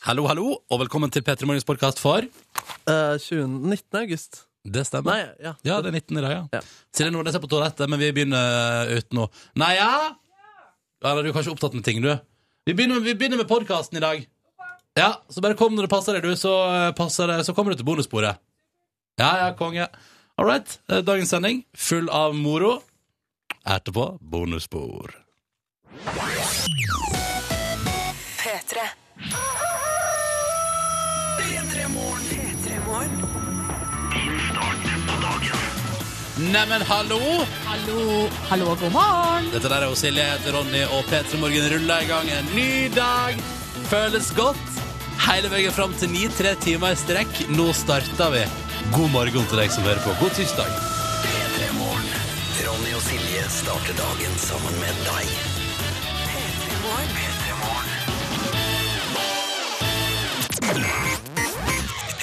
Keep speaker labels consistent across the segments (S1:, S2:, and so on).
S1: Hallo, hallo, og velkommen til Petter Morgens podkast for
S2: Eh, 20, 19. august.
S1: Det stemmer.
S2: Nei, ja.
S1: Ja, det er 19 i dag, ja.
S2: Ja.
S1: Silje Nordnes er på toalettet, men vi begynner eh, ut nå. Nei, ja? ja du er kanskje opptatt med ting, du. Vi begynner, vi begynner med podkasten i dag. Ja, Så bare kom når det passer deg, du. Så, eh, passer det, så kommer du til bonussporet. Ja, ja, konge. All right. eh, Dagens sending full av moro. Etterpå bonusspor.
S3: P3. P3 Morgen.
S1: Neimen, hallo!
S4: Hallo, hallo og god morgen.
S1: Dette der er jo Silje, jeg heter Ronny, og P3 Morgen ruller i gang en ny dag. Føles godt. Hele veien fram til ni, tre timer i strekk. Nå starter vi. God morgen til deg som hører på. God tirsdag.
S5: Ronny og Silje starter dagen sammen med deg.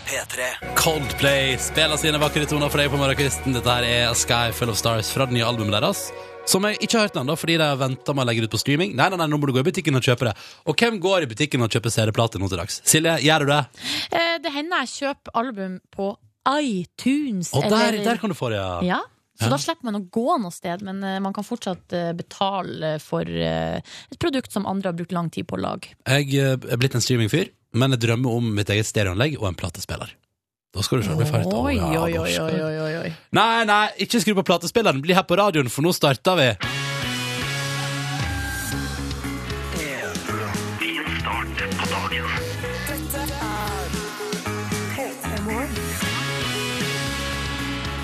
S5: P3.
S1: Coldplay spiller sine vakre toner for deg på morgenkvisten. Dette her er Sky Full of Stars fra det nye albumet deres. Som jeg ikke har hørt ennå, fordi de venter med å legge det ut på streaming. Nei, nei, nei, nå må du gå i butikken og kjøpe det. Og hvem går i butikken og kjøper CD-plate nå til dags? Silje, gjør du det?
S4: Eh, det hender jeg kjøper album på iTunes.
S1: Og der,
S4: eller-
S1: der kan du få det, ja.
S4: Ja,
S1: Ja.
S4: så da slipper man å gå noe sted, men eh, man kan fortsatt eh, betale for eh, et produkt som andre har brukt lang tid på å lage.
S1: Jeg eh, er blitt en streamingfyr, men jeg drømmer om mitt eget stereoanlegg og en platespiller. Da skal du se, det blir fart.
S4: Oi,
S1: Ja,
S4: oi,
S1: da
S4: oi,
S1: skal-
S4: oi, oi, oi.
S1: Nei, nei, ikke skru på platespilleren. Bli her på radioen, for nå starter vi.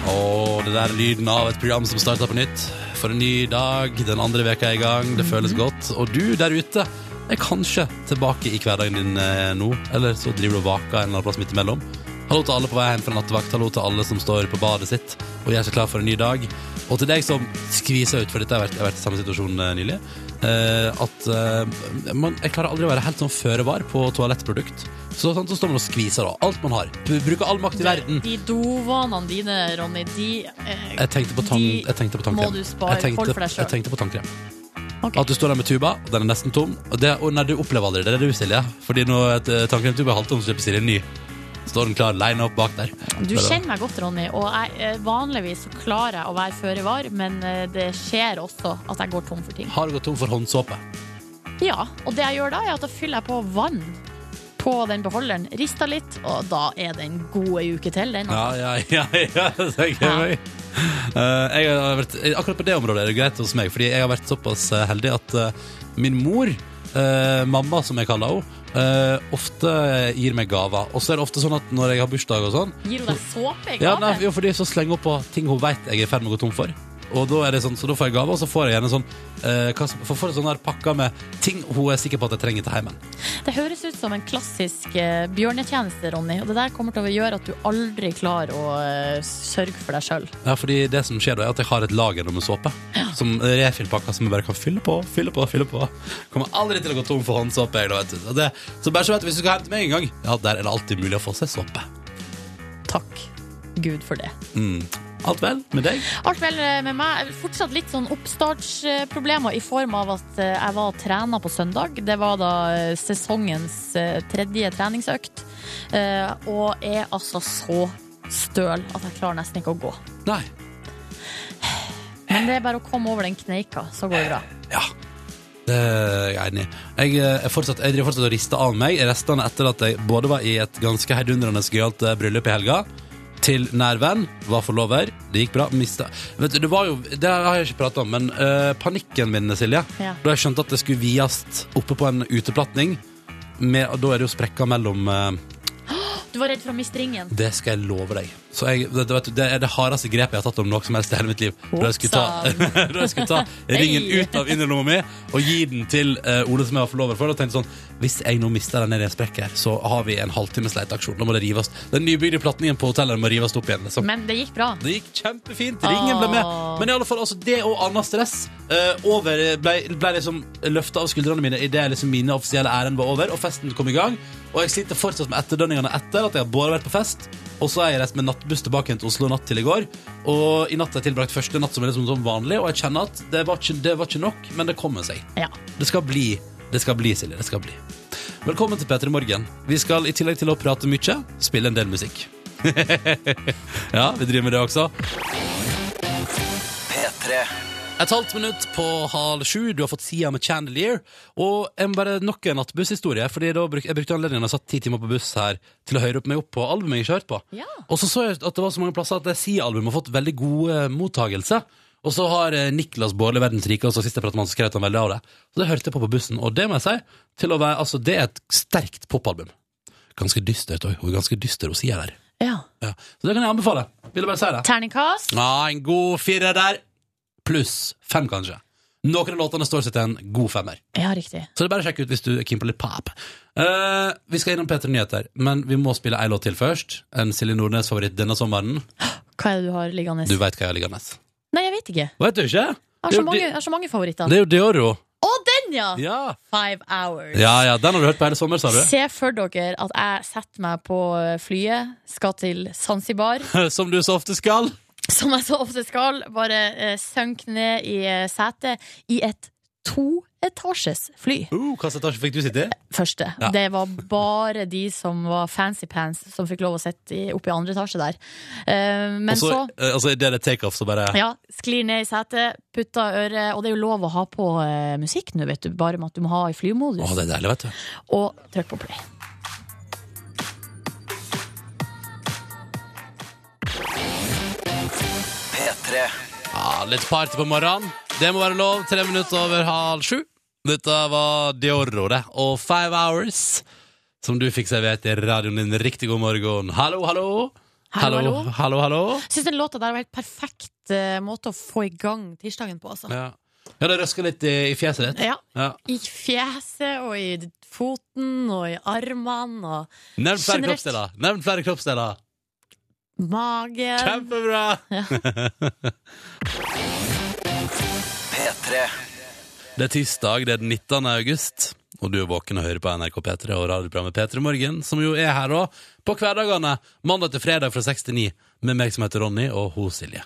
S1: Åh, det der er lyden av et program som starter på nytt. For en ny dag, den andre veka er i gang, det føles godt. Og du der ute er kanskje tilbake i hverdagen din eh, nå, eller så driver du og vaker en eller annen plass midt imellom. Hallo til alle på vei hjem fra nattevakt, hallo til alle som står på badet sitt og gjør seg klar for en ny dag. Og til deg som skviser ut, for dette har vært, jeg har vært i samme situasjon eh, nylig, eh, at eh, man, jeg klarer aldri å være helt sånn føre var på toalettprodukt. Så, sånn, så står man og skviser da, alt man har. Du bruker all makt i verden.
S4: De dovanene dine, Ronny, de eh,
S1: Jeg tenkte på, tann,
S4: De
S1: jeg tenkte på tannkrem.
S4: må du spare.
S1: Jeg tenkte,
S4: Hold for deg selv.
S1: Jeg tenkte på tannkrem.
S4: Ok.
S1: At du står der med tuba, og den er nesten tom. Og det, og nei, du opplever aldri det, det er du, Silje. Fordi når et, eh, tannkremtuba er halvtom, så slipper Silje en ny. Står den klar, line opp bak der.
S4: Du kjenner meg godt, Ronny, og jeg, eh, vanligvis så klarer jeg å være føre var, men eh, det skjer også at jeg går tom for ting.
S1: Har gått tom for håndsåpe.
S4: Ja, og det jeg gjør da er at da fyller jeg på vann på den beholderen, rister litt, og da er det en god uke til den.
S1: Ja,
S4: altså.
S1: ja, ja, ja, det tenker jeg meg. Eh, jeg har vært, akkurat på det området er det greit hos meg, fordi jeg har vært såpass eh, heldig at eh, min mor, eh, mamma som jeg kaller henne, eh, ofte gir meg gaver. Og så er det ofte sånn at når jeg har bursdag og sånn,
S4: Gir hun deg såpe i
S1: Ja,
S4: gaven?
S1: nei, jo, fordi så slenger hun på ting hun vet jeg er i ferd med å gå tom for. Og da er det sånn, Så da får jeg gave, og så får jeg gjerne sånn eh, hva som- for, for sånn her pakker med ting hun er sikker på at jeg trenger til heimen.
S4: Det høres ut som en klassisk eh, bjørnetjeneste, Ronny, og det der kommer til å gjøre at du aldri klarer å eh, sørge for deg sjøl.
S1: Ja, fordi det som skjer da, er at jeg har et lager nå med såpe. Som refillpakker som jeg bare kan fylle på, fylle på, fylle på. Kommer aldri til å gå tom for håndsåpe. jeg da, vet du. Og det, så bare så vet du, hvis du skal hjem til meg en gang, ja, der er det alltid mulig å få seg såpe.
S4: Takk Gud for det.
S1: Mm. Alt vel med deg?
S4: Alt vel eh, med meg. Fortsatt litt sånn oppstartsproblemer i form av at eh, jeg var og trena på søndag. Det var da eh, sesongens eh, tredje treningsøkt. Eh, Og er altså så støl at jeg klarer nesten ikke å gå.
S1: Nei.
S4: Men det er bare å komme over den kneika, så går det bra.
S1: Ja, det er jeg enig i. Jeg, eh, er fortsatt, jeg driver fortsatt og rister av meg restene etter at jeg både var i et ganske heidundrende gøyalt eh, bryllup i helga, til nær venn, var forlover, det gikk bra, mista Vet du, det var jo Det har jeg ikke prata om, men eh, panikken min, Silje,
S4: Ja.
S1: da jeg skjønte at det skulle vies oppe på en uteplatning med, og Da er det jo sprekker mellom eh,
S4: Du var redd for å miste ringen.
S1: Det skal jeg love deg. Så jeg, det, det- vet du, det er det hardeste grepet jeg har tatt om noe som helst i hele mitt liv. Da jeg skulle ta, da jeg skulle ta ringen
S4: Hei.
S1: ut av innerlomma mi og gi den til eh, Ole, som jeg var forlover for. Og tenkte sånn Hvis jeg nå mister den nede i en sprekk her, så har vi en halvtimes leteaksjon. Da må det rives. Den nybygde platningen på hotellet må rives opp igjen. Liksom.
S4: Men det gikk bra.
S1: Det gikk kjempefint. Ringen ble med.
S4: Åh.
S1: Men i alle fall, altså, det og annet stress eh, over, ble, ble liksom løfta av skuldrene mine idet liksom mine offisielle ærend var over, og festen kom i gang. Og jeg sitter fortsatt med etterdønningene etter at jeg har både vært på fest, og så har jeg reist med nattbuss tilbake igjen til Oslo natt til i går. Og i natt har jeg tilbrakt første natt som er liksom sånn vanlig, og jeg kjenner at det var ikke, det var ikke nok, men det kommer seg.
S4: Ja.
S1: Det skal bli. Det skal bli, Silje. Det skal bli. Velkommen til P3 Morgen. Vi skal i tillegg til å prate mye, spille en del musikk. ja, vi driver med det også.
S5: P3.
S1: Et halvt minutt på halv sju. Du har fått sida med Chandelier. Og jeg må bare nok en nattbusshistorie. Fordi da bruk, jeg brukte anledningen og satt ti timer på buss her til å høre opp meg opp på albumet jeg kjørte på.
S4: Ja.
S1: Og så så jeg at det var så mange plasser at det Sia-albumet har fått veldig god eh, mottagelse. Og så har eh, Niklas Baarli verdens rike, og så sist jeg pratet med han, så skrøt han veldig av det. Så det hørte jeg på på bussen, og det må jeg si, til å være, altså det er et sterkt popalbum. Ganske dystert òg. Hun er ganske dyster, hun sier der.
S4: Ja.
S1: Ja. Så det kan jeg anbefale. Ville bare si det.
S4: Terningkast.
S1: Ja, en god firer der. Pluss fem, kanskje. Noen av låtene står seg til en god femmer.
S4: Ja, riktig.
S1: Så det er bare å sjekke ut hvis du er keen på litt pop. Eh, vi skal innom P3 Nyheter, men vi må spille ei låt til først. En Silje Nordnes-favoritt denne sommeren.
S4: Hva er det du har liggende?
S1: Du veit hva jeg har liggende.
S4: Nei, jeg vet ikke.
S1: Vet du ikke?
S4: Jeg
S1: Det
S4: har
S1: er
S4: så
S1: jo
S4: mange,
S1: Di-
S4: jeg har så mange favoritter.
S1: Det er jo Dioro.
S4: Å, den, ja!
S1: Ja.
S4: Five Hours.
S1: ja, ja, den har du hørt på hele sommer, sa du.
S4: Se for dere at jeg setter meg på flyet, skal til Zanzibar,
S1: Som du så ofte skal.
S4: som jeg så ofte skal, bare eh, sønk ned i eh, setet i et toetasjes fly.
S1: Uh, Hvilken etasje fikk du sitte i?
S4: Første.
S1: Ja.
S4: Det var bare de som var fancy pants, som fikk lov å sitte i- oppe i andre etasje der. Eh, men
S1: Og så,
S4: så
S1: eh, altså, idet det er takeoff, så bare
S4: Ja, sklir ned i setet, putter øret Og det er jo lov å ha på eh, musikk nå, vet du, bare med at du må ha i flymodus.
S1: Å, det er deilig, vet du.
S4: Og trykk på play.
S5: P3.
S1: Ja, litt party på morgenen. Det må være lov. Tre minutter over halv sju. Dette var Diorro, det. Og Five Hours, som du fikk servert i radioen din. Riktig god morgen. Hallo, hallo.
S4: Hallo, hallo.
S1: hallo, hallo.
S4: Syns den låta der var helt perfekt eh, måte å få i gang tirsdagen på, altså.
S1: Ja. ja, det røsker litt i, i fjeset ditt.
S4: Ja.
S1: Ja.
S4: I fjeset og i foten og i armene og
S1: Nevn flere
S4: Generelt.
S1: kroppsdeler. Nevn flere kroppsdeler.
S4: magen.
S1: Kjempebra!
S5: P3.
S1: Det er tirsdag, det er den 19. august, og du er våken og hører på NRK P3 og radioprogrammet P3 Morgen, som jo er her òg, på hverdagene mandag til fredag fra 6 til 9, med meg som heter Ronny, og hun Silje.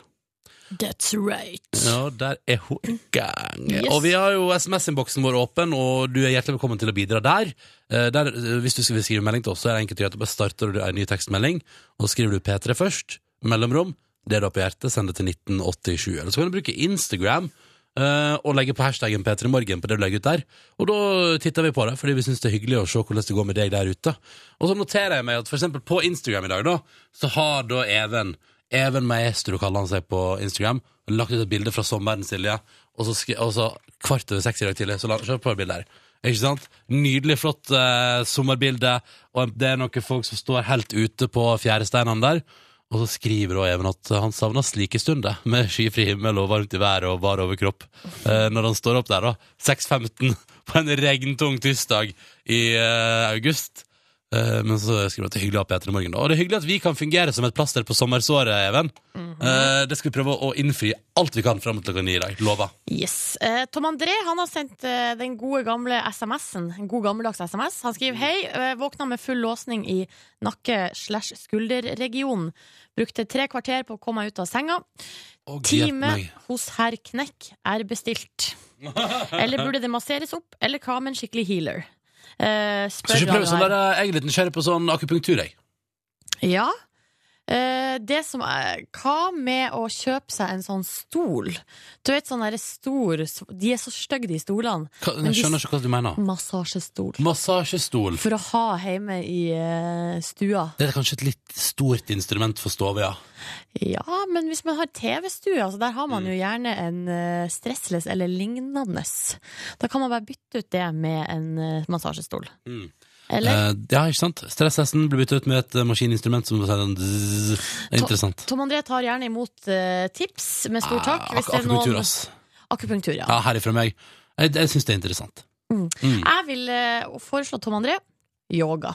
S4: That's right.
S1: Ja, der er hun i gang.
S4: Yes.
S1: Og vi har jo SMS-innboksen vår åpen, og du er hjertelig velkommen til å bidra der. Eh, der eh, hvis du skal skrive melding til oss, så er det enkelt å gjøre at du bare starter du en ny tekstmelding, og så skriver du P3 først, mellomrom, det du har på hjertet, send det til 1987. Eller så kan du bruke Instagram. eh, og legge på hashtaggen P3morgen på det du legger ut der. Og da titter vi på det, fordi vi syns det er hyggelig å se hvordan det går med deg der ute. Og så noterer jeg meg at for eksempel på Instagram i dag, da, så har da Even Even Maestro kaller han seg på Instagram. Lagt ut et bilde fra sommeren, Silje. Og så, skri, og så kvart over seks i dag tidlig. Så la, kjør på det bildet her. Ikke sant? Nydelig, flott eh, sommerbilde. Og det er noen folk som står helt ute på fjæresteinene der. Og så skriver også Even at han savner slike stunder, med skyfri himmel og varmt i været og bar overkropp, eh, når han står opp der, da. 6.15 på en regntung tirsdag i eh, august. Eh, Men så skriver du at det er hyggelig å ha P3 Morgen. da. Og det er hyggelig at vi kan fungere som et plaster på sommersåret, Even.
S4: Mhm.
S1: Eh, Det skal vi prøve å innfri alt vi kan fram til klokka ni i dag. Lover.
S4: Yes. Eh, Tom André han har sendt eh, den gode gamle SMS-en. En god gammeldags SMS. Han
S1: Mm.
S4: skriver hei, eh, våkna med full låsning i nakke slash skulderregionen. Brukte tre kvarter på å komme meg ut av senga.
S1: Å, hjelp
S4: Time
S1: meg.
S4: hos herr Knekk er bestilt. Eller burde det masseres opp, eller hva med en skikkelig healer? Eh,
S1: Skal
S4: spør
S1: ikke prøve
S4: han
S1: sånn
S4: her.
S1: der, eh, jeg er litt nysgjerrig på sånn akupunktur, jeg.
S4: Ja. Eh, det som er, hva med å kjøpe seg en sånn stol? Du vet sånn derre stor De er så stygge, de stolene.
S1: Hva,
S4: Men
S1: jeg skjønner
S4: hvis-
S1: ikke hva du mener.
S4: Massasjestol.
S1: Massasjestol.
S4: For å ha hjemme i eh, stua.
S1: Det er kanskje et litt stort instrument for stove, ja.
S4: Ja, men hvis man har TV-stue, altså der har
S1: Mm.
S4: man jo gjerne en eh, stressless eller lignende. Da kan man bare bytte ut det med en eh, massasjestol.
S1: Mm.
S4: Eller?
S1: Eh, ja, ikke sant? Stress-S-en blir byttet ut med et eh, maskininstrument som sier sånn zzz. Det er Interessant.
S4: Tom André tar gjerne imot eh, tips med stor takk.
S1: Ah,
S4: Hvis det er
S1: akupunktur,
S4: noen
S1: ass.
S4: Akupunktur, ja.
S1: Ja, herifra meg. Jeg, jeg syns det er interessant.
S4: Jeg vil eh, foreslå Tom André yoga.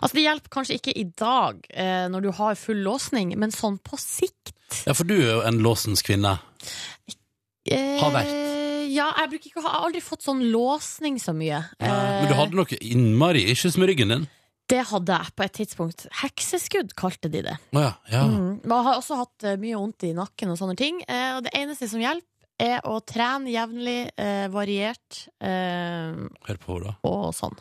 S4: Altså Det hjelper kanskje ikke i dag, eh, når du har full låsning, men sånn på sikt.
S1: Ja, for du er jo en låsens kvinne.
S4: Eh,
S1: Har vært.
S4: Ja, jeg, bruker ikke, å ha- jeg har aldri fått sånn låsning så mye. Eh,
S1: Men du hadde noe innmari issues med ryggen din.
S4: Det hadde jeg på et tidspunkt. Hekseskudd kalte de det.
S1: Å ja, ja.
S4: Mm. Men jeg har også hatt eh, mye vondt i nakken og sånne ting. Eh, og det eneste som hjelper, er å trene jevnlig, eh, variert eh,
S1: Hør på henne, da.
S4: og sånn.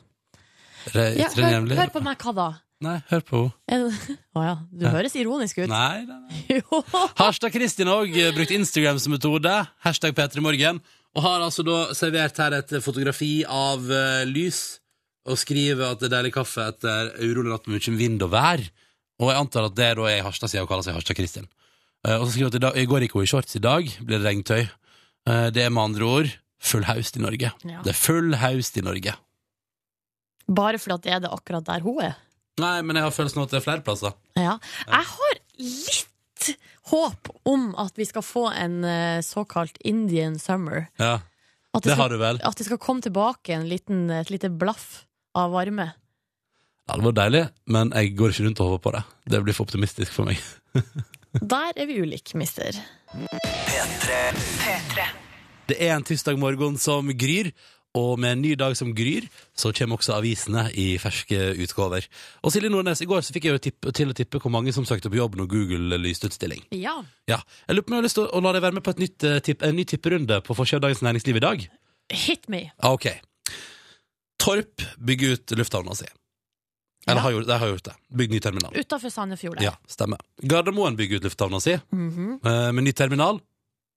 S1: Re
S4: Ja,
S1: Trine
S4: hør,
S1: Hjemli.
S4: hør på meg, hva da?
S1: Nei, hør på henne.
S4: Er det- Å ja, du høres ironisk ut.
S1: Nei, nei, nei.
S4: Jo.
S1: Hashtag Kristin har òg brukt Instagram som metode. Hashtag P3morgen. Og har altså da servert her et fotografi av eh, lys, og skriver at det er deilig kaffe etter urolig natt med mye vind og vær. Og jeg antar at det er da jeg i Harstad siden og kaller seg Harstad Kristin. Eh, og så skriver hun at i, dag, i går gikk hun i shorts, i dag blir det regntøy. Eh, det er med andre ord full haust i Norge.
S4: Ja.
S1: Det er full haust i Norge.
S4: Bare fordi at det er det akkurat der hun er.
S1: Nei, men jeg har følelsen av at det er flere plasser.
S4: Ja. Jeg har litt håp om at vi skal få en eh, såkalt Indian summer.
S1: Ja,
S4: At
S1: Det
S4: det
S1: har
S4: skal,
S1: du vel.
S4: at det skal komme tilbake en liten, et lite blaff av varme.
S1: Ja, det var deilig, men jeg går ikke rundt og håper på det. Det blir for optimistisk for meg.
S4: Der er vi ulike, mister.
S1: Det er en tirsdag morgen som gryr, og med en ny dag som gryr, så kommer også avisene i ferske utgaver. Og Silje Nordnes, i går så fikk jeg jo tipp, til å tippe hvor mange som søkte på jobb når Google lyste ut stilling.
S4: Ja.
S1: Ja, jeg lurer på om jeg har lyst til å- å la deg være med på et nytt, eh, tipp, en ny tipperunde på forsiden av Dagens Næringsliv i dag.
S4: Hit me.
S1: Ja, ok. Torp bygger ut lufthavna si. Eller
S4: Ja.
S1: har gjort, de har gjort det. Bygg ny terminal.
S4: Utafor Sandefjord. der.
S1: Ja, stemmer. Gardermoen bygger ut lufthavna si, eh,
S4: Mhm.
S1: med ny terminal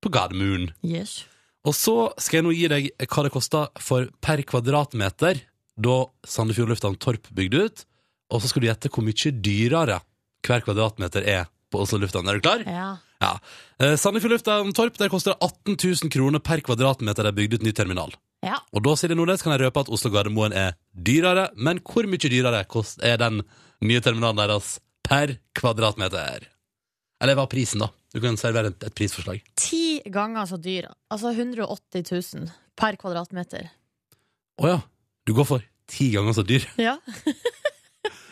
S1: på Gardermoen.
S4: Yes.
S1: Og så skal jeg nå gi deg hva det kosta for per kvadratmeter da Sandefjord lufthavn Torp bygde ut. Og så skal du gjette hvor mye dyrere hver kvadratmeter er på Oslo lufthavn. Er du klar?
S4: Ja.
S1: Ja. Eh, Sandefjord lufthavn Torp der koster det 18 000 kroner per kvadratmeter de bygde ut ny terminal.
S4: ja.
S1: Og da Silje Nordnes, kan jeg røpe at Oslo Gardermoen er dyrere, men hvor mye dyrere kost- er den nye terminalen deres per kvadratmeter? Eller hva er prisen, da? Du kan servere et, et prisforslag.
S4: Ti ganger så dyr. Altså 180 000 per kvadratmeter.
S1: Å ja, du går for ti ganger så dyr.
S4: Ja.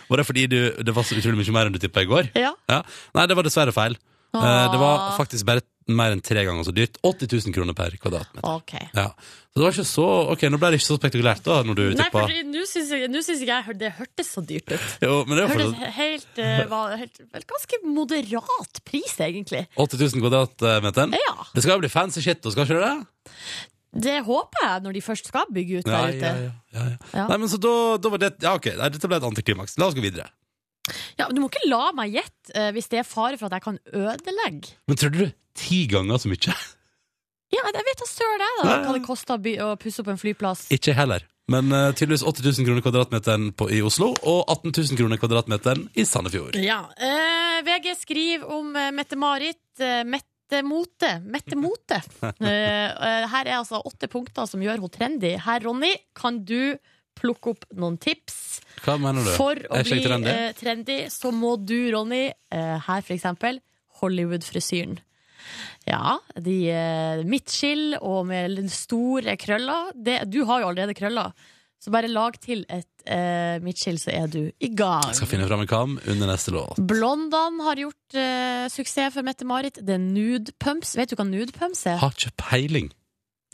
S1: Var det fordi du, det var så utrolig mye mer enn du tippa i går? Ja. Nei, det var dessverre feil. Eh, Det var faktisk bare mer enn tre ganger så dyrt. 80 000 kroner per kvadratmeter.
S4: Ok.
S1: Ja. Så det var ikke så Ok, nå ble det ikke så spektakulært, da, når du
S4: Nei,
S1: tippa.
S4: for nå syns jeg, nå syns ikke jeg hør- det hørtes så dyrt ut.
S1: Jo, men det er jo
S4: Hørtes
S1: fortsatt
S4: helt, eh, var helt vel, Ganske moderat pris, egentlig.
S1: 80 000 kvadratmeteren.
S4: Ja.
S1: eh, Det skal jo bli fancy shit, og skal ikke det?
S4: Det håper jeg, når de først skal bygge ut
S1: Ja,
S4: der ute.
S1: ja, ja, ja, ja.
S4: Ja.
S1: Nei, men så da, da var det Ja, ok, Nei, dette ble et antiklimaks. La oss gå videre.
S4: Ja, men du må ikke la meg gjette eh, hvis det er fare for at jeg kan ødelegge.
S1: Men trodde du ti ganger så mye?
S4: Ja, jeg vet da søren jeg, da,
S1: Nei.
S4: hva det koster å, by å pusse opp en flyplass.
S1: Ikke heller. Men eh, tydeligvis 80 000 kroner kvadratmeteren på, i Oslo, og 18 000 kroner kvadratmeteren i Sandefjord.
S4: Ja. eh, VG skriver om eh, Mette-Marit. eh, Mette Mote. Mette Mote. Eh, eh, her er altså åtte punkter som gjør henne trendy. Her, Ronny, kan du plukke opp noen tips?
S1: Hva mener du?
S4: For å
S1: Er ikke
S4: bli
S1: jeg trendy?
S4: eh, trendy, så må du, Ronny, eh, her for eksempel, Hollywood-frisyren. Ja, de eh, midtskill og med store krøller. Det, du har jo allerede krøller. Så bare lag til et eh, midtskill, så er du i gang.
S1: Jeg skal finne fram en kam under neste låt.
S4: Blondene har gjort eh, suksess for Mette-Marit. Det er nude pumps. Vet du hva nude pumps er?
S1: Har ikke peiling.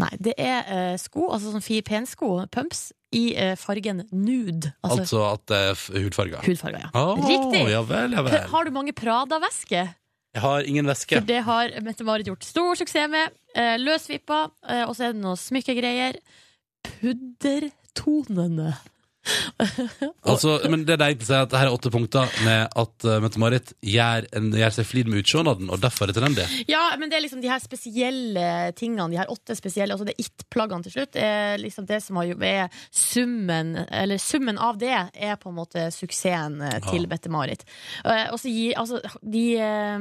S4: Nei, det er eh, sko, altså sånn fire pensko, pumps, i eh, fargen nude. Altså
S1: Altså at det er f- hudfarger.
S4: hudfarga, ja.
S1: Å,
S4: Riktig!
S1: Ja vel, ja vel.
S4: Har du mange Prada-vesker?
S1: Jeg har ingen væske.
S4: For det har Mette-Marit gjort stor suksess med. Eh, løsvippa, eh, og så er det noen smykkegreier. Puddertonene.
S1: Altså, men det er deilig å si at her er åtte punkter med at uh, Mette-Marit gjør, en- gjør seg flid med utseendet, og derfor er det trendy.
S4: Ja, men det er liksom de her spesielle tingene, de her åtte spesielle, altså det er it-plaggene til slutt, er liksom det som har jo er summen, eller summen av det, er på en måte suksessen eh, til
S1: Ja.
S4: Bette-Marit. Eh, Og så gir, altså, de eh,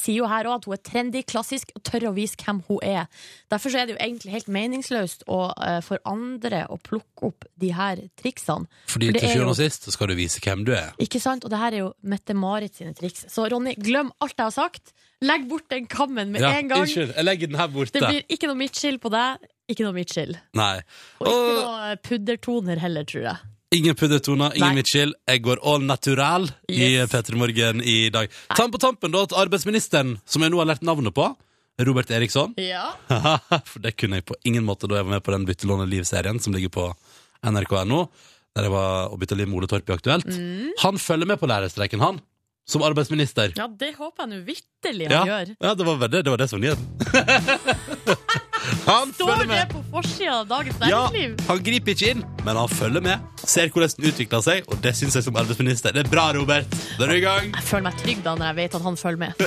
S4: sier jo her også at hun er trendy, klassisk, og tør å vise hvem hun er. Derfor så er det jo egentlig helt meningsløst å, eh, for andre å plukke opp de her triksene.
S1: Fordi
S4: For det
S1: til
S4: er
S1: sjuende
S4: jo-
S1: og sist så skal du vise hvem du er.
S4: Ikke sant? Og det her er jo Mette-Marit sine triks. Så Ronny, glem alt jeg har sagt. Legg bort den kammen med en gang.
S1: Unnskyld, jeg legger den her borte.
S4: Det blir ikke noe midtskill på deg, ikke noe midtskill.
S1: Nei.
S4: Og ikke
S1: Og
S4: noe eh, puddertoner heller, tror jeg.
S1: ingen puddertoner,
S4: Nei.
S1: ingen midtskill. Jeg går all natural i
S4: Yes.
S1: P3 Morgen i dag. Ta på tampen da til arbeidsministeren, som jeg nå har lært navnet på. Robert Eriksson.
S4: Ja.
S1: For det kunne jeg på ingen måte da jeg var med på den Byttelånet liv-serien som ligger på nrk.no, der jeg var og bytta liv med Ole Torp i Aktuelt.
S4: Mm.
S1: Han følger med på lærerstreiken, han. Som arbeidsminister.
S4: det håper jeg nå vitterlig han gjør.
S1: ja det, var, det, det var det som var nyheten. Han
S4: Står
S1: følger
S4: det
S1: med!
S4: på forsida av Dagens
S1: Ja,
S4: Næringsliv?
S1: han griper ikke inn, men han følger med. Ser hvordan den utvikler seg, og det syns jeg som arbeidsminister. Det er bra, Robert. Da er du i gang.
S4: Jeg føler meg trygg da når jeg vet at han følger med.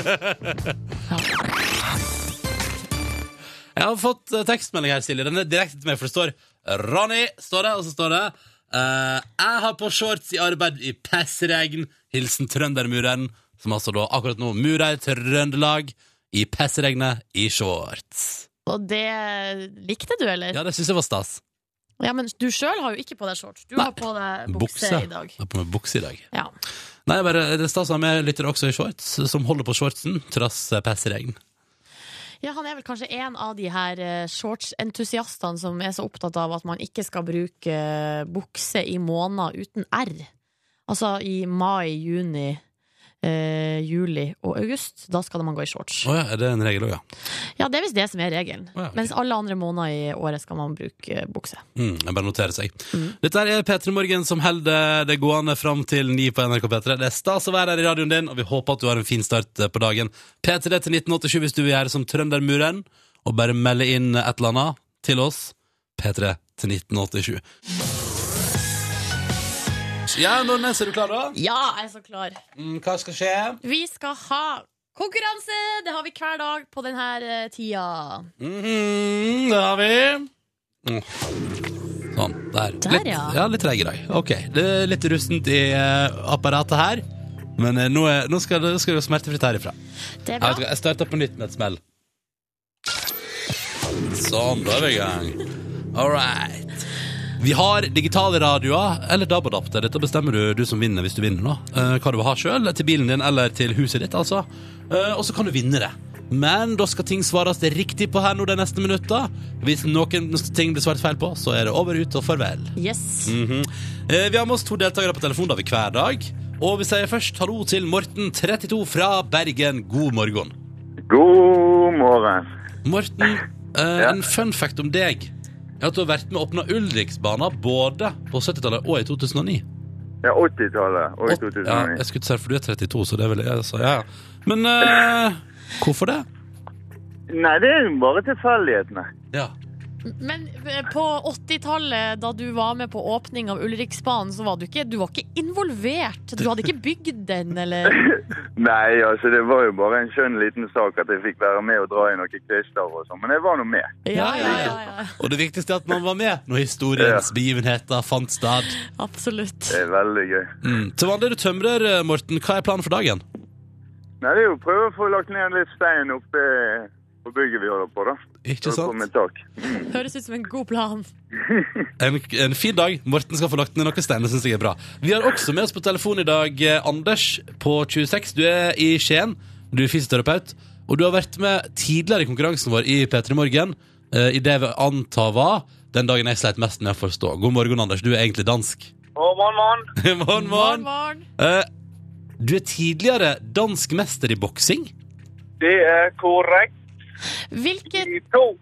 S1: Jeg har fått eh, tekstmelding her, Silje. Den er direkte til meg, for det står Ronny, står det, og så står det eh, Jeg har på shorts i arbeid i pessregn. Hilsen trøndermuren, som altså da akkurat nå murer Trøndelag i pessregnet i shorts.
S4: Og det likte du, eller? Ja,
S1: Ja, det syns jeg var stas.
S4: men du sjøl har jo ikke på deg shorts. Du
S1: Nei.
S4: har på deg bukse,
S1: Bukse.
S4: i dag.
S1: Jeg har på meg bukse i dag.
S4: Ja.
S1: Nei, jeg bare, det er stas å ha med lyttere også i shorts, som holder på shortsen trass eh, pessregn.
S4: ja, han er vel kanskje en av de her eh, shortsentusiastene som er så opptatt av at man ikke skal bruke eh, bukse i måneder uten R. Altså i mai, juni, eh, juli og august. Da skal man gå i shorts.
S1: Å ja, er det en regel òg, ja?
S4: Ja, det er visst det som er regelen.
S1: Å ja, ok.
S4: Mens alle andre måneder i året skal man bruke eh, bukse.
S1: Mm, jeg bare noterer seg. Dette er P3 Morgen som holder det gående fram til 9 på NRK P3. Det er stas å være her i radioen din, og vi håper at du har en fin start eh, på dagen. P3 til 1987 hvis du vil gjøre som trøndermuren, og bare melde inn et eller annet til oss. P3 til 1987. Ja, Nordnes, er du klar da?
S4: Ja, jeg er så klar.
S1: Mm, hva skal skje?
S4: Vi skal ha konkurranse! Det har vi hver dag på denne eh, tida.
S1: Mhm, det har vi. Mm. Sånn, der.
S4: Der,
S1: litt,
S4: ja.
S1: litt treig i dag. Ok, det er litt rustent i eh, apparatet her. Men eh, nå, er, nå skal det nå skal det være smertefritt herifra.
S4: Det er
S1: Jeg,
S4: bra.
S1: vet ikke, jeg starter på nytt med et smell. Sånn, da er vi i gang. All right. Vi har digitale radioer, eller DAB-adapter. Dette bestemmer du, du som vinner, hvis du vinner. nå. Eh, hva du vil ha sjøl, til bilen din eller til huset ditt, altså. Eh, og så kan du vinne det. Men da skal ting svares riktig på her nå de neste minutta. Hvis noen ting blir svart feil på, så er det over, ut og farvel.
S4: Yes.
S1: Mhm. Eh, Vi har med oss to deltakere på telefon da vi hver dag. Og vi sier først hallo til Morten, 32 fra Bergen. God morgen.
S6: God morgen.
S1: Morten, eh, en fun fact om deg er at du har vært med å åpne Ulriksbana både på 70-tallet og i 2009.
S6: Ja, 80-tallet og i
S1: Åt- Ja,
S6: 2009.
S1: jeg skulle si for du er 32, så det er vel jeg sa. Ja. ja. Men eh, hvorfor det?
S6: Nei, det er jo bare tilfeldighetene.
S1: Ja.
S4: Men eh, på 80-tallet, da du var med på åpning av Ulriksbanen, så var du ikke, du var ikke involvert. Du hadde ikke bygd den, eller
S6: Nei, altså det var jo bare en skjønn liten sak at jeg fikk være med og dra i noen kvister og sånn, men jeg var nå med.
S4: Ja, ja, ja. ja.
S1: Og det viktigste er at man var med når historiens begivenheter fant sted.
S4: Absolutt.
S6: Det er veldig gøy.
S1: Mm. Til vanlig er du tømrer, eh, Morten. Hva er planen for dagen?
S6: Nei, det er jo å prøve å få lagt ned litt stein oppe på bygget vi holder på, da.
S1: Ikke
S6: Holder på
S1: sant?
S6: med tak.
S4: Høres ut som en god plan.
S1: En, en fin dag. Morten skal få lagt ned noen steiner, syns jeg er bra. Vi har også med oss på telefon i dag eh, Anders på 26. Du er i Skien. Du er fysioterapeut. Og du har vært med tidligere i konkurransen vår i P3 Morgen. eh, I det vi antar var den dagen jeg sleit mest med å forstå. God morgen, Anders. Du er egentlig dansk.
S6: Morgen, morgen.
S1: morgen,
S4: Morgen,
S1: morgen.
S4: morgen.
S1: Eh, Du er tidligere dansk mester i boksing.
S6: Det er korrekt.
S4: Hvilket,
S6: to.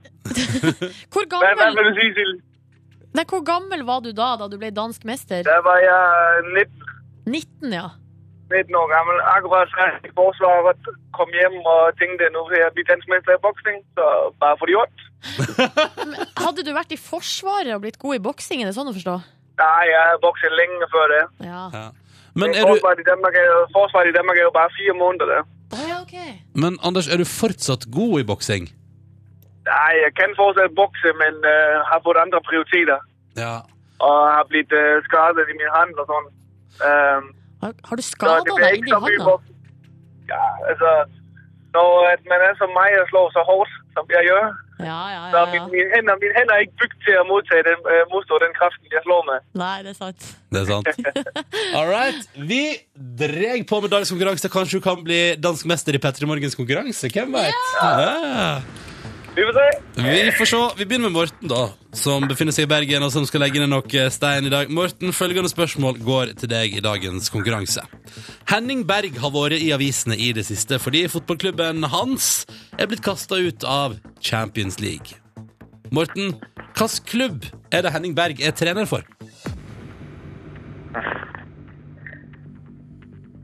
S4: hvor, gammel,
S6: du si, Silje?
S4: nei, hvor gammel var du da, da du ble dansk mester?
S6: Der var jeg eh, 19.
S4: 19, ja.
S6: 19 år gammel, akkurat færdig i forsvaret, kom hjem og tenkte nu vil jeg blive dansk mester i boksning, så bare få det gjort.
S4: Hadde du vært i Forsvaret og blitt god i boksing, er det sånn å forstå?
S6: Nej, jeg havde bokset længe før det.
S4: Ja.
S1: Men, er du,
S6: Forsvaret, i Danmark er jo, forsvaret i Danmark er jo bare fire måneder der.
S4: Å, ja, ok.
S1: men Anders, er du fortsatt god i boksing?
S6: Nej, jeg kan fortsat bokse, men øh, har fået andre prioriteter.
S1: Ja.
S6: Og har blitt øh, skadet i min hand og sådan. Øh,
S4: Har, har du
S6: så det
S4: skada
S6: bliver
S4: deg
S6: ikke
S4: inni
S6: så mye
S4: hånda?
S6: boksning. Ja, altså... Når at man er som mig og slår så hårdt, som jeg gør,
S4: Ja, ja,
S6: så
S4: ja,
S6: er mine,
S4: ja.
S6: mine, hænder, mine hænder er ikke bygget til at modtage den, øh, modstå den kraften, jeg slår med.
S4: Nei, det er sant.
S1: Det er sant. All right. Vi dreg på med dagens konkurranse. Kanskje du kan bli dansk mester i Petter i morgens konkurranse? Hvem veit? Ja.
S6: Vi får se.
S1: Vi får se. Vi begynner med Morten, da, som befinner seg i Bergen, og som skal legge ned noe stein i dag. Morten, følgende spørsmål går til deg i dagens konkurranse. Henning Berg har vært i avisene i det siste fordi fotballklubben hans er blitt kasta ut av Champions League. Morten, hvilken klubb er det Henning Berg er trener for?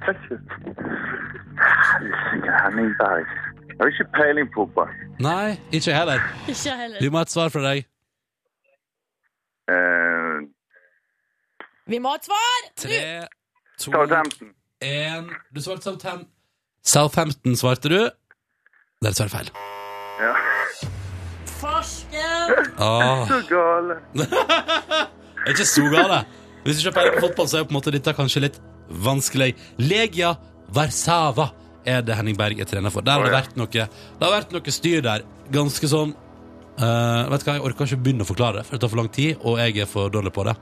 S6: Sikkert Hanningberg. Jeg har ikke peiling på bold.
S1: Nei, ikke jeg heller.
S4: Ikke jeg heller.
S1: Vi må ha et svar fra deg.
S6: Øh,
S7: Eh,
S4: Vi må ha et svar!
S1: Tre, to,
S7: Southampton.
S1: én Du svarte Southampton. Southampton svarte du. Det er dessverre feil.
S7: Ja.
S4: Farsken!
S1: Ah,
S7: Så gale.
S1: jeg er ikke så gale. Hvis du ikke peiler på fotball, så er på en måte dette kanskje litt vanskelig. Legia Warszawa er det Henning Berg er trener for. Der har det vært noe Det har vært noe styr der. Ganske sånn eh, Vet du hva, jeg orker ikke begynne å forklare det, for det tar for lang tid, og jeg er for dårlig på det.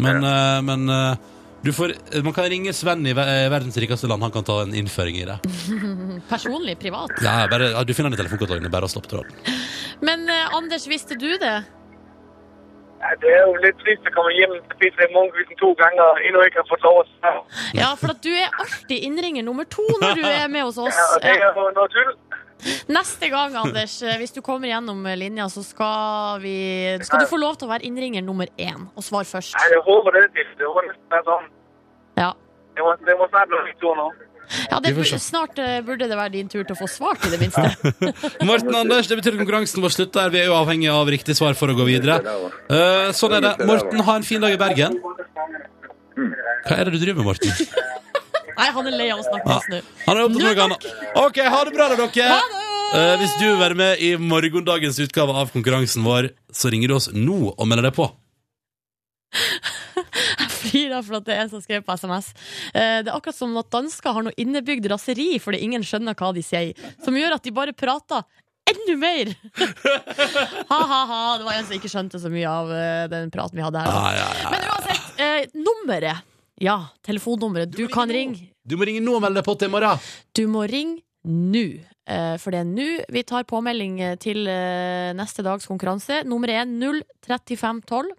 S1: Men, eh, men eh, du får, man kan ringe Sven i ver- eh, verdens rikeste land. Han kan ta en innføring i det.
S4: Personlig, privat.
S1: Ja, bare, ja, du finner den i telefonkontakten. Bare å stoppe tråden.
S4: Men eh, Anders, visste du det?
S6: Ja, det er jo litt trist å komme hjem og spise den morgenkvisten to ganger og ennå ikke har fått lov å svare.
S4: Ja, for at du er alltid innringer nummer to når du er med hos oss. Eh,
S6: Ja, og det er jo noe tull.
S4: Neste gang, Anders, eh, hvis du kommer gjennom linja, så skal, vi, skal du få lov til å være innringer nummer én og svare først.
S6: Nei, jeg håper det er til. Det var nesten være sånn.
S4: Ja.
S6: Det må, det må snart bli min tur nå.
S4: Ja, det,
S1: Vi får se.
S4: snart eh, burde det være din tur til å få svart, i det minste.
S1: Morten Anders, det betyr at konkurransen vår slutter. her. Vi er jo avhengig av riktig svar for å gå videre. Eh, sånn er det. Morten, ha en fin dag i Bergen. Hva er det du driver med, Morten?
S4: Nei, han er lei av å snakke med oss nå.
S1: Han er opptatt med noe annet. OK, ha det bra, da, dere. Eh, hvis du vil være med i morgendagens utgave av konkurransen vår, så ringer du oss nå og melder deg på.
S4: Jeg flirer for at det er en som skrev på SMS. Eh, Det er akkurat som at dansker har noe innebygd raseri fordi ingen skjønner hva de sier, som gjør at de bare prater. Enda mer! Ha-ha-ha. Det var en som ikke skjønte så mye av eh, den praten vi hadde her. nå.
S1: Ja, ja, ja.
S4: Men uansett, eh, nummeret. Ja, telefonnummeret. Du kan ringe.
S1: Du må ringe nå og melde deg på til i morgen.
S4: Du må ringe nå. Eh, For det er nå vi tar påmelding eh, til eh, neste dags konkurranse. Nummeret er 03512.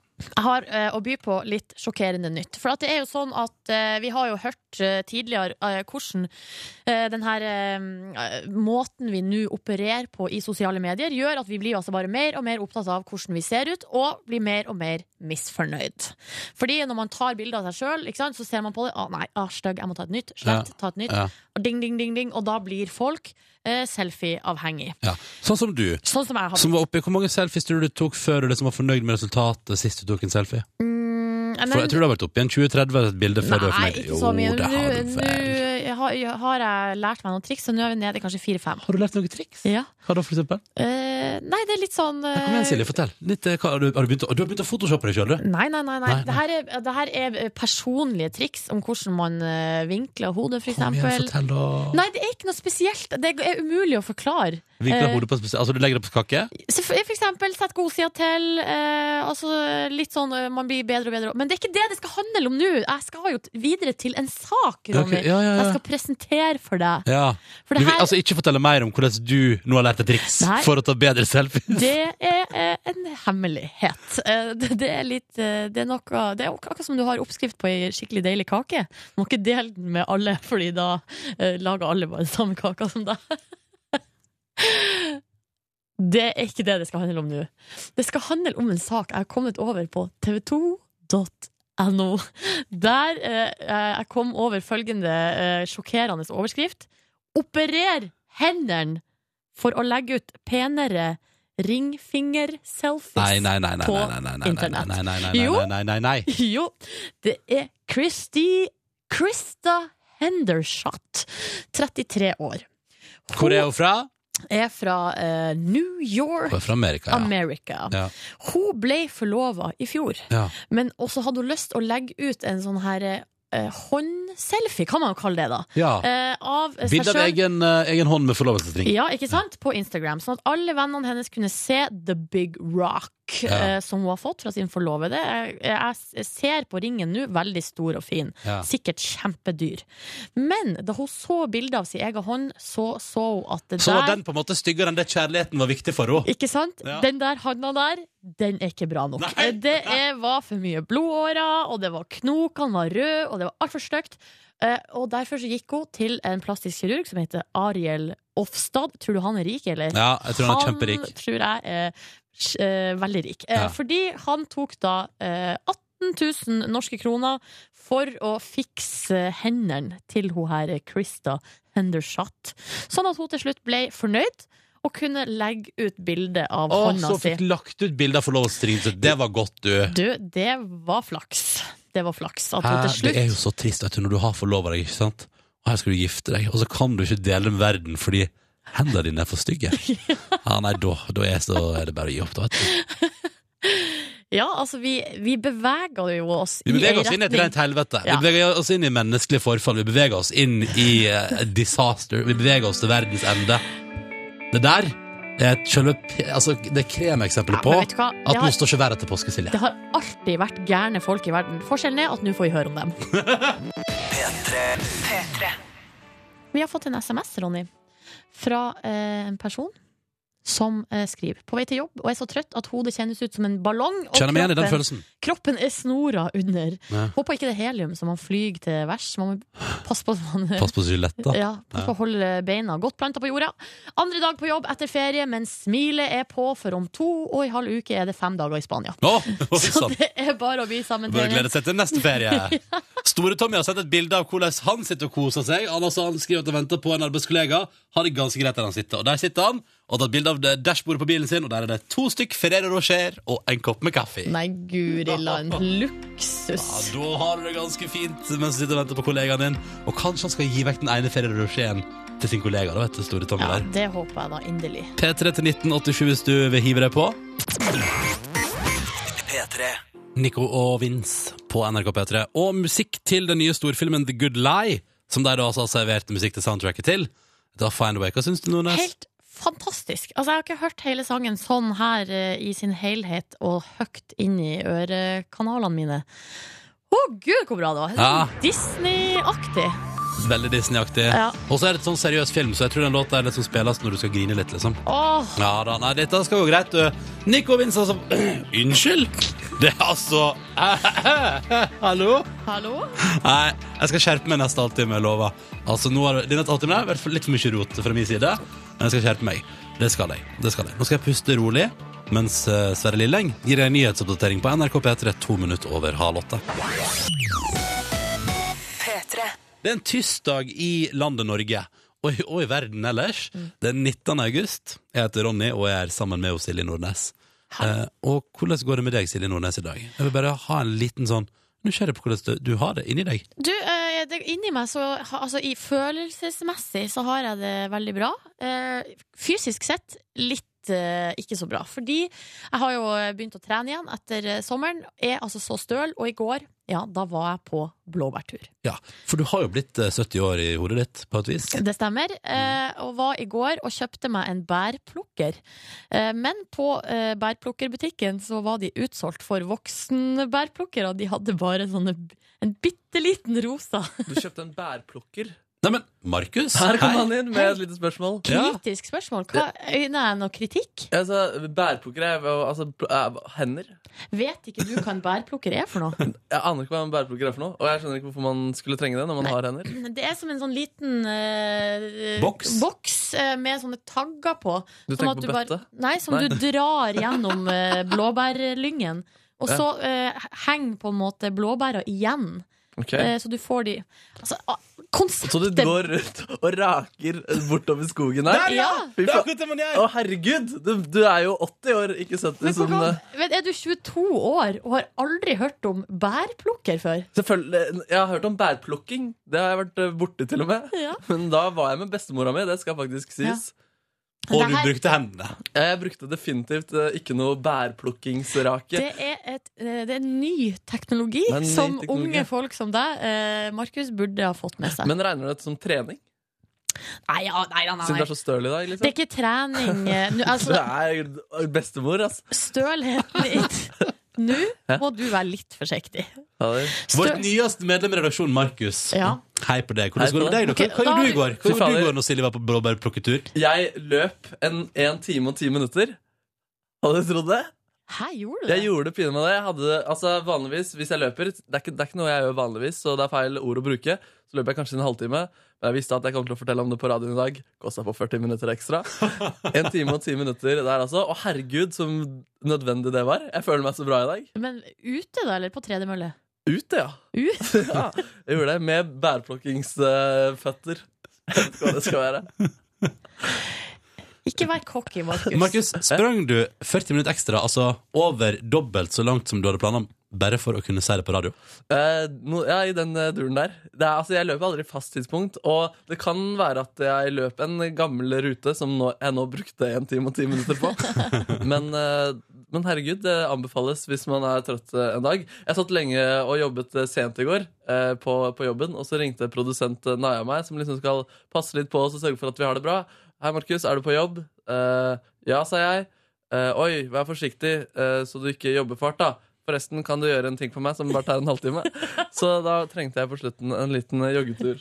S4: Jeg har eh, å by på litt sjokkerende nytt. For at det er jo sånn at eh, vi har jo hørt eh, tidligere eh, hvordan eh, den her eh, måten vi nå opererer på i sosiale medier, gjør at vi blir altså bare mer og mer opptatt av hvordan vi ser ut, og blir mer og mer misfornøyd. Fordi når man tar bilder av seg sjøl, så ser man på det. Å nei, ah, stygg, jeg må ta et nytt. Slett, ta et nytt.
S1: Ja.
S4: Og ding, ding, ding, ding. Og da blir folk eh, selfie-avhengig.
S1: Ja. Sånn som du.
S4: Sånn som jeg har
S1: Som var oppe, Hvor mange selfies tror du du tok før du liksom var fornøyd med resultatet sist du tok en selfie?
S4: Mm, jeg
S1: For jeg
S4: mener-
S1: tror det har vært opp igjen 20-30 er et bilde før du er
S4: Nei,
S1: fornøyd.
S4: ikke så mye.
S1: Jo, det har du
S4: Nå-
S1: vel.
S4: Nå har, har jeg lært meg noen triks, så nå er vi nede i kanskje fire-fem.
S1: Har du lært noen triks?
S4: Ja.
S1: Hva da, for eksempel?
S4: Eh, nei, det er litt sånn eh,
S1: Kom igjen, Silje, fortell. Litt, eh, hva, har du, har du, begynt, å- du har begynt å photoshoppe deg sjøl, du?
S4: Nei, nei, nei. nei.
S1: Nei, nei.
S4: Det, her er, det her er eh, personlige triks om hvordan man eh, vinkler hodet, for
S1: Kom igjen,
S4: eksempel.
S1: fortell, da.
S4: Nei, det er ikke noe spesielt. Det er umulig å forklare.
S1: Vinkler
S4: eh,
S1: hodet på spesielt Altså, du legger det på kake?
S4: Så For for eksempel sett godsida til. Eh, altså litt sånn eh, Man blir bedre og bedre. Men det er ikke det det skal handle om nå! Jeg skal jo t- videre til en sak,
S1: Ja, ok.
S4: Ronny.
S1: Ja, ja, ja.
S4: Jeg skal presentere for deg.
S1: Ja. Du
S4: For det
S1: vil
S4: her
S1: altså ikke fortelle mer om hvordan du nå har lært et triks
S4: Nei.
S1: for å ta bedre selfies?
S4: Det er eh, en hemmelighet. Eh, Det det er litt eh, Det er noe Det er akkurat som du har oppskrift på ei skikkelig deilig kake. Du må ikke dele den med alle, Fordi da eh, lager alle bare den samme kaka som deg. Det er ikke det det skal handle om nå. Det skal handle om en sak jeg har kommet over på tv2.no. Der eh, jeg kom over følgende eh, sjokkerende overskrift. Operer hendene for å legge ut penere ringfingerselfies.
S1: Nei, nei, nei, nei,
S4: på
S1: nei, nei, nei, nei, nei,
S4: internett.
S1: nei, nei, nei,
S4: Jo.
S1: nei, nei, nei, nei.
S4: Jo, det er Christy Krista Hendershot, 33 år.
S1: Hvor er hun fra?
S4: Er fra eh, New York,
S1: Hun er fra Amerika, ja.
S4: America.
S1: Ja.
S4: Hun ble forlova i fjor,
S1: ja.
S4: men også hadde hun lyst å legge ut en sånn her eh, håndselfie, kan man jo kalle det, da.
S1: ja.
S4: Eh, av seg
S1: Bilde av
S4: selv.
S1: egen, eh, egen hånd med forlovelsesring.
S4: Ja, ikke sant? På Instagram. Sånn at alle vennene hennes kunne se The Big Rock. look eh, som hun har fått fra sin forlovede. Jeg, jeg s- ser på ringen nå, veldig stor og fin.
S1: Ja.
S4: Sikkert kjempedyr. Men da hun så bildet av sin egen hånd, så så hun at det
S1: Så var
S4: der
S1: den på en måte styggere enn det kjærligheten var viktig for henne.
S4: ikke sant?
S1: Ja.
S4: Den der handa der, den er ikke bra nok.
S1: Nei.
S4: Det er, var for mye blodårer, og det var knok, han var rød, og det var altfor stygt. Eh, og derfor så gikk hun til en plastisk kirurg som heter Ariel Offstad. Tror du han er rik, eller?
S1: Ja, jeg tror han er kjemperik.
S4: tror jeg er sj- eh, veldig rik. Eh,
S1: Ja.
S4: Fordi han tok da eh, 18 000 norske kroner for å fikse hendene til hun her Krista Hendershot. Sånn at hun til slutt ble fornøyd og kunne legge ut bilde av
S1: Å,
S4: hånda
S1: så
S4: si.
S1: fikk lagt ut bilder for lov å stringe. Det var godt, du.
S4: Du, det var flaks. Det var flaks at hun
S1: Hæ?
S4: til
S1: Det er
S4: slutt
S1: jo så trist vet du, når du har forlova deg, ikke sant? og her skal du gifte deg, og så kan du ikke dele med verden fordi hendene dine er for stygge. Ja, nei, da, da, er, så, er det bare å gi opp, da. vet du.
S4: Ja, altså, vi, vi beveger jo oss
S1: Vi
S4: i ei
S1: beveger oss inn i et
S4: retning.
S1: rent helvete.
S4: Ja.
S1: Vi beveger oss inn i menneskelig forfall. Vi beveger oss inn i eh, disaster. Vi beveger oss til verdens ende. Det der er et selve p- altså, Det er kremeksempelet
S4: Ja,
S1: på
S4: men vet du hva?
S1: at
S4: Det har-
S1: nå står ikke været til påske, Silje.
S4: Det har alltid vært gærne folk i verden. Forskjellen er at nå får vi høre om dem. Vi har fått en SMS, Ronny, fra eh, en person som eh, skriver på vei til jobb og er så trøtt at hodet kjennes ut som en ballong. Og
S1: Kjenner meg igjen i den
S4: kroppen,
S1: følelsen.
S4: kroppen er snora under.
S1: Ja.
S4: Håper ikke det er helium som man flyr til værs. Man må passe på at man
S1: Pass på skyletta.
S4: ja, pass på å holde beina godt planta på jorda. Andre dag på jobb etter ferie, men smilet er på, for om to og en halv uke er det fem dager i Spania.
S1: Å, oi
S4: Så
S1: sann!
S4: det er bare å bli sammen
S1: sånn. Bare
S4: til
S1: glede seg til neste ferie. Store Tommy har sett et bilde av hvordan han sitter og koser seg. Han, altså, han skriver at han venter på en arbeidskollega. Har det ganske greit der han sitter. Og der sitter han og har tatt bilde av det dashbordet på bilen sin, og der er det to stykk Ferrero Rocher og en kopp med kaffe.
S4: Nei, guri land.
S1: Ja,
S4: Luksus.
S1: da har du det ganske fint mens du sitter og venter på kollegaen din. Og kanskje han skal gi vekk den ene Ferrero Rocheren til sin kollega, da, vet du, Store Tommy
S4: Ja,
S1: der.
S4: det håper jeg da inderlig.
S1: P3 til 1987 hvis du vil hive deg på.
S5: P3.
S1: Nico og Vince på NRK P3. Og musikk til den nye storfilmen The Good Lie, som de da altså har servert musikk til soundtracket til. Da Find Away, hva syns du, Nordnes?
S4: Helt fantastisk. Altså, jeg har ikke hørt hele sangen sånn her eh, i sin helhet og høyt inn i ørekanalene mine. Å gud, hvor bra det var!
S1: Ja.
S4: Sånn Disney-aktig.
S1: Veldig Disney-aktig.
S4: Ja.
S1: Og så er det et sånn seriøs film, så jeg tror den låta er litt som spilles når du skal grine litt, liksom.
S4: Åh,
S1: Ja da, nei, dette skal gå greit, du. Nico og Vince, altså Unnskyld? Det er altså Hallo?
S4: hallo?
S1: Nei, jeg skal skjerpe meg neste halvtime, jeg lover. Altså, nå har denne halvtimen her vært for- litt for mye rot fra min side, men jeg skal skjerpe meg. Det skal jeg. det skal jeg. Nå skal jeg puste rolig, mens eh, Sverre Lilleng gir deg en nyhetsoppdatering på NRK P3 to minutter over halv åtte.
S3: P3.
S1: Det er en tirsdag i landet Norge. Og i, og i verden ellers. Det er 19. august. Jeg heter Ronny og jeg er sammen med hos Silje Nordnes. Eh, og hvordan går det med deg, Silje Nordnes, i dag? Jeg vil bare ha en liten sånn Nysgjerrig på hvordan du, du har det inni deg.
S4: Du, eh, det, inni meg så ha- Altså, i følelsesmessig så har jeg det veldig bra. Eh, fysisk sett litt eh, ikke så bra. Fordi jeg har jo eh, begynt å trene igjen etter eh, sommeren. Er altså så støl, og i går, ja, da var jeg på blåbærtur.
S1: Ja, For du har jo blitt eh, 70 år i hodet ditt, på et vis.
S4: Det stemmer. Eh, og var i går og kjøpte meg en bærplukker. Eh, men på eh, bærplukkerbutikken så var de utsolgt for voksenbærplukkere. De hadde bare sånne, en bitte liten rosa.
S2: Du kjøpte en bærplukker.
S1: Neimen, Markus?
S2: Her
S1: hei.
S2: kom han inn med et lite spørsmål.
S1: Ja.
S4: Kritisk spørsmål. Hva, øyner jeg noe kritikk?
S2: Altså, bærplukker er jo- altså, pl- eh, hender.
S4: Vet ikke du hva en bærplukker er for noe?
S2: Jeg aner ikke hva en bærplukker er for noe, og jeg skjønner ikke hvorfor man skulle trenge det når man har hender.
S4: Det er som en sånn liten eh,
S1: Boks?
S4: eh, med sånne tagger på.
S2: Du
S4: Sånn
S2: tenker
S4: at
S2: på
S4: bare-
S2: bøtte?
S4: nei, som
S2: Nei.
S4: du drar gjennom eh, blåbærlyngen. Og
S2: Ja.
S4: så eh, henger på en måte blåbæra igjen,
S2: Ok.
S4: eh, så du får de Altså, ah,
S2: Så du
S4: konseptet
S2: går rundt og raker bortover skogen her?
S4: ja.
S2: Fy
S1: Det er
S2: faen.
S1: akkurat det man gjør!
S2: Å, herregud! Du, du er jo 80 år, ikke 70.
S4: Men hvor
S2: Som,
S4: gammel-
S2: eh,
S4: vet, er du 22 år og har aldri hørt om bærplukker før?
S2: selvfølgelig, Jeg har hørt om bærplukking. Det har jeg vært eh, borte til og med.
S4: Ja.
S2: Men da var jeg med bestemora mi, det skal faktisk sies.
S1: Og
S4: Det
S1: du
S4: her-
S1: brukte hendene.
S2: Jeg brukte definitivt eh, ikke noe bærplukkingsrake.
S4: Det er, et, eh, det er en ny teknologi
S2: Det er en ny
S4: som
S2: teknologi.
S4: unge folk som deg, eh, Markus, burde ha fått med seg.
S2: Men regner du det som trening?
S4: Nei, ja, nei, nei,
S2: Siden du
S4: nei.
S2: er så støl i dag,
S4: Det er
S2: liksom.
S4: ikke trening eh, nå,
S2: Du
S4: altså,
S2: er bestemor, ass.
S4: Stølheten din Nå må du være litt forsiktig.
S2: Ja, det.
S1: Vårt
S4: Støl-
S1: nyeste medlem i redaksjonen, Markus.
S4: Ja.
S1: Hei på deg. Hvordan
S2: Hei på
S1: går det med deg? da?
S4: deg.
S1: Hva, hva
S4: Ok,
S1: gjorde
S4: da-
S1: du i går Hva
S2: Fy
S1: gjorde du i
S2: fader.
S1: går når Silje var på blåbærplukketur?
S2: Jeg løp en, en time og ti minutter. Hadde du trodd det?
S4: Hæ, gjorde du det?
S2: Jeg gjorde det pinlig med det. Jeg hadde, altså vanligvis, Hvis jeg løper Det er ikke, det er ikke noe jeg gjør vanligvis, så det er feil ord å bruke. Så løper jeg kanskje en halvtime. Men jeg visste at jeg kom til å fortelle om det på radioen i dag. Kosta på 40 minutter ekstra. En time og ti minutter der, altså. Og herregud, som nødvendig det var. Jeg føler meg så bra i dag.
S4: Men ute, da, eller på tredemølle?
S2: Ut, ja.
S4: Ut?
S2: ja jeg gjorde det med bærplukkingsføtter. Hva det skal være.
S4: Ikke vær cocky, Markus.
S1: Markus, sprang du 40 minutter ekstra, altså over dobbelt så langt som du hadde planer om, bare for å kunne si det på radio?
S2: Eh, no, ja, i den eh, duren der. Det er, altså, jeg løper aldri fast tidspunkt. Og det kan være at jeg løp en gammel rute som nå, jeg nå brukte en time og ti minutter på. men, eh, men herregud, det anbefales hvis man er trøtt eh, en dag. Jeg satt lenge og jobbet eh, sent i går eh, på, på jobben, og så ringte produsent eh, Naya meg, som liksom skal passe litt på oss og sørge for at vi har det bra. Hei, Markus, er du på jobb? Eh, ja, sa jeg. Eh, Oi, vær forsiktig, eh, så du ikke jobber for hardt, da. Forresten, kan du gjøre en ting for meg som bare tar en halvtime? Så da trengte jeg på slutten en liten eh, joggetur.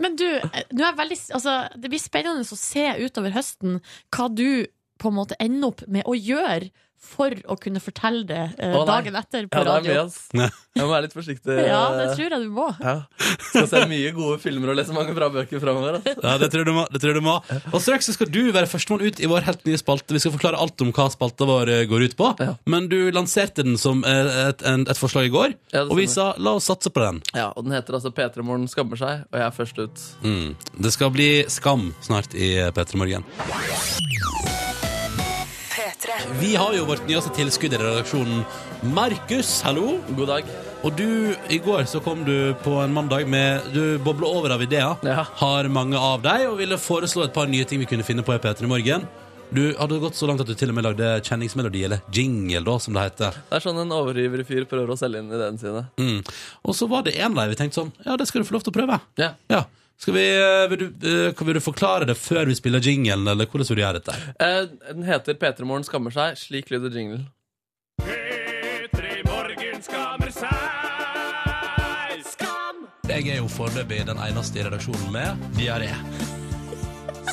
S4: Men du, eh, nå er jeg veldig, altså, det blir spennende å se utover høsten hva du på en måte ender opp med å gjøre for å kunne fortelle det eh,
S2: Å, nei.
S4: dagen etter på
S2: Ja, det er mye,
S4: radio.
S2: ass. Jeg må være litt forsiktig.
S4: Ja, det
S2: eh,
S4: tror jeg du må.
S2: ja. Skal se mye gode filmer og lese mange bra bøker altså. framover.
S1: Ja, det tror jeg du må. Det tror jeg du må. Og straks så skal du være førstemann ut i vår helt nye spalte. Vi skal forklare alt om hva spalta vår eh, går ut på.
S2: Ja.
S1: Men du lanserte den som eh, et, en, et forslag i går,
S2: Ja, det
S1: og vi
S2: stemmer.
S1: sa la oss satse på den.
S2: Ja, og den heter altså P3 Morgen skammer seg, og jeg er først ut.
S1: Mm. Det skal bli skam snart i P3 Morgen.
S3: P3.
S1: Vi har jo vårt nyeste tilskudd i redaksjonen. Markus, hallo.
S2: God dag.
S1: Og du, i går så kom du på en mandag med Du bobler over av ideer.
S2: Ja.
S1: Har mange av deg, og ville foreslå et par nye ting vi kunne finne på i P3 Morgen. Du hadde gått så langt at du til og med lagde kjenningsmelodi, eller jingle, da, som det heter.
S2: Det er sånn en overivrig fyr prøver å selge inn ideene sine.
S1: Mm. Og så var det en der vi tenkte sånn Ja, det skal du få lov til å prøve.
S2: Ja.
S1: Ja. Skal vi, eh, vil, du, eh, kan- vil du forklare det før vi spiller jinglen, eller hvordan vil du gjøre dette?
S2: Eh, Den heter P3 Morgen skammer seg. Slik lyder jinglen.
S1: Jeg er jo foreløpig den eneste i redaksjonen med diaré.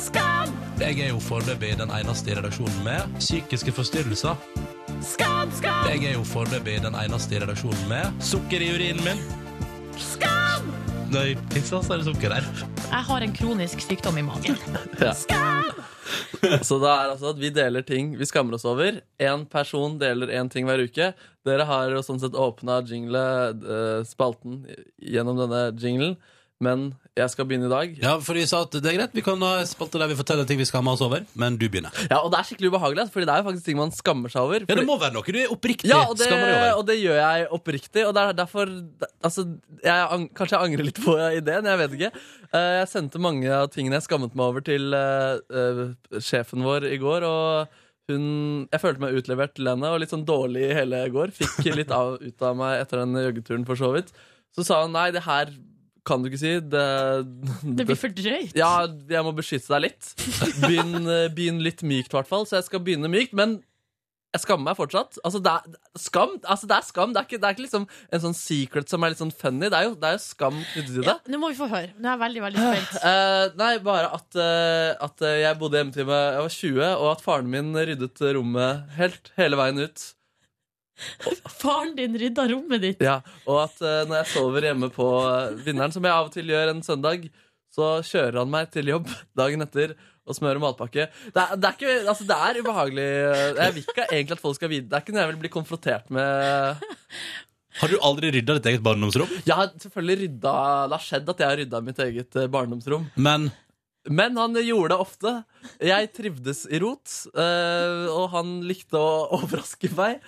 S1: Skam! Jeg er jo foreløpig den eneste i redaksjonen med psykiske forstyrrelser. Skam, skam! Jeg er jo foreløpig den eneste i redaksjonen med sukker i urinen min. Skam! Når jeg pisser, så er det sukker der.
S4: Jeg har en kronisk sykdom i magen.
S2: Så det er altså at vi deler ting vi skammer oss over. Én person deler én ting hver uke. Dere har jo sånn sett åpna jingle-spalten gjennom denne jinglen, men jeg skal begynne i dag.
S1: Ja, for vi sa at det er greit, vi kan ha en spalte der vi forteller ting vi skammer oss over, men du begynner.
S2: Ja, Og det er skikkelig ubehagelig, altså, fordi det er jo faktisk ting man skammer seg over.
S1: Ja, det
S2: Fordi-
S1: må være noe du er oppriktig
S2: ja, og det,
S1: skammer deg over.
S2: og det gjør jeg oppriktig, og det er derfor altså, jeg, ang- Kanskje jeg angrer litt på ideen, jeg vet ikke. Eh, Jeg sendte mange av tingene jeg skammet meg over, til eh, eh, sjefen vår i går, og hun Jeg følte meg utlevert til henne, og litt sånn dårlig i hele går. Fikk litt av, ut av meg etter den joggeturen, for så vidt. Så sa hun nei, det her kan du ikke si. Det,
S4: Det blir for drøyt.
S2: ja, jeg må beskytte deg litt. Begynn, eh, begynn litt mykt, i hvert fall. Så jeg skal begynne mykt, men jeg skammer meg fortsatt. Altså, det er skam. Altså, det er skam. Det er ikke, det er ikke liksom en sånn secret som er litt sånn funny. Det er jo, det er jo skam knyttet til
S4: Ja,
S2: det.
S4: nå må vi få høre. Nå er jeg veldig, veldig spent.
S2: Eh, nei, bare at, eh, at eh, jeg bodde hjemme til meg jeg var 20, og at faren min ryddet rommet helt hele veien ut.
S4: Faren din rydda rommet ditt.
S2: Ja, Og at eh, når jeg sover hjemme på eh, vinneren, som jeg av og til gjør en søndag, så kjører han meg til jobb dagen etter og smører matpakke. Det er, det er, ikke, altså, det er ubehagelig. Eh, Jeg vil ikke egentlig at folk skal vite det. er ikke noe jeg vil bli konfrontert med.
S1: Har du aldri rydda ditt eget barndomsrom?
S2: Jeg har selvfølgelig rydda Det har skjedd at jeg har rydda mitt eget eh, barndomsrom.
S1: Men
S2: Men han gjorde det ofte. Jeg trivdes i rot, eh, og han likte å overraske meg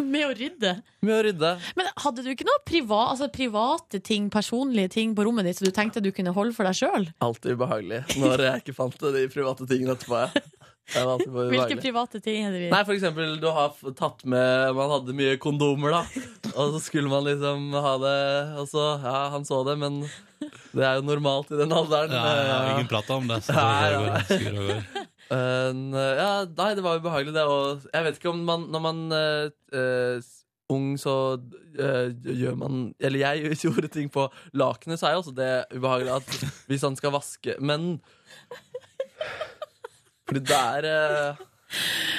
S4: Med å rydde.
S2: med å rydde.
S4: Men hadde du ikke noe priva, altså private ting, personlige ting på rommet ditt som du tenkte du kunne holde for deg sjøl?
S2: Alltid ubehagelig når jeg ikke fant de private tingene etterpå. jeg. Det var alltid for
S4: Hvilke
S2: ubehagelig.
S4: private ting er det vi
S2: Nei, for eksempel, du har f- tatt med Man hadde mye kondomer, da. Og så skulle man liksom ha det Og så Ja, han så det, men det er jo normalt i den alderen. Eh,
S1: Ja, ja, ingen prater om det. Så det
S2: Nei,
S1: går,
S2: ja.
S1: det går, det går.
S2: En, eh, ja, nei, det var ubehagelig, det. Og jeg vet ikke om man Når man eh, eh, ung, så eh, gjør man Eller jeg gjorde ting på lakenet, så er jo også det ubehagelig at hvis han skal vaske Men Fordi det er eh,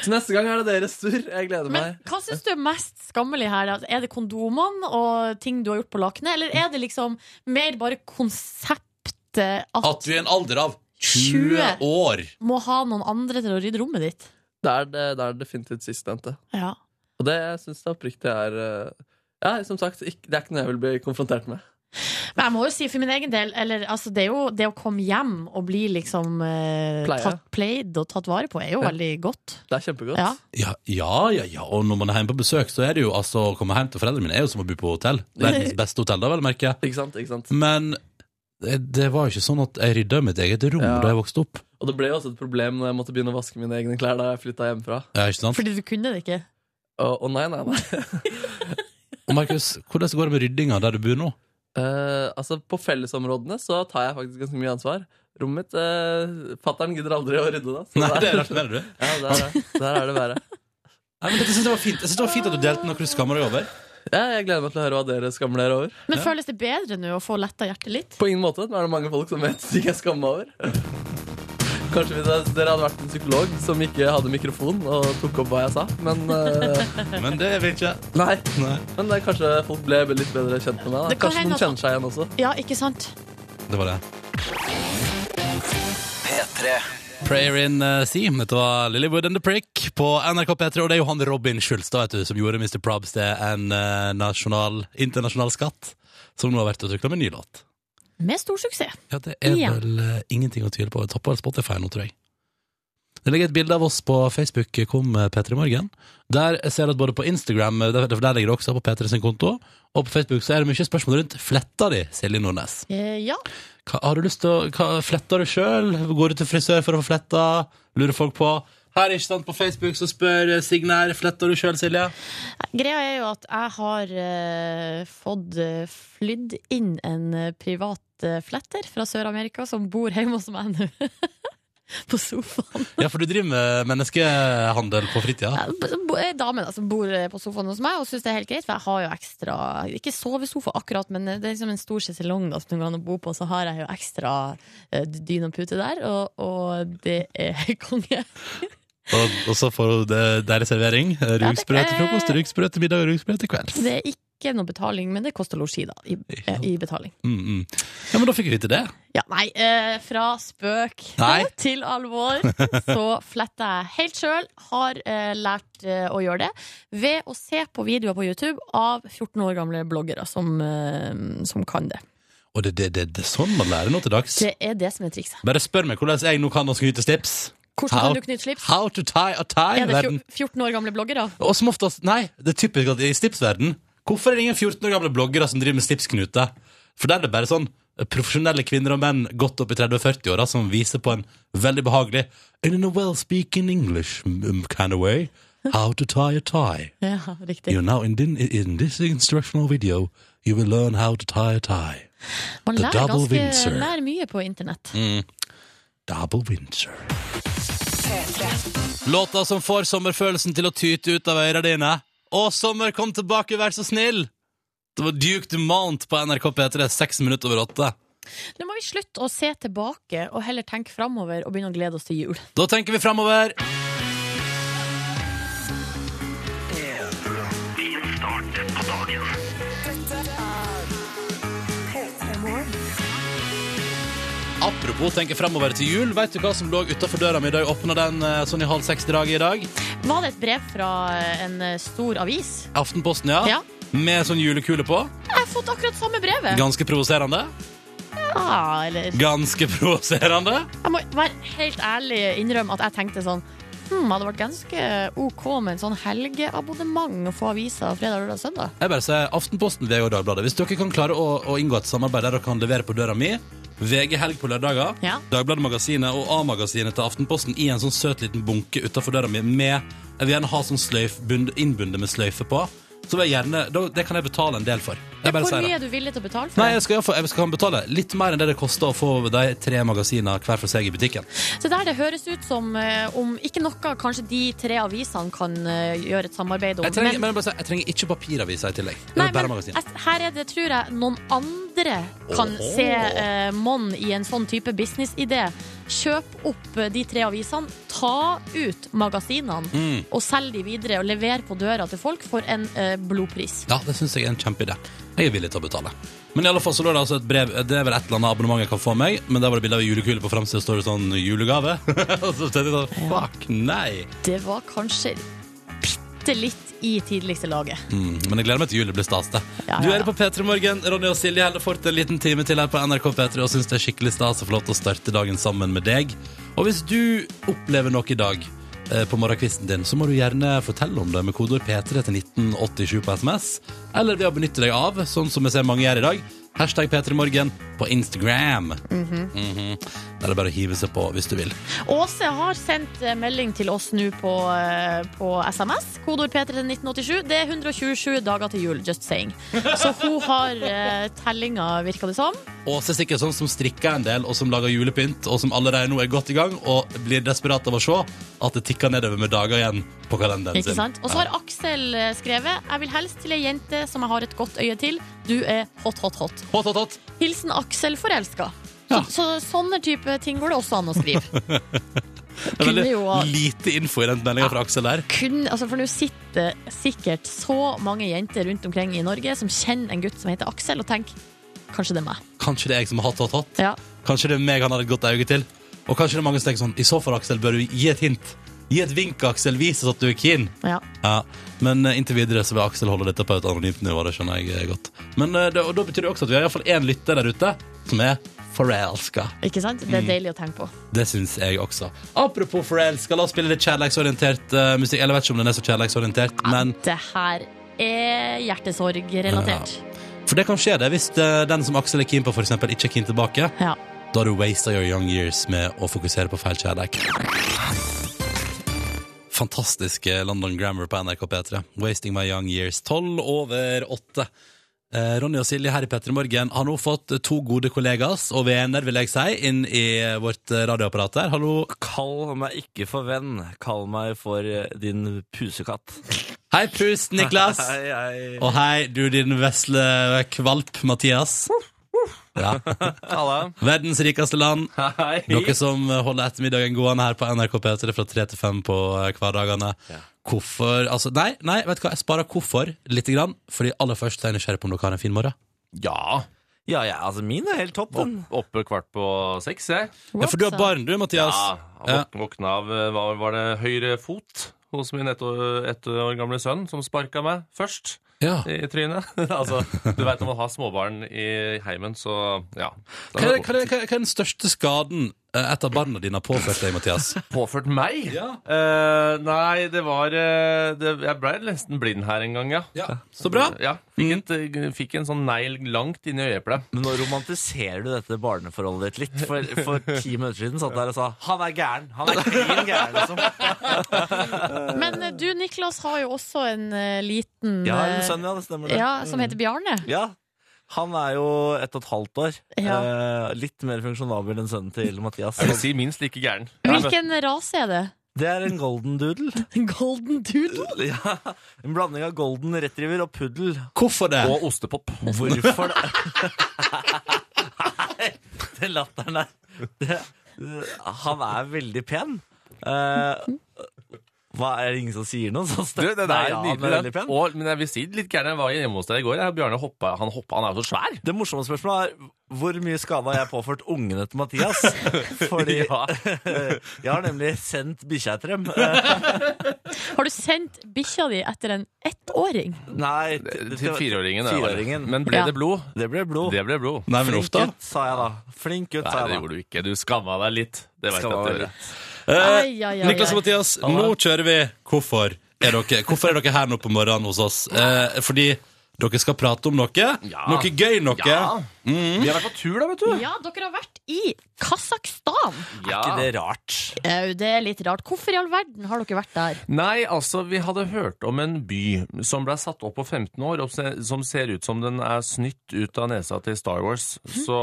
S2: Så neste gang er det deres tur. Jeg gleder
S4: Men
S2: meg.
S4: hva syns du er mest skammelig her? Altså, Er det kondomene og ting du har gjort på lakenet, eller er det liksom mer bare konseptet
S1: At
S4: at
S1: du i en alder av 20
S4: 20
S1: år
S4: må ha noen andre til å rydde rommet ditt?
S2: Det er, det, det er definitivt sistnevnte.
S4: Ja.
S2: Og det syns jeg oppriktig er eh, Ja, som sagt, ikk- det er ikke noe jeg vil bli konfrontert med.
S4: Men jeg må jo si for min egen del eller, altså, det, er jo, det å komme hjem og bli liksom eh,
S2: Pleie.
S4: tatt played og tatt vare på, er jo
S2: Ja.
S4: veldig godt.
S2: Det er kjempegodt.
S4: Ja.
S1: ja, ja, ja, ja, og når man er hjemme på besøk, så er det jo altså Å komme hjem til foreldrene mine er jo som å bo på hotell. Verdens beste hotell, da, vel å merke.
S2: Ikke sant? ikke sant?
S1: Men det det var jo ikke sånn at jeg rydda i mitt eget rom
S2: Ja.
S1: da jeg vokste opp.
S2: Og det ble jo også et problem når jeg måtte begynne å vaske mine egne klær da jeg flytta hjemmefra.
S1: Ja, ikke sant?
S4: Fordi du kunne det ikke.
S2: Og, og nei, nei, nei.
S1: Og Markus, hvordan går det med ryddinga der du bor nå?
S2: Eh, altså, på fellesområdene så tar jeg faktisk ganske mye ansvar. Rommet mitt uh, Fattern gidder aldri å rydde det. så
S1: Nei,
S2: der-
S1: det er rart, mener du?
S2: Ja, der, er- der er det verre.
S1: Nei, men dette synes jeg var fint. Jeg synes det var fint at du delte noe du skammer deg over.
S2: Ja, jeg gleder meg til å høre hva dere skammer dere over.
S4: Men føles det bedre nå å få letta hjertet litt?
S2: På ingen måte. Nå er det mange folk som vet ting jeg skammer meg over. Kanskje hvis jeg- dere hadde vært en psykolog som ikke hadde mikrofon og tok opp hva jeg sa. Men eh,
S1: Men det vil ikke.
S2: nei.
S1: Nei.
S2: Men det, er kanskje folk ble litt bedre kjent med meg. Da.
S4: Det kan
S2: Kanskje noen
S4: hende at-
S2: kjenner seg igjen også.
S4: Ja, ikke sant?
S1: Det var det.
S5: P3.
S1: Prayer in uh, Sea. Dette var Lillywood and the Prick på NRK P3. Og det er Johan Robin Schulstad vet du, som gjorde Mr. Probs til en eh, nasjonal, internasjonal skatt, som nå har vært og tukla med en ny låt.
S4: Med stor suksess.
S1: Ja, det er
S4: Ja.
S1: vel eh, ingenting å tvile på. Det topper Spotify nå, tror jeg. Det ligger et bilde av oss på Facebook, kom eh, P3 Morgen. Der jeg ser at både på Instagram, eh, der, der ligger det også på P3 sin konto, og på Facebook så er det mye spørsmål rundt fletta di, Silje Nordnes.
S4: Eh, ja.
S1: Hva, har du lyst til å hva, Fletter du sjøl? Går du til frisør for å få fletta? Lurer folk på. Her ikke sant, på Facebook så spør eh, Signe her fletter du sjøl, Silje.
S4: Greia er jo at jeg har eh, fått eh, flydd inn en eh, privat eh, fletter fra Sør-Amerika som bor hjemme hos meg nå. På sofaen.
S1: Ja, for du driver med menneskehandel på fritida.
S4: Ei dame da, som bor eh, på sofaen hos meg og syns det er helt greit, for jeg har jo ekstra Ikke sovesofa akkurat, men eh, det er liksom en stor sjeselong da, som det går an å bo på, så har jeg jo ekstra eh, dyne og pute der, og, og det er konge.
S1: Og, og så får du det, der er servering. Rugsprø
S4: Ja, det-
S1: til frokost, rugsprø til middag og rugsprø til kvelds.
S4: Det er ikke noe betaling, men det koster losji, da, i, eh, i betaling.
S1: Mm, mm. Ja, men da fikk vi vite det.
S4: Ja, nei, eh, fra spøk
S1: Nei.
S4: til alvor så fletter jeg helt sjøl. Har eh, lært eh, å gjøre det ved å se på videoer på YouTube av 14 år gamle bloggere som, eh, som kan det.
S1: Og det, det, det, det er sånn man lærer nå til dags.
S4: Det er det som er trikset.
S1: Bare spør meg hvordan jeg nå kan å knyte slips.
S4: Hvordan kan du knytte slips?
S1: How to tie a tie.
S4: Er det
S1: verden.
S4: fjor- 14 år gamle bloggere?
S1: Og som oftest, nei, det er typisk at i slipsverden Hvorfor er det ingen 14 år gamle bloggere som driver med slipsknute? For der er det bare sånn eh, profesjonelle kvinner og menn godt opp i 30-40-åra som viser på en veldig behagelig In a well-speaking English mm, kind of way How to tie a tie
S4: Ja, riktig.
S1: You're now in, din, in this instructional video You will learn how to tie a tie
S4: Man
S1: The
S4: lærer
S1: double
S4: ganske
S1: Windsor. Mm.
S4: lærer mye på internett.
S1: Double Windsor Låta som får sommerfølelsen til å tyte ut av øyrene dine. Å, sommer, kom tilbake, vær så snill! Det var Duke Dumont på NRK P3, seks minutter over åtte.
S4: Nå må vi slutte å se tilbake og heller tenke framover og begynne å glede oss til jul.
S1: Da tenker vi framover. Apropos tenke framover til jul, veit du hva som lå utafor døra mi da jeg åpna den eh, sånn i halv seks-draget i dag?
S4: Var det et brev fra en eh, stor avis?
S1: Aftenposten, ja.
S4: Ja.
S1: Med sånn julekule på.
S4: Jeg har fått akkurat samme brevet.
S1: Ganske provoserende.
S4: Ja, eller
S1: Ganske provoserende.
S4: Jeg må være helt ærlig innrømme at jeg tenkte sånn Hmm, hadde vært ganske OK med en sånn helgeabonnement å få aviser fredag, lørdag, søndag.
S1: Jeg bare sier Aftenposten, VG og Dagbladet. Hvis dere kan klare å, å inngå et samarbeid der dere kan levere på døra mi VG Helg på lørdager,
S4: Ja.
S1: Dagbladet Magasinet og A-magasinet til Aftenposten i en sånn søt liten bunke utenfor døra mi med Jeg vil gjerne ha sånn sløyf, bund- innbundet med sløyfe på. Så vil jeg gjerne, da, det kan jeg betale en del for. Jeg bare
S4: Hvor
S1: sier det.
S4: mye er du villig til å betale for?
S1: Nei, jeg skal, i hvert fall- jeg skal betale litt mer enn det det koster å få de tre magasinene hver for seg i butikken.
S4: Så der det høres ut som eh, om ikke noe kanskje de tre avisene kan eh, gjøre et samarbeid om.
S1: Jeg trenger, men, jeg, bare sier, jeg trenger ikke papiraviser i tillegg. Det
S4: Nei,
S1: er bare
S4: men
S1: magasin.
S4: jeg- her er det, tror jeg, noen andre kan
S1: Åhå.
S4: se eh, Mon i en sånn type businessidé. Kjøp opp eh, de tre avisene, ta ut magasinene
S1: Mm.
S4: og selg de videre og lever på døra til folk for en eh, blodpris.
S1: Ja, det syns jeg er en kjempeidé. Jeg er villig til å betale. Men i alle fall så lå det altså et brev Det er vel et eller annet abonnement jeg kan få meg, men der var det bilde av julekule på framsida, står det sånn 'julegave'. Og så tenkte jeg sånn Fuck, nei!
S4: Det var kanskje bitte litt i tidligste laget.
S1: Mm, men jeg gleder meg til jul. Det blir stas, det.
S4: Ja, ja,
S1: Du
S4: ja.
S1: er på P3 Morgen. Ronny og Silje holder fort en liten time til her på NRK P3 og syns det er skikkelig stas å få lov til å starte dagen sammen med deg. Og hvis du opplever noe i dag eh, på morgenkvisten din, så må du gjerne fortelle om det med kodeord P3 til 1987 på SMS, eller ved å benytte deg av, sånn som jeg ser mange gjør i dag, hashtag P3morgen på Instagram. Mhm. Der er det bare å hive seg på hvis du vil.
S4: Åse har sendt eh, melding til oss nå på, eh, på SMS. Kodeord P3 til 1987. Det er 127 dager til jul, just saying. Så hun har eh, tellinga, virker det som.
S1: Åse er sikkert sånn som strikker en del og som lager julepynt, og som allerede nå er godt i gang og blir desperat av å se at det tikker nedover med dager igjen på kalenderen
S4: Ikke
S1: sin.
S4: sant? Og så har Aksel eh, skrevet Jeg vil helst til ei jente som jeg har et godt øye til. Du er hot, hot, hot.
S1: Hot, hot, hot.
S4: Hilsen Aksel forelska. Så,
S1: Ja.
S4: så sånne type ting går det også an å skrive.
S1: Det er
S4: Kunne
S1: veldig
S4: jo ha-
S1: lite info i den meldinga fra Aksel der.
S4: Kun, altså for nå sitter sikkert så mange jenter rundt omkring i Norge som kjenner en gutt som heter Aksel, og tenker kanskje det er meg.
S1: Kanskje det er jeg som er hot, hot, hot.
S4: Ja.
S1: Kanskje det er meg han har et godt øye til. Og kanskje det er mange som tenker sånn I så fall, Aksel, bør du gi et hint. Gi et vink, Aksel. Vis oss at du er keen.
S4: ja.
S1: Ja, Men eh, inntil videre så vil Aksel holde dette på et anonymt nivå. Det skjønner jeg eh, godt. Men eh, det, og da betyr det også at vi har iallfall én lytter der ute som er forelska.
S4: Ikke sant? Det er deilig å tenke på.
S1: Det syns jeg også. Apropos forelska, la oss spille litt kjærlighetsorientert eh, musikk. Eller jeg vet ikke om den er så kjærlighetsorientert, men
S4: Det her er hjertesorgrelatert.
S1: For det kan skje, det. Hvis eh, den som Aksel er keen på, for eksempel, ikke er keen tilbake,
S4: Ja.
S1: da har du wasta your young years med å fokusere på feil kjærlighet. Fantastiske eh, London Grammar på NRK P3. Wasting my young years. Tolv over åtte. Eh, Ronny og Silje her i P3 Morgen har nå fått to gode kollegas og venner, vil jeg si, inn i vårt eh, radioapparat der. Hallo.
S7: Kall meg ikke for venn, kall meg for eh, din pusekatt.
S1: Hei, pust, Niklas.
S7: Hei, hei.
S1: Og hei, du din vesle kvalp, Mathias. Ja.
S7: Halla.
S1: Verdens rikeste land.
S7: Hei.
S1: Dere som holder ettermiddagen gående her på NRK P3 fra 3 til 5 på eh, hverdagene. Hvorfor altså, Nei, nei, vet du hva, jeg sparer hvorfor litt. Grann, fordi aller først så er jeg nysgjerrig på om dere har en fin morgen.
S7: Ja. Ja, ja, altså min er helt topp, den.
S8: Oppe kvart på seks, jeg.
S1: Ja, for du har
S4: What's up?
S1: barn, du, Mathias.
S8: Ja, våk våkna av eh, hva var det, høyre fot hos min ett år, ett år gamle sønn, som sparka meg først
S1: Ja.
S8: i trynet. altså, du veit når man har småbarn i heimen, så ja. Da
S1: Hva, er,
S8: er det
S1: hva, er, hva er den største skaden eh, et av barna dine har påført deg, Mathias?
S8: påført meg?
S1: Ja.
S8: Eh, nei, det var eh, det, Jeg ble nesten blind her en gang, ja.
S1: Ja, Så bra.
S8: Ja, fikk, et, fikk en sånn negl langt inn i øyeeplet.
S7: Men nå romantiserer du dette barneforholdet ditt litt. For, for ti minutter siden satt der og sa 'han er gæren'. Han er klin gæren, liksom.
S4: Men eh, du, Niklas, har jo også en eh, liten
S7: Ja,
S4: eh,
S7: en sønn, ja. Det stemmer, det.
S4: ja, som heter Bjarne.
S7: Ja. Han er jo ett og et halvt år. Eh, litt mer funksjonabel enn sønnen til Mathias.
S8: Jeg vil si minst like gæren.
S4: Hvilken rase er det?
S7: Det er en golden doodle.
S4: Golden doodle?
S7: Ja, en blanding av golden retriever og puddel.
S1: Hvorfor det?
S8: Og ostepop.
S7: Hvorfor det? Nei, den latteren der. Det, han er veldig pen. Eh, hva, er det ingen som sier noe? Så
S8: Du, den er
S7: ja, han
S8: nydelig.
S7: veldig
S8: den.
S7: pen.
S8: Og, men jeg vil si litt gæren. Jeg var hjemme hos deg i går. Jeg, Bjarne hoppa, han hoppa, han er jo så svær.
S7: Det morsomme spørsmålet er hvor mye skade har jeg påført ungene til Mathias? Fordi
S8: Ja.
S7: jeg har nemlig sendt bikkja etter dem. Eh,
S4: Har du sendt bikkja di etter en ettåring?
S7: Nei,
S8: Til fireåringen. det var det.
S7: Fireåringen.
S8: Men ble
S4: Ja.
S8: det blod?
S7: Det ble blod.
S8: Det ble blod.
S1: Nei, men
S7: Flink
S1: ofte.
S7: gutt, sa jeg da. Flink gutt,
S8: Nei,
S7: sa
S8: det
S7: jeg da.
S8: gjorde du ikke. Du skamma deg litt. Det vet jeg
S7: Skamma
S8: at
S7: meg
S8: du gjorde.
S7: litt.
S1: Eh,
S4: Ai, ai, ai,
S1: Niklas
S4: ai.
S1: og Mathias, nå kjører vi. Hvorfor er dere, hvorfor er dere her nå på morgenen hos oss? Eh, fordi Dere skal prate om noe.
S8: Ja.
S1: Noe gøy noe.
S8: Ja. Vi har vært på tur, da, vet du.
S4: Ja, dere har vært i Kasakhstan.
S8: Ja.
S7: Ikke det rart?
S4: Au, det er litt rart. Hvorfor i all verden har dere vært der?
S8: Nei, altså, vi hadde hørt om en by som ble satt opp på 15 år, og se- som ser ut som den er snytt ut av nesa til Star Wars. Så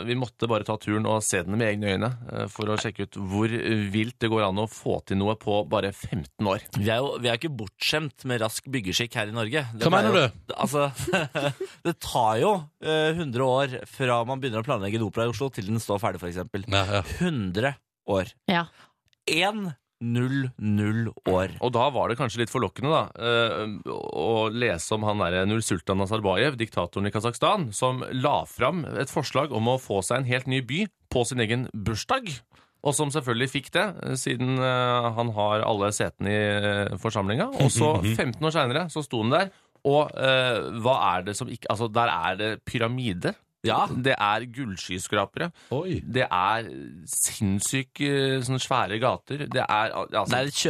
S8: eh, vi måtte bare ta turen og se den med egne øyne eh, for å sjekke ut hvor vilt det går an å få til noe på bare 15 år.
S7: Vi er jo vi er jo ikke bortskjemt med rask byggeskikk her i Norge. Det
S1: Hva
S7: tar
S1: mener
S7: jo, Altså, det tar jo eh, 100 år fra man begynner å planlegge en opera i Oslo til den står ferdig, f.eks.
S1: Ja, ja.
S7: 100 år.
S4: Ja.
S7: 1-0-0 år.
S8: Og da var det kanskje litt forlokkende da, eh, å lese om han der Nursultan Nazarbayev, diktatoren i Kasakhstan, som la fram et forslag om å få seg en helt ny by på sin egen bursdag. Og som selvfølgelig fikk det, eh, siden eh, han har alle setene i eh, forsamlinga. Og så
S7: Mhm.
S8: 15 år seinere så sto han der, og eh, hva er det som ikke Altså, der er det pyramider.
S7: Ja.
S8: Det er gullskyskrapere.
S1: Oi.
S8: Det er eh, sinnssyke eh, sånne svære gater. Det er al- altså,
S7: Det er et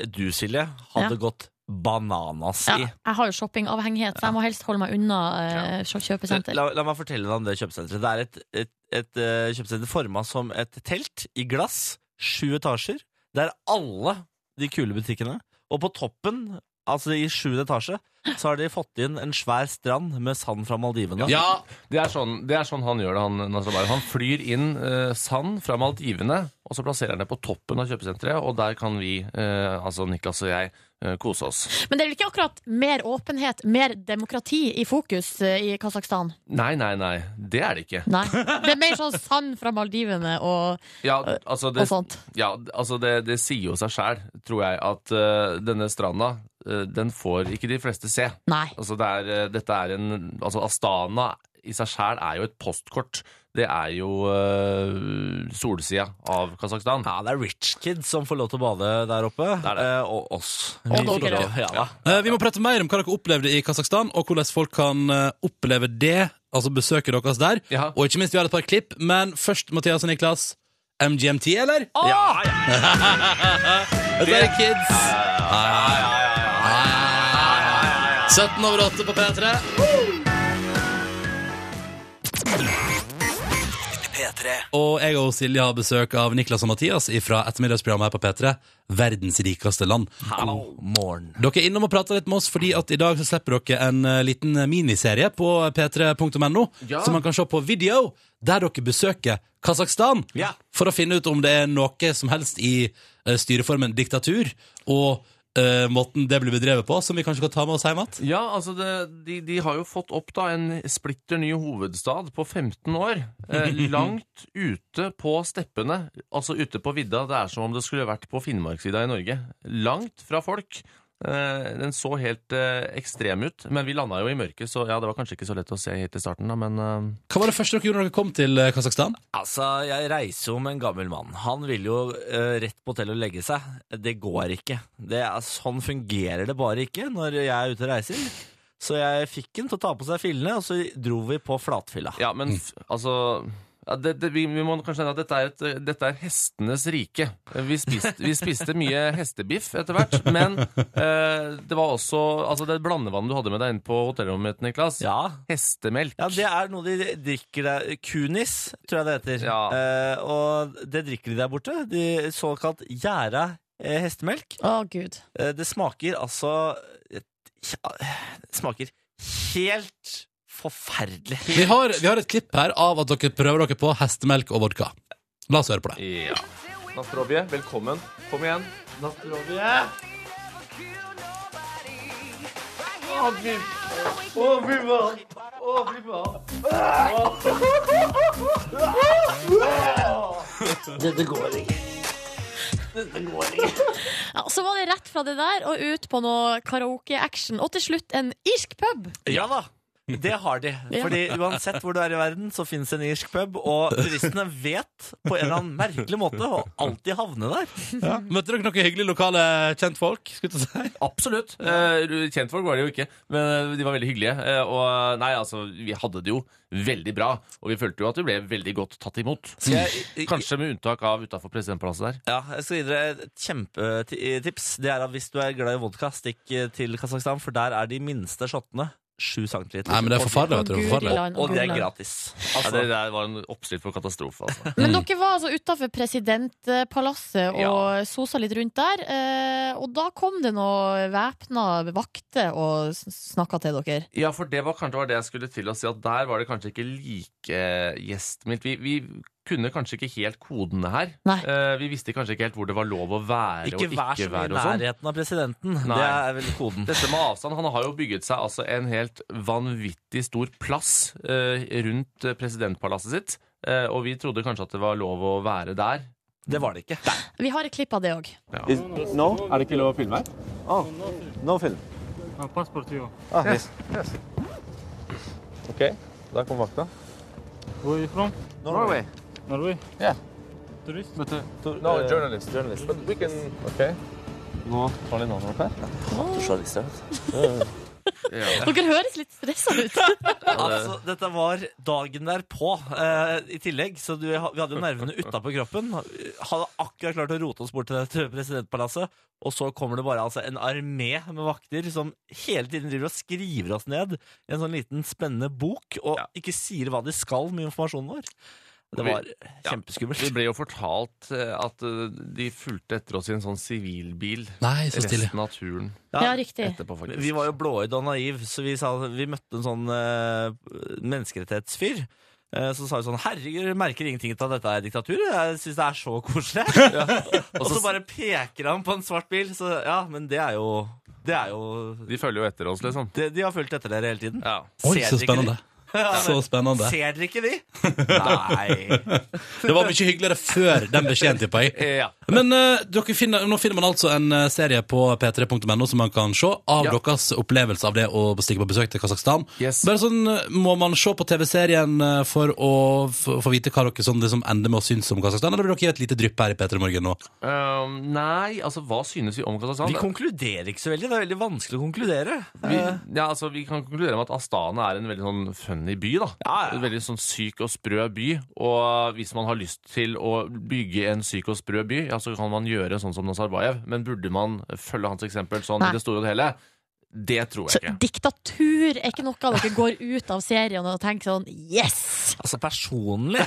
S7: kjøpesenter du, Silje, hadde
S4: Ja.
S7: gått bananas
S4: Ja,
S7: i.
S4: jeg har jo shoppingavhengighet, så jeg må helst holde meg unna eh, kjøpesenter.
S7: La, la meg fortelle deg om det kjøpesenteret. Det er et, et, et eh, kjøpesenter forma som et telt i glass, sju etasjer. Det er alle de kule butikkene. Og på toppen, altså i sjuende etasje, så har de fått inn en svær strand med sand fra Maldivene.
S8: Ja, det er sånn, det er sånn han gjør det. Han, Nazarbayev. han flyr inn eh, sand fra Maldivene, og så plasserer han det på toppen av kjøpesenteret, og der kan vi, eh, altså Niklas og jeg, eh, kose oss.
S4: Men det er vel ikke akkurat mer åpenhet, mer demokrati i fokus eh, i Kasakhstan?
S8: Nei, nei, nei, det er det ikke.
S4: Nei. Det er mer sånn sand fra Maldivene og,
S8: Ja, altså
S4: og
S8: det,
S4: sånt.
S8: ja, altså det, det sier jo seg sjæl, tror jeg, at eh, denne stranda, eh, den får ikke de fleste se.
S4: Nei.
S8: Altså, det er, eh, dette er en Altså, Astana i seg sjæl er jo et postkort. Det er jo uh, solsida av Kasakhstan.
S7: Ja, det er rich kids som får lov til å bade der oppe.
S8: er det.
S7: eh, Og oss.
S4: Og
S7: Vi får
S4: dere.
S7: lov, Ja, da.
S1: Eh, Vi må prate mer om hva dere opplevde i Kasakhstan, og hvordan folk kan eh, oppleve det, altså besøket deres der.
S8: Ja.
S1: Og ikke minst, vi har et par klipp, men først, Mathias og Niklas, MGMT, eller?
S8: Ja, ja,
S1: Dette er Kids. Ja, ja, ja, ja, ja, ja, ja, ja, ja, ja. 17 over 8 på P3.
S5: P3.
S1: Og jeg og Silje har besøk av Niklas og Mathias fra ettermiddagsprogrammet her på P3. Verdens rikeste land.
S7: God morgen.
S1: Dere er innom og prater litt med oss fordi at i dag så slipper dere en eh, liten miniserie på p3.no
S8: Ja.
S1: som man kan se på video, der dere besøker Kasakhstan
S7: Ja.
S1: for å finne ut om det er noe som helst i eh, styreformen diktatur og eh, måten det blir bedrevet på, som vi kanskje kan ta med oss hjem igjen.
S8: Ja, altså det, de, de har jo fått opp da en splitter ny hovedstad på 15 år. Eh, langt ute på steppene, altså ute på vidda. Det er som om det skulle vært på Finnmarksvidda i Norge. Langt fra folk. Eh, den så helt eh, ekstrem ut, men vi landa jo i mørket, så ja, det var kanskje ikke så lett å se helt i starten, da, men eh,
S1: Hva var det første dere gjorde når dere kom til eh, Kasakhstan?
S7: Altså, jeg reiser jo med en gammel mann. Han vil jo eh, rett på hotellet og legge seg. Det går ikke. Det er, sånn fungerer det bare ikke når jeg er ute og reiser. Så jeg fikk han til å ta på seg fillene, og så dro vi på flatfylla.
S8: Ja, men f- altså ja, det, det, vi, vi må kanskje nevne at dette er, et, dette er hestenes rike. Vi spiste, vi spiste mye hestebiff etter hvert, men eh, det var også altså det blandevannet du hadde med deg inn på hotellrommet mitt, Niklas.
S7: Ja.
S8: Hestemelk.
S7: ja, det er noe de drikker der Kunis, tror jeg det heter.
S8: Ja.
S7: Eh, og det drikker de der borte. De såkalt gjæra eh, hestemelk.
S4: Å, gud.
S7: Eh, det smaker altså eh, ja, Det smaker helt forferdelig.
S1: Vi har, vi har et klipp her av at dere prøver dere på hestemelk og vodka. La oss høre på det.
S8: Ja. Nastrovje, velkommen. Kom igjen. Nastrovje! Å, fy Å, fy faen! Å, fy faen!
S4: Ja, og så var det rett fra det der og ut på noe karaoke-action, og til slutt en irsk pub.
S7: Ja da! Det har de.
S4: Ja.
S7: Fordi uansett hvor du er i verden, så fins en irsk pub, og turistene vet på en eller annen merkelig måte å alltid havne der.
S1: Møtte dere noen hyggelige lokale kjentfolk? skulle jeg til å si?
S8: Absolutt. Eh, Kjentfolk var det jo ikke, men de var veldig hyggelige. Eh, Og nei, altså, vi hadde det jo veldig bra, og vi følte jo at vi ble veldig godt tatt imot. Kanskje med unntak av utafor presidentpalasset der.
S7: Ja, jeg skal gi dere et eh, kjempetips. Det er at hvis du er glad i vodka, stikk til Kasakhstan, for der er de minste shottene 7 cm.
S1: Nei, men det er forferdelig, vet du. Det er forferdelig.
S4: Guri land,
S7: Og det er
S4: Guri land.
S7: gratis.
S8: Ja,
S7: Altså,
S8: det der var en oppskrift på katastrofe, altså.
S4: Men dere var altså utafor presidentpalasset og
S8: Ja.
S4: sosa litt rundt der. eh, Og da kom det noen væpna vakter og s- snakka til dere.
S8: Ja, for det var kanskje var det jeg skulle til å si, at der var det kanskje ikke like gjestmildt. Vi, vi kunne kanskje ikke helt kodene her.
S4: Nei.
S8: Eh, vi visste kanskje ikke helt hvor det var lov å være
S7: ikke
S8: og
S7: vær så mye
S8: ikke
S7: i
S8: være og sånn.
S7: nærheten av presidenten. Det
S8: Nei.
S7: er vel koden.
S8: Dette med avstand, han har jo bygget seg altså en helt vanvittig stor plass eh, rundt presidentpalasset sitt, eh, og vi trodde kanskje at det var lov å være der.
S7: Det var det ikke.
S4: Vi har et klipp av det òg. Dere høres litt stressa ut.
S7: Altså, dette var dagen derpå eh, i tillegg, så du, vi hadde jo nervene utapå kroppen. Hadde akkurat klart å rote oss bort til dette presidentpalasset, og så kommer det bare altså, en armé med vakter som hele tiden driver og skriver oss ned i en sånn liten spennende bok, og ikke sier hva de skal med informasjonen vår.
S8: Og
S7: Det
S8: vi-
S7: var kjempeskummelt.
S8: Vi ble jo fortalt eh, at eh, de fulgte etter oss i en sånn sivilbil
S1: Nei, så stilig.
S8: resten av turen
S4: Ja, riktig.
S8: etterpå, faktisk.
S7: Vi var jo blåøyde og naiv, så vi, sa, vi møtte en sånn eh, menneskerettighetsfyr. eh, Så sa vi sånn Herregud, jeg merker ingenting til at dette er diktatur. Jeg syns det er så koselig. Og så bare peker han på en svart bil. Så ja, men det er jo Det er jo
S8: De følger jo etter oss, liksom.
S7: De, de har fulgt etter dere hele tiden.
S8: Ja.
S1: Oi, så
S7: Ser dere ikke
S1: spennende.
S7: de? Ja, men-
S1: Så spennende.
S7: Ser dere ikke de? Nei.
S1: Det var mye hyggeligere før den beskjeden, tipper jeg.
S8: Eh, ja.
S1: Men eh, dere finner, nå finner man altså en eh, serie på p3.no som man kan se av
S8: Ja.
S1: deres opplevelse av det å stikke på besøk til Kasakhstan.
S8: Yes.
S1: Bare sånn, eh, Må man se på TV-serien eh, for å f- få vite hva dere sånn, liksom, ender med å synes om Kasakhstan, eller vil dere gi et lite drypp her i P3 Morgen nå?
S8: Um, nei, altså, hva synes vi om Kasakhstan?
S7: Vi konkluderer ikke så veldig. Det er veldig vanskelig å konkludere.
S8: Vi, ja, altså, vi kan konkludere med at Astana er en veldig sånn funny by. da
S7: Ja, ja.
S8: En veldig sånn syk og sprø by. Og hvis man har lyst til å bygge en syk og sprø by, ja, så kan man gjøre sånn som Nazarbayev. Men burde man følge hans eksempel sånn
S4: Nei.
S8: i det store og det hele? Det tror
S4: Så
S8: jeg ikke.
S4: diktatur er ikke noe dere går ut av serien og tenker sånn Yes!
S7: Altså personlig.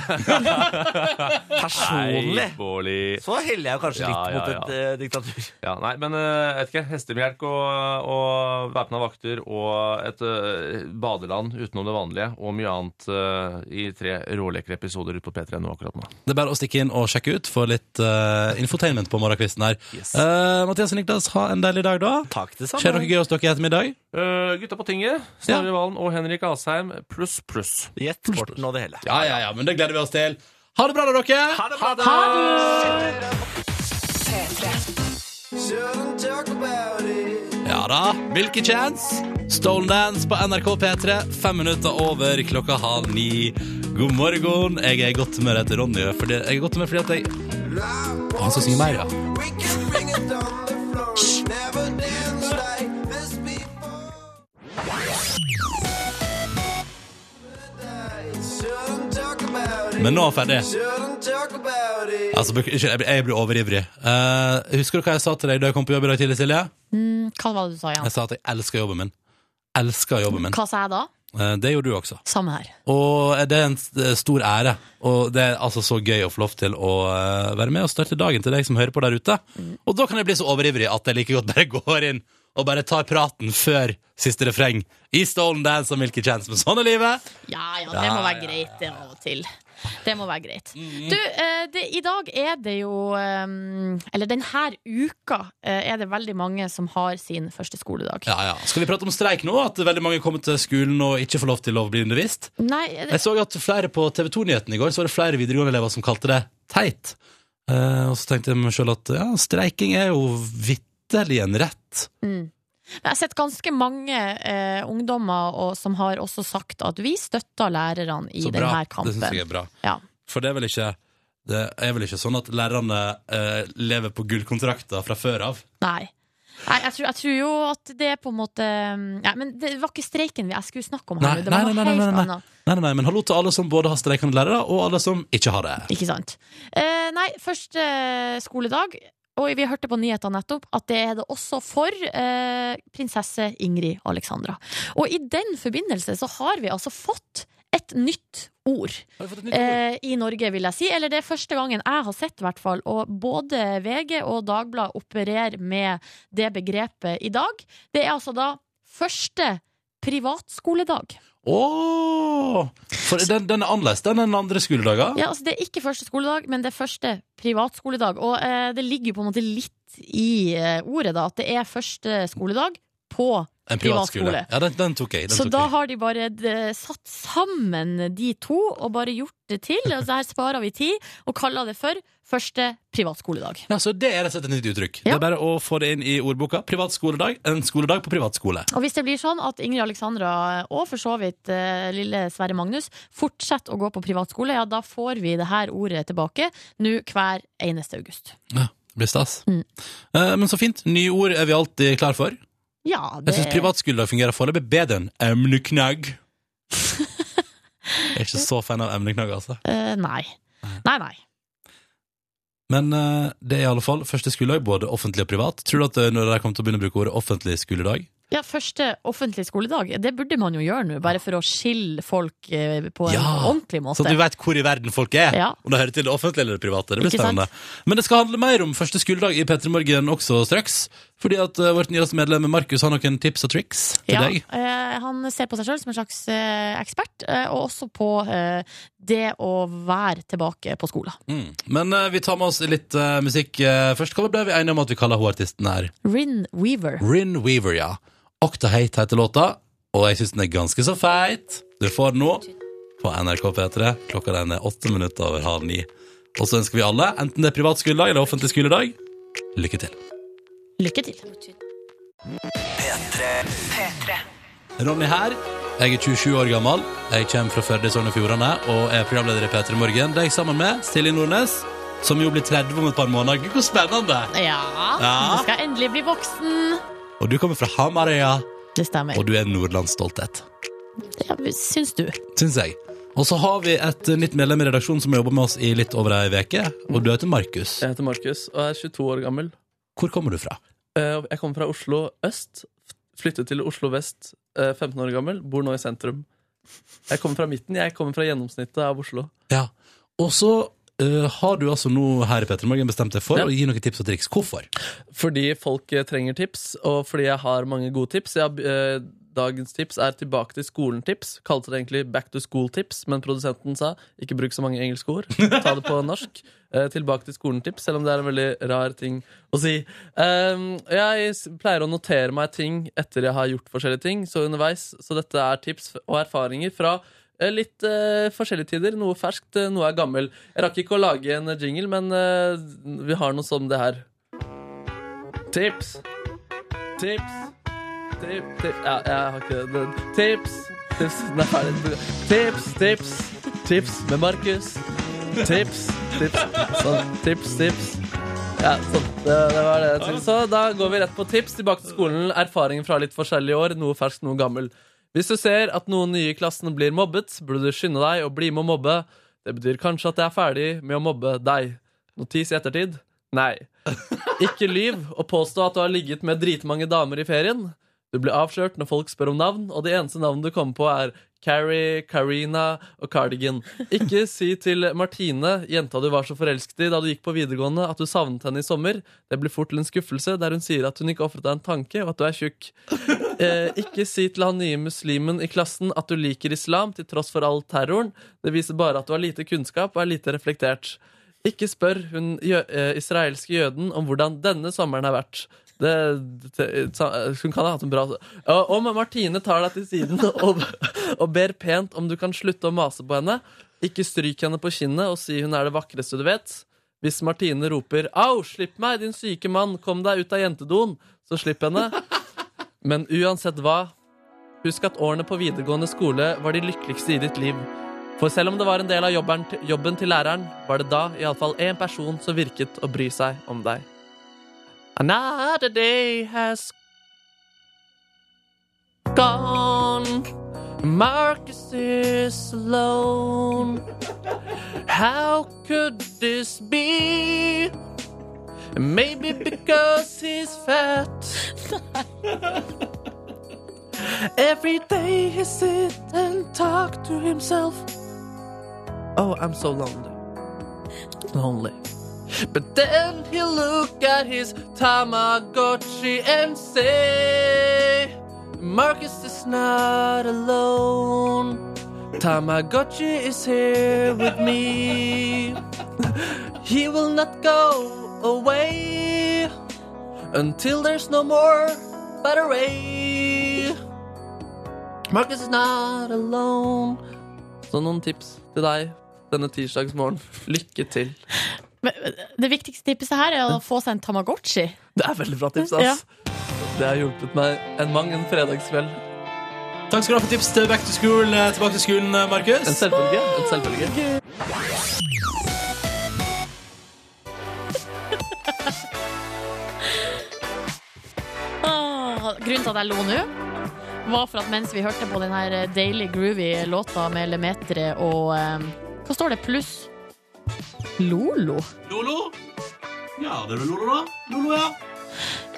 S7: personlig.
S8: Nei, Bårli.
S7: Så heller jeg jo kanskje litt
S8: Ja, ja, ja.
S7: mot et eh, diktatur.
S8: Ja, nei, men eh, vet ikke. Hestemjelk og, og væpna vakter og et eh, badeland utenom det vanlige og mye annet eh, i tre rålekre episoder ute på P3 nå akkurat nå.
S1: Det er bare å stikke inn og sjekke ut for litt eh, infotainment på morgenkvisten her.
S8: Yes.
S1: Eh, Mathias og Niklas, ha en deilig dag, da.
S7: Takk det
S1: Skjer noe
S7: samme.
S1: gøy hos dere i ettermiddag?
S8: Eh, gutta på tinget, Snorre Valen og Henrik Asheim, pluss, pluss.
S7: Gjett sporten og det hele.
S1: Ja, ja, ja, men det gleder vi oss til. Ha det bra, da, dere!
S7: Ha det bra, da!
S1: Ja da, Milky Chance. Stolen Dance på NRK P3, fem minutter over klokka halv ni. God morgen. Jeg er i godt humør etter Ronny. Fordi, jeg er i godt humør fordi at jeg Å, Han skal synge mer, ja. Men nå er jeg ferdig. Altså, beklager, jeg- jeg blir overivrig. Eh, husker du hva jeg sa til deg da jeg kom på jobb i dag tidlig, Silje?
S4: Mm, hva var det du sa
S1: Jeg
S4: igjen?
S1: sa at jeg elsker jobben min. Elsker jobben min.
S4: Hva sa jeg da?
S1: Eh, det gjorde du også.
S4: Samme her.
S1: Og eh, det er en s- stor ære. Og det er altså så gøy å få lov til å eh, være med og starte dagen til deg som hører på der ute. Og da kan jeg bli så overivrig at jeg like godt bare går inn og bare tar praten før siste refreng i Stolen Dance og Milky Chance. Men sånn er livet.
S4: Ja, ja, det må være greit det av og til. Det må være greit.
S1: Mm.
S4: Du, eh, det, i dag er det jo eh, Eller denne uka eh, er det veldig mange som har sin første skoledag.
S1: Ja, ja. Skal vi prate om streik nå? At veldig mange kommer til skolen og ikke får lov til å bli undervist?
S4: Nei, er det,
S1: Jeg så at flere på TV 2-nyheten i går, så var det flere videregående-elever som kalte det teit. Eh, og så tenkte jeg meg sjøl at ja, streiking er jo vitterlig en rett.
S4: mm. jeg har sett ganske mange eh, ungdommer og, som har også sagt at vi støtter lærerne i
S1: Så bra.
S4: denne
S1: Det syns
S4: kampen.
S1: jeg er bra.
S4: Ja.
S1: For det er vel ikke det er vel ikke sånn at lærerne eh, lever på gullkontrakter fra før av?
S4: Nei. Nei, jeg tror, jeg tror jo at det er på en måte ehm, ja, Men det var ikke streiken jeg skulle snakke om her.
S1: Nei,
S4: nå. det var
S1: nei, nei,
S4: noe
S1: nei, nei,
S4: helt
S1: nei.
S4: annet.
S1: Nei, nei, nei, men hallo til alle som både har streikende lærere, og alle som ikke har det.
S4: Ikke sant. Eh, nei, første skoledag. og vi hørte på nyhetene nettopp at det er det også for eh, prinsesse Ingrid Alexandra. Og i den forbindelse så har vi altså fått et nytt ord
S1: Har du fått et nytt ord?
S4: eh, i Norge, vil jeg si. Eller det er første gangen jeg har sett, i hvert fall. Og både VG og Dagbladet opererer med det begrepet i dag. Det er altså da første privatskoledag.
S1: Åh! For den, den er annerledes den er den andre skoledagen.
S4: Ja, altså Det er ikke første skoledag, men det er første privatskoledag. Og eh, det ligger jo på en måte litt i eh, ordet, da, at det er første skoledag på
S1: en privatskole.
S4: privatskole.
S1: Ja, den, den tok jeg. Den
S4: Så
S1: tok
S4: da
S1: jeg.
S4: har de bare eh, satt sammen de to og bare gjort det til. Og så her sparer vi tid og kaller det for første privatskoledag.
S1: Nei, så Det er rett og slett et nytt uttrykk. Det
S4: Ja.
S1: er bare å få det inn i ordboka. Privatskoledag. En skoledag på privatskole.
S4: Og hvis det blir sånn at Ingrid Alexandra og for så vidt eh, lille Sverre Magnus fortsetter å gå på privatskole, ja, da får vi det her ordet tilbake nå hver eneste august.
S1: Ja, det blir stas.
S4: Mm.
S1: Eh, men så fint. Nye ord er vi alltid klar for.
S4: Ja, det
S1: Jeg syns privatskoledag fungerer foreløpig bedre enn emneknagg. jeg er ikke så fan av emneknagg, altså.
S4: Eh, nei. Nei, nei.
S1: Men eh, det er i alle fall første skoledag, både offentlig og privat. Tror du at eh, når de kommer til å begynne å bruke ordet offentlig skoledag
S4: Ja, første offentlige skoledag. Det burde man jo gjøre nå, bare for å skille folk eh, på en
S1: Ja,
S4: ordentlig måte.
S1: Så du vet hvor i verden folk er.
S4: Ja.
S1: Om det hører til det offentlige eller det private. Det blir
S4: Ikke sant?
S1: spennende. Men det skal handle mer om første skoledag i P3 Morgen også straks. Fordi at eh, vårt nyeste medlem Markus har noen tips og triks til
S4: ja,
S1: deg.
S4: eh, han ser på seg sjøl som en slags eh, ekspert, eh, og også på eh, det å være tilbake på skolen.
S1: Mm. Men eh, vi tar med oss litt eh, musikk eh, først. Hva ble vi enige om at vi kaller hun artisten her?
S4: Rin Weaver.
S1: Rin Weaver, ja. Octahate heter låta, og jeg syns den er ganske så feit. Du får den nå på NRK P3. Klokka den er åtte minutter over halv ni. Og så ønsker vi alle, enten det er privat skoledag eller offentlig skoledag, lykke til.
S4: Lykke til.
S1: Ronny her. Jeg er 27 år gammel. Jeg kommer fra Førde i Sogn og Fjordane og er programleder i P3 Morgen. Det er jeg sammen med Silje Nordnes, som jo blir 30 om et par måneder. Gud, hvor spennende!
S4: Ja,
S1: Ja.
S4: du skal endelig bli voksen.
S1: Og du kommer fra Hamarøya,
S4: Det stemmer.
S1: og du er Nordlands stolthet.
S4: Ja, syns du.
S1: Syns jeg. Og så har vi et nytt medlem i redaksjonen som har jobba med oss i litt over ei uke. Og du heter Markus.
S2: Jeg heter Markus og er 22 år gammel.
S1: Hvor kommer du fra?
S2: Eh, Jeg kommer fra Oslo øst. Flyttet til Oslo vest, eh, 15 år gammel. Bor nå i sentrum. Jeg kommer fra midten. Jeg kommer fra gjennomsnittet av Oslo.
S1: Ja. Og så eh, har du altså nå her i P3 Morgen bestemt deg for
S2: Ja.
S1: å gi noen tips og triks. Hvorfor?
S2: Fordi folk eh, trenger tips, og fordi jeg har mange gode tips. Jeg har, eh, dagens tips er tilbake til skolen-tips. Kalte det egentlig back to school-tips, men produsenten sa ikke bruk så mange engelske ord. Ta det på norsk. Eh, tilbake til skolen-tips, selv om det er en veldig rar ting å si. Um, jeg s- pleier å notere meg ting etter jeg har gjort forskjellige ting, så underveis. Så dette er tips og erfaringer fra eh, Litt eh, forskjellige tider. Noe ferskt, eh, noe er gammel. Jeg rakk ikke å lage en jingle, men eh, vi har noe som det her. Tips. Tips. Tip, tip. Ja, jeg har ikke det. Tips. Tips. Nei, det- tips, tips. Tips med Markus. Tips, tips. Sånn. Tips, tips. Ja, sånn. Det, det var det jeg tenkte. Så da går vi rett på tips. Tilbake til skolen. Erfaring fra litt forskjellige år. Noe ferskt, noe gammel. Hvis du ser at noen nye i klassen blir mobbet, burde du skynde deg og bli med å mobbe. Det betyr kanskje at jeg er ferdig med å mobbe deg. Notis i ettertid? Nei. Ikke lyv og påstå at du har ligget med dritmange damer i ferien. Du blir avslørt når folk spør om navn, og det eneste navnet du kommer på, er Carrie, Carina og Cardigan. Ikke si til Martine, jenta du var så forelsket i da du gikk på videregående, at du savnet henne i sommer. Det blir fort til en skuffelse, der hun sier at hun ikke ofret deg en tanke, og at du er tjukk. Eh, ikke si til han nye muslimen i klassen at du liker islam til tross for all terroren. Det viser bare at du har lite kunnskap og er lite reflektert. Ikke spør hun jø eh, israelske jøden om hvordan denne sommeren har vært. Det, det, sa- hun kan ha hatt en bra Ja, Om Martine tar deg til siden og, og ber pent om du kan slutte å mase på henne, ikke stryk henne på kinnet og si hun er det vakreste du vet. Hvis Martine roper 'au, slipp meg, din syke mann, kom deg ut av jentedoen', så slipp henne. Men uansett hva, husk at årene på videregående skole var de lykkeligste i ditt liv. For selv om det var en del av jobben, jobben til læreren, var det da iallfall én person som virket å bry seg om deg. Another day has gone. Marcus is alone. How could this be? Maybe because he's fat. Every day he sit and talk to himself. Oh, I'm so lonely. Lonely. But then he look at his Tamagotchi and say, Marcus is not alone. Tamagotchi is here with me. He will not go away until there's no more battery. Marcus is not alone. Så noen tips til deg denne tirsdagsmorgen. Lykke til.
S4: Men eh, det viktigste tipset her er å få seg en Tamagotchi.
S2: Det er veldig bra tips, ass. Det har hjulpet meg en mang en fredagskveld.
S9: Takk skal du ha for tips til Back to School. eh, Tilbake til skolen, eh,
S2: En
S9: Markus.
S2: selvfølge. En selvfølge.
S4: Åh, Grunnen til at jeg lo nå, var for at mens vi hørte på den her deilig groovy låta med Lemetre og eh, Hva står det? Pluss Lolo?
S9: Lolo? Ja, det er Lolo, da. Lolo, ja.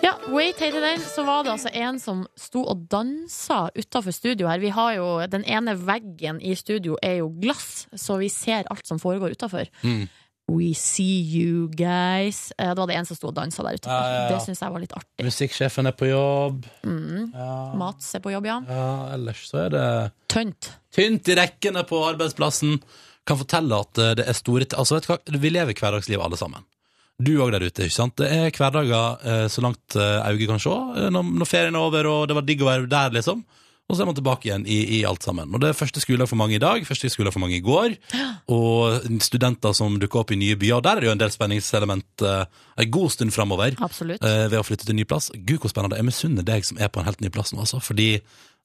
S4: Ja, wait, heter den. Så var det altså en som sto og dansa utafor studio her. Vi har jo, Den ene veggen i studio er jo glass, så vi ser alt som foregår utafor.
S1: Mm.
S4: We see you guys. Eh, Det var det en som sto og dansa der utafor.
S1: Ja, ja, ja.
S4: Det syns jeg var litt artig.
S1: Musikksjefen er på jobb.
S4: Mm.
S1: Ja.
S4: Mats er på jobb, ja.
S1: ja, ellers så er det
S4: Tønt.
S1: tynt i rekkene på arbeidsplassen. Kan fortelle at eh, det er store Altså, vet du hva, vi lever hverdagsliv alle sammen. Du òg der ute, ikke sant. Det er hverdager eh, så langt eh, øyet kan se. eh, Når, når ferien er over, og det var digg å være der, liksom. Og så er man tilbake igjen i, i alt sammen. Og det er første skoledag for mange i dag, første skoledag for mange i går. Og studenter som dukker opp i nye byer. Og der er det jo en del spenningselement eh, en god stund framover
S4: Absolutt.
S1: eh, ved å flytte til en ny plass. Gud, hvor spennende. Jeg misunner deg som er på en helt ny plass nå, altså. Fordi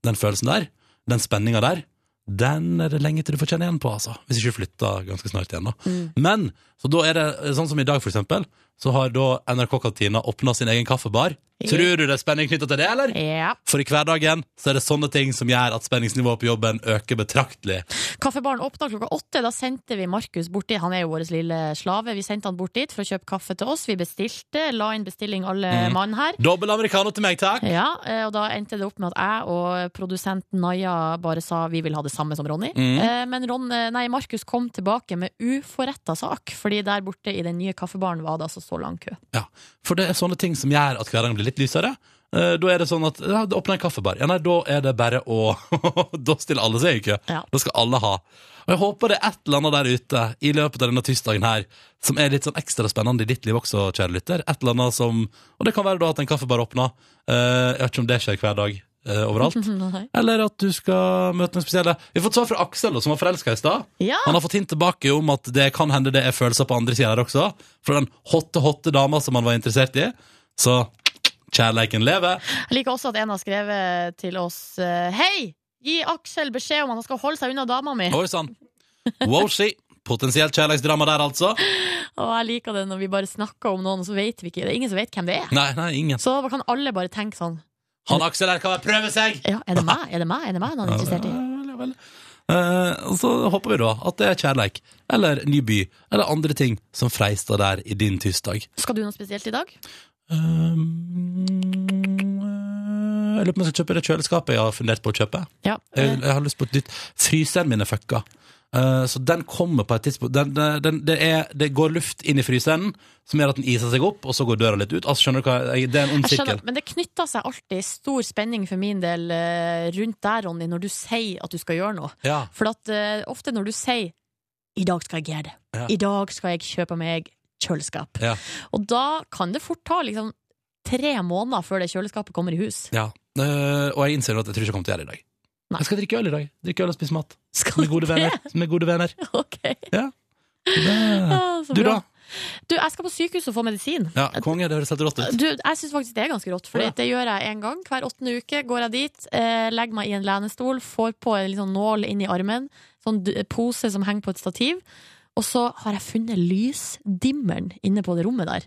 S1: den følelsen der, den spenninga der, den er det lenge til du får kjenne igjen på, altså. Hvis ikke du flytter ganske snart igjen, da. Men, så da er det eh, sånn som i dag, for eksempel, så har da NRK-kantina åpna sin egen kaffebar. Tror du det er spenning knytta til det, eller?
S4: Ja.
S1: For i hverdagen så er det sånne ting som gjør at spenningsnivået på jobben øker betraktelig.
S4: Kaffebaren åpna klokka åtte. Da sendte vi Markus bort dit. Han er jo vår lille slave. Vi sendte han bort dit for å kjøpe kaffe til oss. Vi bestilte, la inn bestilling alle mann her.
S1: Dobbel americano til meg, takk!
S4: Ja, eh, og da endte det opp med at jeg og produsenten Naja bare sa vi vil ha det samme som Ronny. Eh, Men Ron, eh, nei, Markus kom tilbake med uforretta sak, fordi der borte i den nye kaffebaren var det altså så lang kø.
S1: Ja, for det er sånne ting som gjør at hverdagen blir litt lysere. Eh, Da er det sånn at ja, åpne en kaffebar. Ja, nei, da er det bare å Da stiller alle seg i kø.
S4: Ja.
S1: Da skal alle ha. Og jeg håper det er et eller annet der ute i løpet av denne tirsdagen her som er litt sånn ekstra spennende i ditt liv også, kjære lytter. Et eller annet som Og det kan være da at en kaffebar åpner. Eh, Jeg vet ikke om det skjer hver dag eh, overalt.
S4: Nei.
S1: Eller at du skal møte noen spesielle Vi har fått svar fra Aksel, da, som var forelska i stad.
S4: Ja,
S1: Han har fått hint tilbake om at det kan hende det er følelser på andre sida der også. Fra den hotte, hotte dama som han var interessert i. Så kjærleiken lever.
S4: jeg liker også at en har skrevet til oss eh, Hei! Gi Aksel beskjed om at han skal holde seg unna dama mi.
S1: Oi sann. Woshi. Potensielt kjærleiksdrama der, altså.
S4: Og jeg liker det når vi bare snakker om noen, og så vet vi ikke Det er ingen som vet hvem det er.
S1: Nei, nei, ingen.
S4: Så da kan alle bare tenke sånn
S1: Han Aksel her kan bare prøve seg!
S4: Ja, er det meg? Er det meg? Er det meg han er interessert i?
S1: Ja, vel, vel. Eh, og så håper vi da at det er kjærleik, eller ny by, eller andre ting som freister der i din tirsdag.
S4: Skal du noe spesielt i dag?
S1: Um, eh, jeg lurer på om jeg skal kjøpe det kjøleskapet jeg har fundert på å kjøpe.
S4: Ja.
S1: Jeg, jeg har lyst på et nytt Fryseren min er fucka. Eh, så den kommer på et tidspunkt den, den, den, det, er, det går luft inn i fryseren, som gjør at den iser seg opp, og så går døra litt ut. Altså, skjønner du hva? Jeg, det er en ond
S4: Jeg skjønner,
S1: sirkel.
S4: men det knytter seg alltid stor spenning for min del eh, rundt deg, Ronny, når du sier at du skal gjøre noe.
S1: Ja.
S4: For at eh, ofte når du sier 'i dag skal jeg gjøre det',
S1: Ja.
S4: 'i dag skal jeg kjøpe meg kjøleskap',
S1: Ja.
S4: og da kan det fort ta liksom tre måneder før det kjøleskapet kommer i hus.
S1: ja. Eh, og jeg innser jo at jeg tror ikke jeg kommer til å gjøre det i dag.
S4: Nei.
S1: Jeg skal drikke øl i dag. Drikke øl og spise mat.
S4: Skal
S1: Med gode
S4: du det?
S1: venner. Med gode venner.
S4: Ok.
S1: Det-
S4: Ja, så
S1: Du, da?
S4: bra. Du, jeg skal på sykehus og få medisin.
S1: Ja, konge. Det høres helt rått ut.
S4: Du, jeg syns faktisk det er ganske rått, for
S1: Å, ja.
S4: det gjør jeg en gang. Hver åttende uke går jeg dit, eh, legger meg i en lenestol, får på en litt sånn nål inn i armen, sånn d- pose som henger på et stativ, og så har jeg funnet lysdimmeren inne på det rommet der.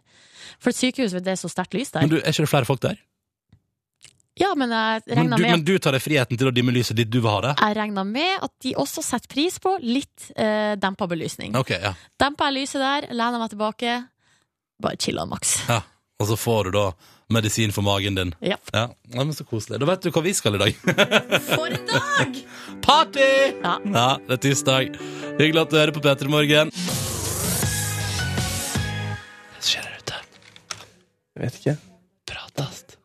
S4: For et sykehus, vet du, det er så sterkt lys der.
S1: Men du, er ikke det flere folk der?
S4: ja, men jeg
S1: Men
S4: regner
S1: du, men
S4: med
S1: du tar deg friheten til å dimme lyset dit du vil ha det?
S4: jeg regner med at de også setter pris på litt eh, dempa belysning.
S1: Ok, ja.
S4: Demper jeg lyset der, lener meg tilbake, Bare chilla maks.
S1: Ja. Og så får du da medisin for magen din.
S4: Ja.
S1: Ja, Nei, men Så koselig. Da vet du hva vi skal i dag.
S4: For en dag!
S1: Party!
S4: Ja.
S1: Ja, det er tirsdag. Hyggelig at du hører på P3 Morgen. Skjer der ute.
S2: Jeg vet ikke.
S1: Pratast.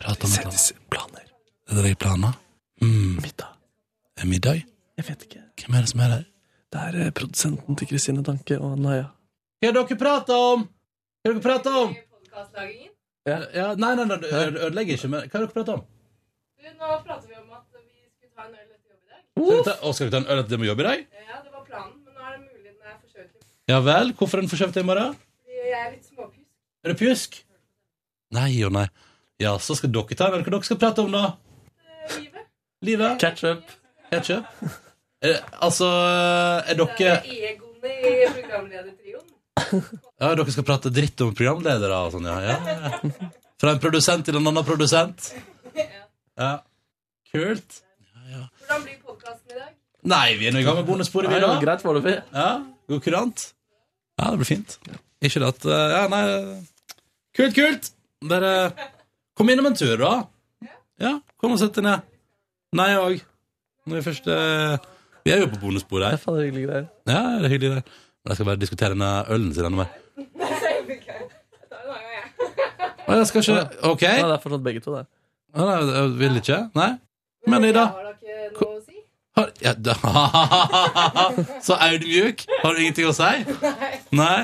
S1: Prata med hverandre. Planer. Er det deg planer? Mm.
S2: Middag.
S1: Er det middag?
S2: Jeg vet ikke.
S1: Hvem er det som er her?
S2: Det er eh, produsenten til Kristine Danke og Naya.
S1: Hva dere prater om? Hva dere prater om?
S2: Ja.
S1: nei, nei, nei, du ødelegger ikke, men hva dere prater om?
S10: Nå prater vi om at vi skulle ta en øl etter jobb i dag.
S1: Skal dere ta, å, skal dere ta en øl etter det med jobb i dag?
S10: Ja, det var planen, men nå er det mulig den er forskjøvet litt.
S1: Ja vel, hvorfor er den forskjøvet i morgen?
S10: Fordi jeg er litt småpjusk.
S1: Er det pjusk? Nei og nei. Ja, så skal dere ta en øl. Hva dere skal prate om da?
S10: Eh, Livet.
S1: Livet?
S2: Ketchup.
S1: Ketchup? Er det- Altså, er
S10: Det
S1: dere
S10: er egoene i programledertrioen.
S1: Ja, dere skal prate dritt om programledere og sånn, ja. ja. ja. Fra en produsent til en annen produsent. Ja. Kult.
S10: Hvordan blir podkasten i dag?
S1: Nei, vi er nå i gang med bonussporet, vi,
S2: Nei,
S1: da.
S2: greit foreløpig.
S1: Ja, God kurant. Ja, det blir fint. Ikke det at eh, Ja, nei Kult, kult! Dere Kom innom en tur, da. Ja, kom og sett deg ned. Nei òg. Når vi først eh, Vi er jo på bonussporet
S2: Det er
S1: her.
S2: faen hyggelige greier.
S1: Ja, det er hyggelig, det. Men jeg skal bare diskutere denne ølen sin enda mer.
S10: Jeg tar en annen gang, jeg.
S1: Å, jeg skal ikke OK.
S2: Nei, det er fortsatt begge to, det.
S1: Nei, nei, jeg vil ikke. Nei. Men Ida
S10: Har dere noe å si?
S1: har, ja, da, Så audmjuk. Har du ingenting å si? Nei.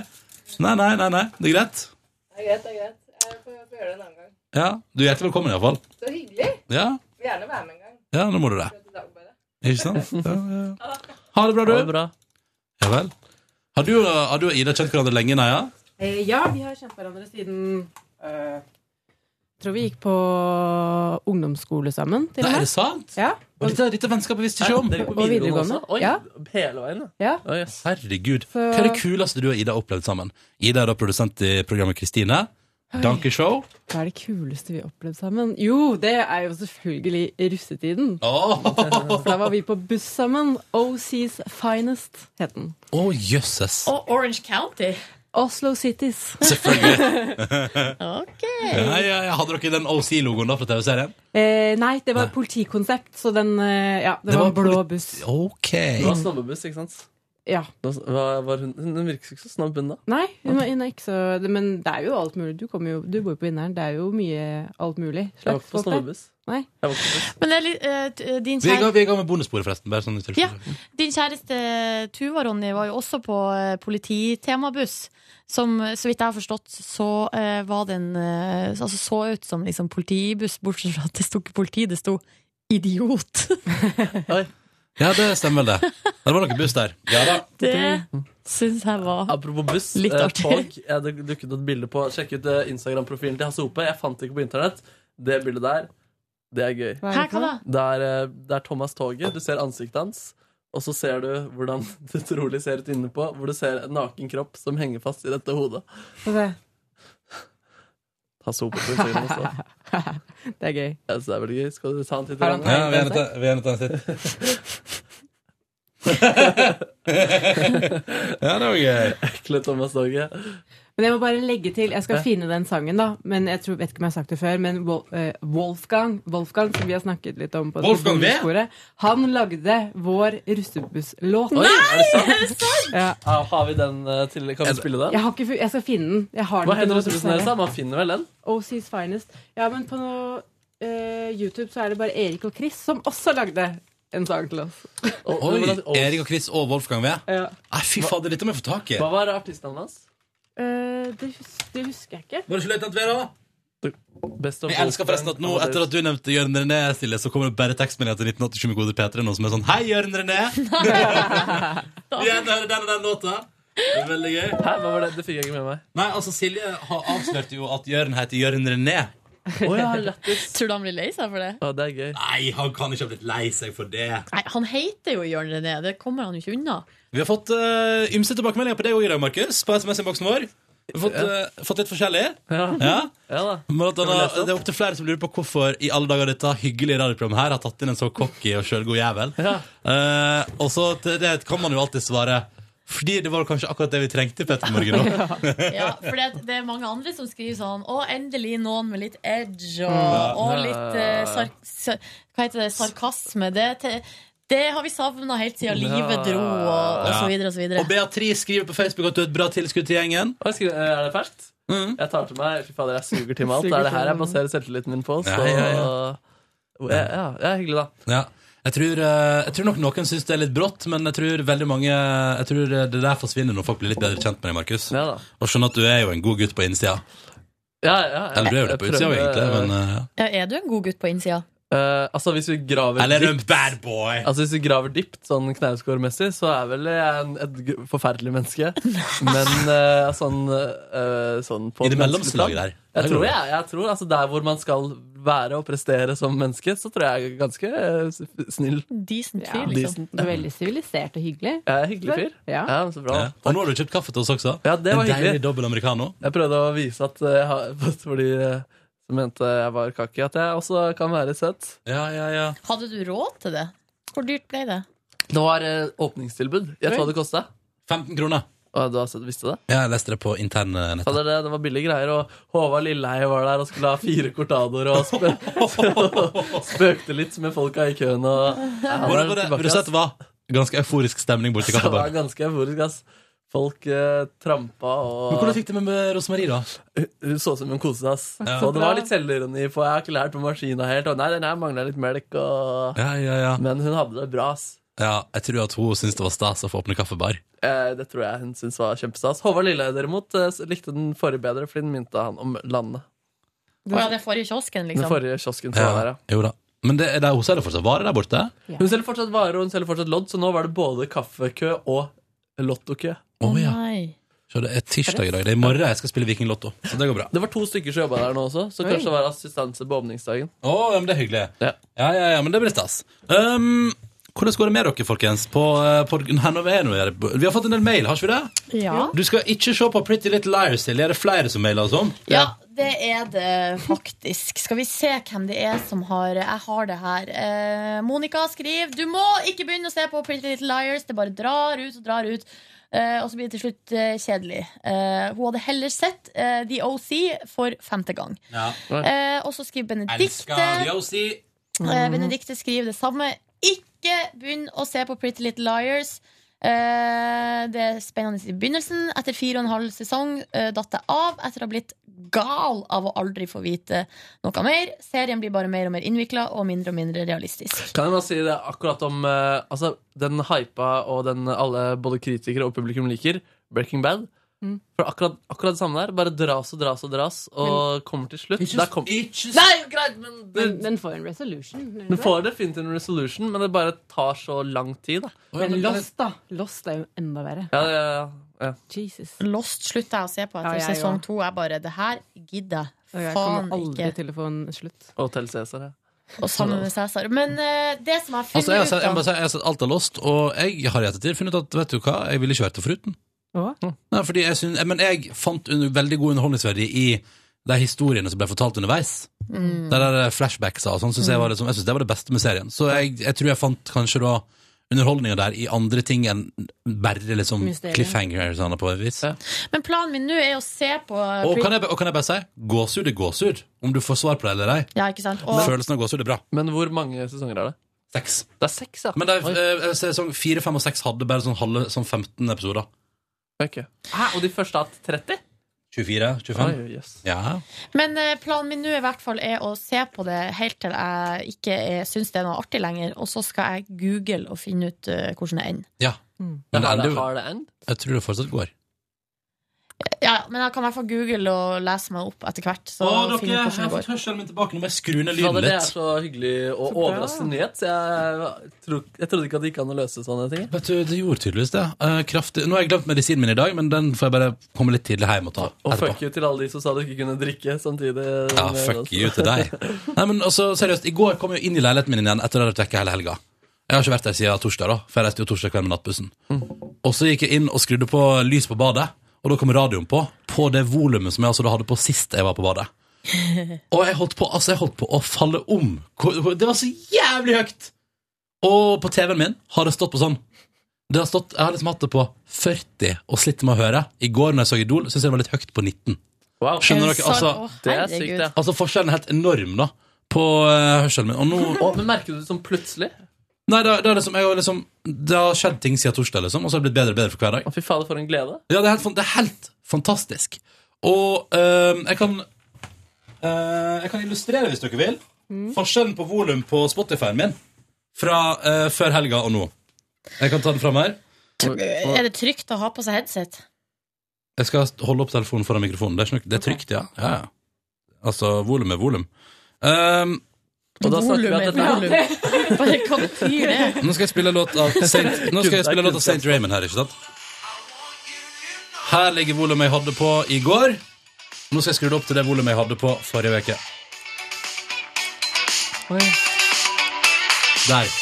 S1: Nei, nei, nei. nei. Det er greit.
S10: Det er greit, det er greit. Jeg får får gjøre det en annen gang.
S1: Ja, Du er hjertelig velkommen, iallfall.
S10: Så hyggelig.
S1: Ja,
S10: Vil gjerne være med en gang.
S1: ja, nå må du det.
S10: Dette dagarbeidet.
S1: Ikke sant? Ja, ja. Ha det bra,
S2: Ha det
S1: du.
S2: bra.
S1: Ja vel. Har du, har du og Ida kjent hverandre lenge, Neia?
S10: Eh, ja, vi har kjent hverandre siden eh,
S11: Jeg tror vi gikk på ungdomsskole sammen, til
S1: Nei,
S11: og
S1: er
S11: med.
S1: det sant?
S11: Ja,
S1: Og dette, dette vennskapet visste ikke om.
S2: Dere går
S11: Og videregående.
S2: også? Oi,
S11: Ja.
S2: hele veien, ja.
S11: ja.
S2: Oi, yes.
S1: Herregud.
S11: For-
S1: Hva er det kuleste du og Ida har opplevd sammen? Ida er da produsent i programmet Kristine. Dankeshow.
S11: Hva er det kuleste vi har opplevd sammen? Jo, det er jo selvfølgelig russetiden.
S1: Å,
S11: For da var vi på buss sammen. OCs Finest, het den.
S1: Å, jøsses.
S4: Og Orange County.
S11: Oslo Cities.
S1: Selvfølgelig.
S4: Ok.
S1: Ja, ja, ja. Hadde dere den OC-logoen da fra TV-serien?
S11: Eh, nei, det var politikonsept, så den eh, Ja, det,
S1: Det
S11: var
S1: var
S11: en blå
S1: polit-
S11: buss.
S1: Ok.
S2: Det var snobbebuss, ikke sant?
S11: Ja.
S2: Da s- hva var hun, hun virker ikke så snobb, hun da.
S11: Nei, hun var hun er ikke så det- Men det er jo alt mulig. Du, kommer jo, du bor jo på Vinneren. Det er jo mye alt mulig.
S2: Jeg var ikke på
S11: folk der.
S2: snobbebuss.
S11: Nei.
S2: Jeg var ikke på buss.
S4: Men det er litt, eh, t- din
S1: Vi er i
S4: kjære
S1: gang- vi er i gang med bonussporet, forresten. Bare sånn
S4: Ja. Din kjæreste Tuva Ronny var jo også på eh, polititemabuss. Som, så vidt jeg har forstått, så eh, var den eh, altså så ut som liksom, politibuss, bortsett fra at det sto ikke politi, det sto idiot.
S1: ja, det stemmer vel, det. Det var noe buss der. Ja da.
S4: Det syns jeg var
S2: Apropos buss,
S4: Litt
S2: eh,
S4: artig.
S2: tog. Jeg, det dukket et bilde på Sjekk ut eh, Instagram-profilen til Hasse Hope. Jeg fant det ikke på internett. Det bildet der, det er gøy.
S11: Hva er
S4: Her
S11: det for
S4: kan
S11: noe?
S4: jeg
S2: Det er, eh, det er Thomas Toget. Du ser ansiktet hans. Og så ser du hvordan det trolig ser ut inne på, hvor du ser en naken kropp som henger fast i dette hodet.
S11: Få se.
S2: Hasse Hope på Instagram også.
S11: Det er gøy.
S2: Jeg synes det er veldig gøy. Skal du ta en titt?
S11: Har han
S2: Ragnar?
S1: Ja, vi er nødt til- vi er nødt til å sitte. ja, det var gøy.
S2: Ekle Thomas Toget.
S11: Men jeg må bare legge til, jeg skal finne den sangen da Men jeg tror, vet ikke om jeg har sagt det før Men Wol eh, Wolfgang, Wolfgang Som vi har snakket litt om på
S1: Wolfgang V?
S11: Bondesporet, Han lagde vår russebusslåt
S2: Oi, er det sant?
S11: ja.
S2: Ja, har vi den eh, til Kan vi spille den?
S11: jeg, har ikke, fu- jeg skal finne den Jeg har
S2: Hva
S11: den
S2: heter
S11: ikke nå,
S2: ressursen deres?
S11: dessverre.
S2: da? sånn? Man finner vel den?
S11: OC's Finest Ja, men på noe, eh, YouTube så er det bare Erik og Chris Som også lagde en sang til oss
S2: Og- hvordan-
S1: Oi,
S2: og-
S1: Erik og Chris og Wolfgang V.
S11: ja.
S1: Nei, fy fader, dette må jeg få tak i.
S2: Hva
S1: Var
S2: var artistnavnet hans?
S11: Eh, det, hus det husker jeg ikke
S1: det ikke løytnant V, da?
S2: Best of
S1: Jeg elsker forresten at nå, etter at du nevnte Jørn René, Silje, så kommer det bare tekstmelding til 1987 med kode P3 nå som er sånn Hei, Jørn René! Igjen hører den og den låta. Det er veldig gøy.
S2: Hæ, hva var det? Det fikk jeg ikke med meg.
S1: Nei, altså Silje har avslørt jo at Jørn heter Jørn René.
S2: Å ja, lættis.
S4: Tror du han blir lei seg for det?
S2: Ja, det er gøy.
S1: Nei, han kan ikke ha blitt lei seg for det.
S4: Nei, han heter jo Jørn René. Det kommer han jo ikke unna.
S1: Vi har fått eh, ymse tilbakemeldinger på deg òg i dag, Markus. På SMS-innboksen vår. Vi har fått, eh, fått litt forskjellig.
S2: Ja,
S1: Ja.
S2: ja da.
S1: Men at,
S2: vi lese
S1: han-
S2: opp?
S1: det er opptil flere som lurer på hvorfor i alle dager dette hyggelige radioprogrammet her har tatt inn en så cocky og sjølgod jævel.
S2: Ja.
S1: Eh, og så til det kan man jo alltid svare
S9: Fordi det var kanskje akkurat det vi trengte, Petter Morgen. nå.
S4: Ja, for det, det er mange andre som skriver sånn Å, endelig noen med litt edge og,
S9: Ja.
S1: Mm.
S4: og litt eh, sar sa- Hva heter det? Sarkasme. Det, te- det har vi savna helt siden livet dro, og, og så
S9: Ja.
S4: videre og så videre.
S9: Og Beatrice skriver på Facebook at du er et bra tilskudd til gjengen.
S2: eh, Er det ferskt?
S1: Mm.
S2: Jeg tar til meg Fy fader, jeg suger til meg alt. Det er det her jeg baserer selvtilliten min på. Så
S9: Ja, ja,
S2: ja, ja, det er hyggelig, da.
S9: Ja.
S1: Jeg tror, eh, jeg tror nok noen syns det er litt brått, men jeg tror veldig mange Jeg tror eh, det der forsvinner når folk blir litt bedre kjent med deg, Markus. og skjønner at du er jo en god gutt på innsida.
S2: Ja, ja, ja.
S1: Eller du er jo det
S2: Jeg
S1: på utsida,
S2: prøver-
S1: egentlig, men eh, ja.
S4: Ja, er du en god gutt på innsida?
S2: Eh, altså Hvis vi graver
S1: Eller en
S2: dypt-
S1: bad boy.
S2: Altså hvis vi graver dypt, sånn Knausgård-messig, så er vel jeg en, et g- forferdelig menneske. Men eh, sånn, eh, sånn på
S1: I det
S2: et menneskelig
S1: mellomslaget
S2: plan-
S1: der. Der
S2: Jeg tror,
S1: går
S2: jeg, jeg tror altså Der hvor man skal være og prestere som menneske, så tror jeg jeg er ganske eh, s- snill.
S4: Decent
S11: fyr, liksom.
S2: Decent.
S11: Du er veldig sivilisert og hyggelig.
S2: Jeg er en hyggelig fyr.
S11: Ja.
S2: men så bra.
S1: Ja. Og nå har du kjøpt kaffe til oss også.
S2: Ja, det var
S1: en
S2: hyggelig.
S1: deilig dobbel americano.
S2: Jeg prøvde å vise at eh, jeg har, fordi eh, som mente jeg var kaki, at jeg også kan være søt.
S1: Ja, ja, ja.
S4: Hadde du råd til det? Hvor dyrt ble det?
S2: Det var eh, åpningstilbud. Gjett hva det kosta?
S1: 15 kroner.
S2: Du har sett, visste det?
S1: Ja, jeg leste det på interne
S2: Ja,
S1: nettet.
S2: det, er det, det var billige greier, og Håvard Lilleheie var der og skulle ha fire cortadoer og spø spøkte litt med folka i køen. Og,
S1: Hvordan var det? Vil du si at det var ganske euforisk stemning borti
S2: Det var
S1: kaffebaren?
S2: ganske euforisk, ass. Folk eh, trampa og
S1: Men hvordan gikk det med, med Rosemarie, da?
S2: Hun, hun så ut som hun koste seg, ass.
S1: Ja.
S2: Og det var litt selvironi, for jeg har ikke lært på maskina helt. Og nei, den her mangla litt melk, og
S1: Ja, ja, ja.
S2: Men hun hadde det bra, ass.
S1: Ja, jeg tror at hun syntes det var stas å få åpne kaffebar.
S2: Eh, det tror jeg hun syntes var kjempestas. Håvard Lilleheie derimot eh, likte den forrige bedre, fordi den minte han om landet.
S4: Å ja, den forrige kiosken, liksom.
S2: Den forrige kiosken som
S1: Ja,
S2: var der, ja.
S1: Jo da. Men det, er det, hun selger fortsatt varer der borte?
S2: Hun selger fortsatt varer og hun selger fortsatt lodd, så nå var det både kaffekø og lottokø.
S1: Å ja. Så det er tirsdag i dag. Det er i morgen jeg skal spille Viking Lotto. Så det går bra.
S2: Det var to stykker som jobba der nå også, så
S1: Oi.
S2: kanskje det var assistanse på åpningsdagen.
S1: Å, ja, men det er hyggelig. Ja, ja, ja, men det blir stas. Um, hvordan går det med dere, folkens? På, eh, på, her nå er det noe- vi har fått en del mail, har ikke vi det?
S4: Ja.
S1: Du skal ikke se på Pretty Little Liars, Silje. Er det flere som mailer oss om?
S4: Ja, det er det faktisk. Skal vi se hvem det er som har Jeg har det her. Eh, Monica skriver Du må ikke begynne å se på Pretty Little Liars. Det bare drar ut og drar ut. Eh, og så blir det til slutt eh, kjedelig. Eh, hun hadde heller sett eh, The OC for femte gang.
S1: Ja.
S4: Eh, og så skriver Benedikte
S1: Yosi.
S11: Mhm.
S4: eh, Benedikte skriver det samme. Ikke begynn å se på Pretty Little Liars. Eh, det er spennende i begynnelsen. Etter fire og en halv sesong eh, datt jeg av etter å ha blitt gal av å aldri få vite noe mer. Serien blir bare mer og mer innvikla og mindre og mindre realistisk.
S2: Kan jeg bare si det akkurat om eh, altså, den hypa og den alle både kritikere og publikum liker, Breaking Bad?
S11: Mm.
S2: For akkurat, akkurat det samme der. Bare dras og dras og dras, og kommer til slutt. Der kom,
S11: Nei,
S2: greit, men
S11: Men den får en resolution. gjør
S2: du
S11: den
S2: får definitivt en resolution, men det bare tar så lang tid. Da.
S11: ikke? Men Lost, da. Lost er jo enda verre.
S2: Ja, ja, ja, ja.
S11: Jesus.
S4: Lost slutta jeg å se på etter
S11: Ja, jeg
S4: sesong
S11: òg.
S4: to. Jeg bare Det her gidder
S11: Og
S4: jeg
S11: jeg
S4: faen
S11: kommer aldri
S4: ikke.
S11: til å få en slutt.
S2: Hotell Cæsar, ja.
S4: Og sammen med Cæsar. Men eh, det som jeg
S1: Altså, jeg,
S4: finner
S1: har sett, jeg, må
S4: ut
S1: bare si, jeg har sett alt av Lost, og jeg har i ettertid funnet ut at vet du hva, jeg ville ikke vært det foruten. Nei, fordi jeg syn- men jeg fant un veldig god underholdningsverdi i de historiene som ble fortalt underveis.
S4: Mm.
S1: De der flashbacks og sånn, synes jeg, var liksom, jeg synes det var det beste med serien. Så jeg, jeg tror jeg fant kanskje da underholdninga der i andre ting enn bare liksom
S4: Mysterium.
S1: cliffhanger og sånn på et vis.
S4: av Men planen min nå er å se på eh,
S1: Og,
S4: Pretty-
S1: kan jeg, ba- og kan jeg bare si gåsehud er gåsehud, om du får svar på det eller ei.
S4: Ja, ikke sant? Og,
S1: Følelsen av gåsehud er bra.
S2: Men hvor mange sesonger er det?
S1: Seks.
S2: Det er seks, ja.
S1: Men det, eh, sesong fire, fem og seks hadde bare sånn, halve, sånn 15 episoder.
S2: Ok. Hæ, og de første har hatt 30?
S1: 24? 25?
S2: Oi, yes.
S1: Ja.
S4: Men eh, planen min nå i hvert fall er å se på det helt til jeg ikke syns det er noe artig lenger, og så skal jeg google og finne ut eh, hvordan det ender.
S1: Ja.
S2: Men
S1: Men
S2: har Mm. det,
S1: enda-
S2: har det end?
S1: Jeg tror det fortsatt går.
S4: Ja, men jeg kan i hvert fall google og lese meg opp etter hvert. Så finne ut hvordan det går.
S1: hørselen min tilbake. Nå må jeg skru ned
S2: Fader, det er så hyggelig og overraskende nyhet. Så jeg, tro, jeg trodde ikke at det gikk an å løse sånne ting.
S1: Vet du, Det gjorde tydeligvis det. Eh, kraftig. Nå har jeg glemt medisinen min i dag, men den får jeg bare komme litt tidlig hjem og ta
S2: Og
S1: etterpå.
S2: fuck you til alle de som sa du ikke kunne drikke samtidig. eh,
S1: Ja,
S2: med
S1: fuck
S2: oss.
S1: you til deg. Nei, men altså, seriøst, I går kom jeg jo inn i leiligheten min igjen etter å ha vært vekke hele helga. Jeg har ikke vært der siden torsdag, da, for jeg reiste jo torsdag kveld med nattbussen. Og så gikk jeg inn og skrudde på lys på badet, og da kom radioen på. På det volumet som jeg altså da hadde på sist jeg var på badet. Og jeg holdt på, altså, jeg holdt på å falle om. Hvor- hvor- Det var så jævlig høyt! Og på TV-en min har det stått på sånn Det har stått, jeg har liksom hatt det på 40 og slitt med å høre. I går når jeg så Idol, syntes jeg det var litt høyt på 19.
S4: Eh,
S1: Skjønner dere? Altså,
S2: det er sykt, ja.
S1: altså forskjellen er helt enorm da på eh, hørselen min. Og nå
S2: Å, men merker du det sånn plutselig?
S1: Nei, det, det, er liksom, jeg har liksom, det har skjedd ting siden torsdag, liksom, og så har det blitt bedre og bedre for hver dag.
S2: Fy fader, for en glede.
S1: Ja, det er helt, fan- det er helt fantastisk. Og eh, jeg kan eh, Jeg kan illustrere, hvis dere vil, forskjellen på volum på Spotify-en min fra eh, før helga og nå. Jeg kan ta den fram her. Eh,
S4: Er det trygt å ha på seg headset?
S1: Jeg skal holde opp telefonen foran mikrofonen. Det er, ikke noe, det er trygt, ja. ja. ja. Altså, volum er volum. Ehm,
S2: Og da snakker vi at dette er-
S4: Bare, hva betyr det?
S1: nå skal jeg spille låt av Saint, nå skal jeg spille låt av Saint Raymond her, ikke sant? Her ligger volumet jeg hadde på i går. Nå skal jeg skru det opp til det volumet jeg hadde på forrige uke. Der.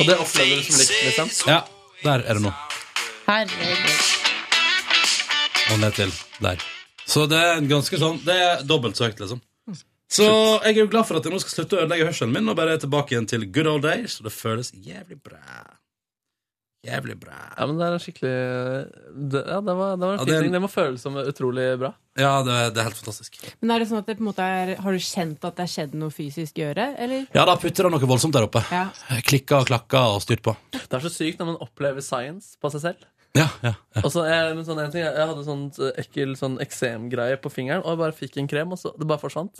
S2: Og det opplever du som likt, liksom?
S1: Ja, der er det nå.
S4: Herregud.
S1: Og ned til der. Så det er en ganske sånn Det er dobbelt så høyt, liksom. Så jeg er jo glad for at jeg nå skal slutte å ødelegge hørselen min og bare er tilbake igjen til good old days. Og det føles jævlig bra. Jævlig bra.
S2: Ja, men det er en skikkelig det, Ja, det var, det var en
S1: Ja,
S2: fin
S1: det-
S2: ting. Det må føles som utrolig bra.
S1: Ja, det, det er helt fantastisk.
S11: Men er det sånn at det på en måte er, Har du kjent at det har skjedd noe fysisk i øret, eller?
S1: Ja, da putter det noe voldsomt der oppe.
S11: Ja.
S1: Klikka og klakka og styrt på.
S2: Det er så sykt når man opplever science på seg selv.
S1: Ja, ja.
S2: Og så, eh, men sånn en ting, jeg, jeg hadde sånn eh, ekkel sånn eksemgreie på fingeren, og jeg bare fikk en krem, og så det bare forsvant.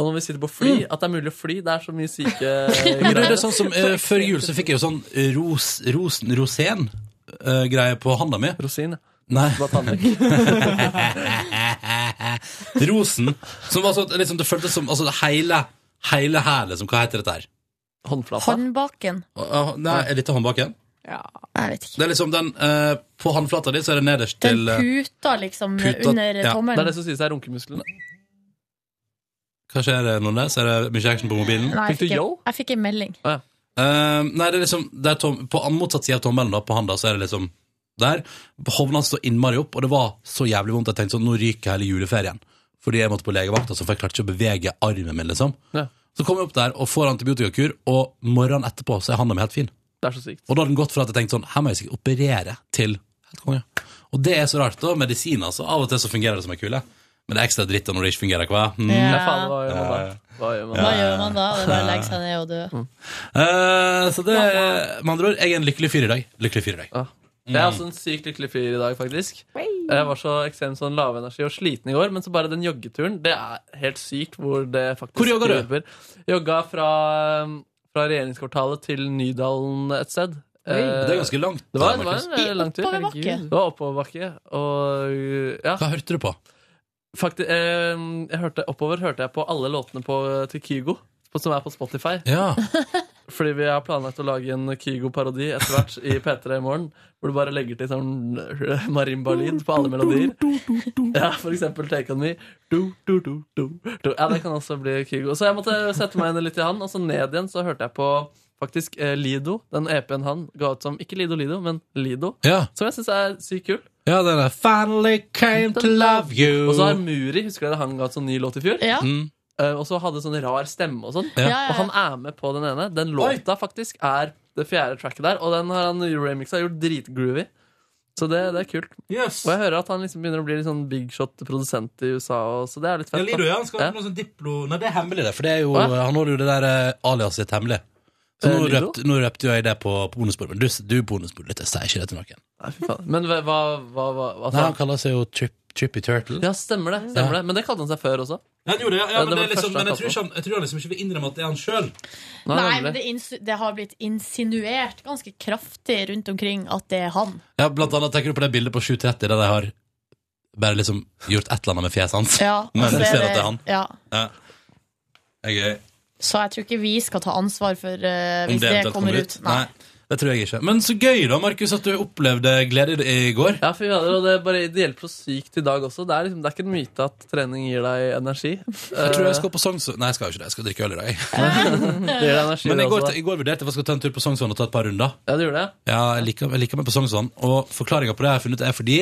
S2: Og når vi sitter på fly, at det er mulig å fly, det er så mye syke
S1: Men det er
S2: greier.
S1: det sånn som eh, Før jul så fikk jeg jo sånn eh, ros, rosen, rosen-greie på handa mi.
S2: Rosin, ja.
S1: Nei.
S2: Det var tannlekk.
S1: Rosen. Som var sånn, liksom, det føltes som altså, det hele, hele her, liksom. Hva heter dette her?
S2: Håndflata.
S4: Håndbaken.
S1: Å, å, Nei, er dette håndbaken?
S4: Jeg vet ikke.
S1: Det er liksom den eh, På håndflata di så er det nederst
S4: Den
S1: til eh,
S4: puta liksom
S1: puta-
S4: under
S1: ja.
S4: tommelen.
S1: Det er det
S2: som sies er runkemusklene.
S1: Hva skjer eh, nå der? Så er det mye action på mobilen?
S4: Nei, jeg fikk, en, jeg fikk en melding.
S1: Eh, nei, det er liksom det er tom, På an- motsatt side av tommelen, da, på handa, så er det liksom der. Hovna så innmari opp, og det var så jævlig vondt. Jeg tenkte sånn, nå ryker hele juleferien. Fordi jeg måtte på legevakta, så for jeg klarte ikke å bevege armen min, liksom.
S2: Ja.
S1: Så kom jeg opp der og får antibiotikakur, og morgenen etterpå så er handa mi helt fin.
S2: Det er så sykt.
S1: Og da hadde den gått fra at jeg tenkte sånn, her må jeg sikkert operere til helt konge. Og det er så rart, da. Medisin, altså. Av og til så fungerer det som en kule. Men det er ekstra dritt da når det ikke fungerer, hva? Mm.
S4: Ja. Ja,
S2: faen, hva gjør man da? Hva gjør man
S4: Hva gjør man da? Det er bare å legge seg ned og dø.
S1: Eh, så det Med andre ord, jeg er en lykkelig fyr i dag. Lykkelig fyr i dag.
S2: Jeg er også en sykt lykkelig fyr i dag, faktisk. Jeg var så ekstremt sånn lavenergi og sliten i går, men så bare den joggeturen, det er helt sykt hvor det faktisk
S1: Hvor jogga du?
S2: hjelper. Jogga fra, um, fra regjeringskvartalet til Nydalen et sted. Eh,
S1: Oi. Det er ganske langt,
S2: Det var,
S1: da,
S2: det var en eh,
S1: Markus.
S2: lang tur.
S1: I oppoverbakke.
S2: herregud. Det var oppoverbakke. Og, uh, ja.
S1: Hva hørte du på?
S2: Fakti eh, jeg hørte, oppover hørte jeg på alle låtene på, til Kygo, på- som er på Spotify.
S1: Ja.
S2: Fordi vi har planlagt å lage en Kygo-parodi etter hvert i P3 i morgen. Hvor du bare legger til sånn marimba-lyd på alle melodier. Ja, For eksempel Take On Me. Du, du, du, du, du. Ja, det kan også bli Kygo. Så jeg måtte sette meg inn litt i han, og så ned igjen så hørte jeg på faktisk eh, Lido. Den EP-en han ga ut som ikke Lido Lido, men Lido.
S1: Ja.
S2: Som jeg syns er sykt kul.
S1: Ja, den er Finally came to love you.
S2: Og så har Muri, husker dere han ga ut sånn ny låt i fjor?
S4: Ja.
S1: Mm.
S2: Eh, og så hadde sånn rar stemme og sånn.
S1: Ja. Ja, ja, ja.
S2: Og han er med på den ene. Den låta faktisk er det fjerde tracket der, og den har han remixa gjort dritgroovy. Så det, det er kult. Og jeg hører at han liksom begynner å bli litt sånn big shot-produsent i USA, og, så det er litt fett.
S1: Ja, Lido,
S2: da.
S1: ja. Han skal ha noe sånn diplo Nei, det er hemmelig, det. For det er jo,
S2: Å, ja.
S1: han holder jo det der eh, aliaset sitt hemmelig. Så
S2: Eh,
S1: nå
S2: Lido?
S1: røpte, nå røpte jo jeg det på, på bonusbordet. Men du, du bonusbordet litt, jeg sier ikke det til noen.
S2: Nei, fy faen. Men hva, hva, hva, hva altså-
S1: Nei, han kaller seg jo Trip, Trippy Turtle.
S2: Ja, stemmer det. stemmer det Men det kalte han seg før også.
S1: Ja, han gjorde det, ja, ja, men, det
S2: var
S1: er liksom,
S2: første han
S1: men jeg, tror
S2: kalte
S1: ikke han, jeg tror han liksom ikke vil innrømme at det er han sjøl.
S2: Nei,
S4: Nei,
S2: nemlig.
S4: men det, insu- det har blitt insinuert ganske kraftig rundt omkring at det er han.
S1: Ja, blant annet tenker du på det bildet på 730 der de har bare liksom gjort et eller annet med fjeset hans.
S4: Ja,
S1: men
S4: så
S1: du ser at det er han.
S4: Ja.
S1: Ja. Det er gøy.
S4: Så jeg tror ikke vi skal ta ansvar for eh,
S1: Om
S4: hvis det,
S1: eventuelt
S4: kommer ut.
S1: Nei. Det tror jeg ikke. Men så gøy, da, Markus, at du opplevde glede i- i går.
S2: Ja, fy fader, og det, er bare, det hjelper så sykt i dag også. Det er, liksom, det er ikke en myte at trening gir deg energi.
S1: Jeg tror jeg skal på Sognsvann Nei, jeg skal jo ikke det. Jeg Altså. skal drikke øl i dag.
S2: Det gir deg energi,
S1: Men i
S2: det
S1: går,
S2: også, da.
S1: i går vurderte jeg at jeg skulle ta en tur på Sognsvann og ta et par runder.
S2: Ja, du gjorde det?
S1: Ja, jeg liker, jeg liker meg på Sognsvann. Og forklaringa på det jeg har funnet, er fordi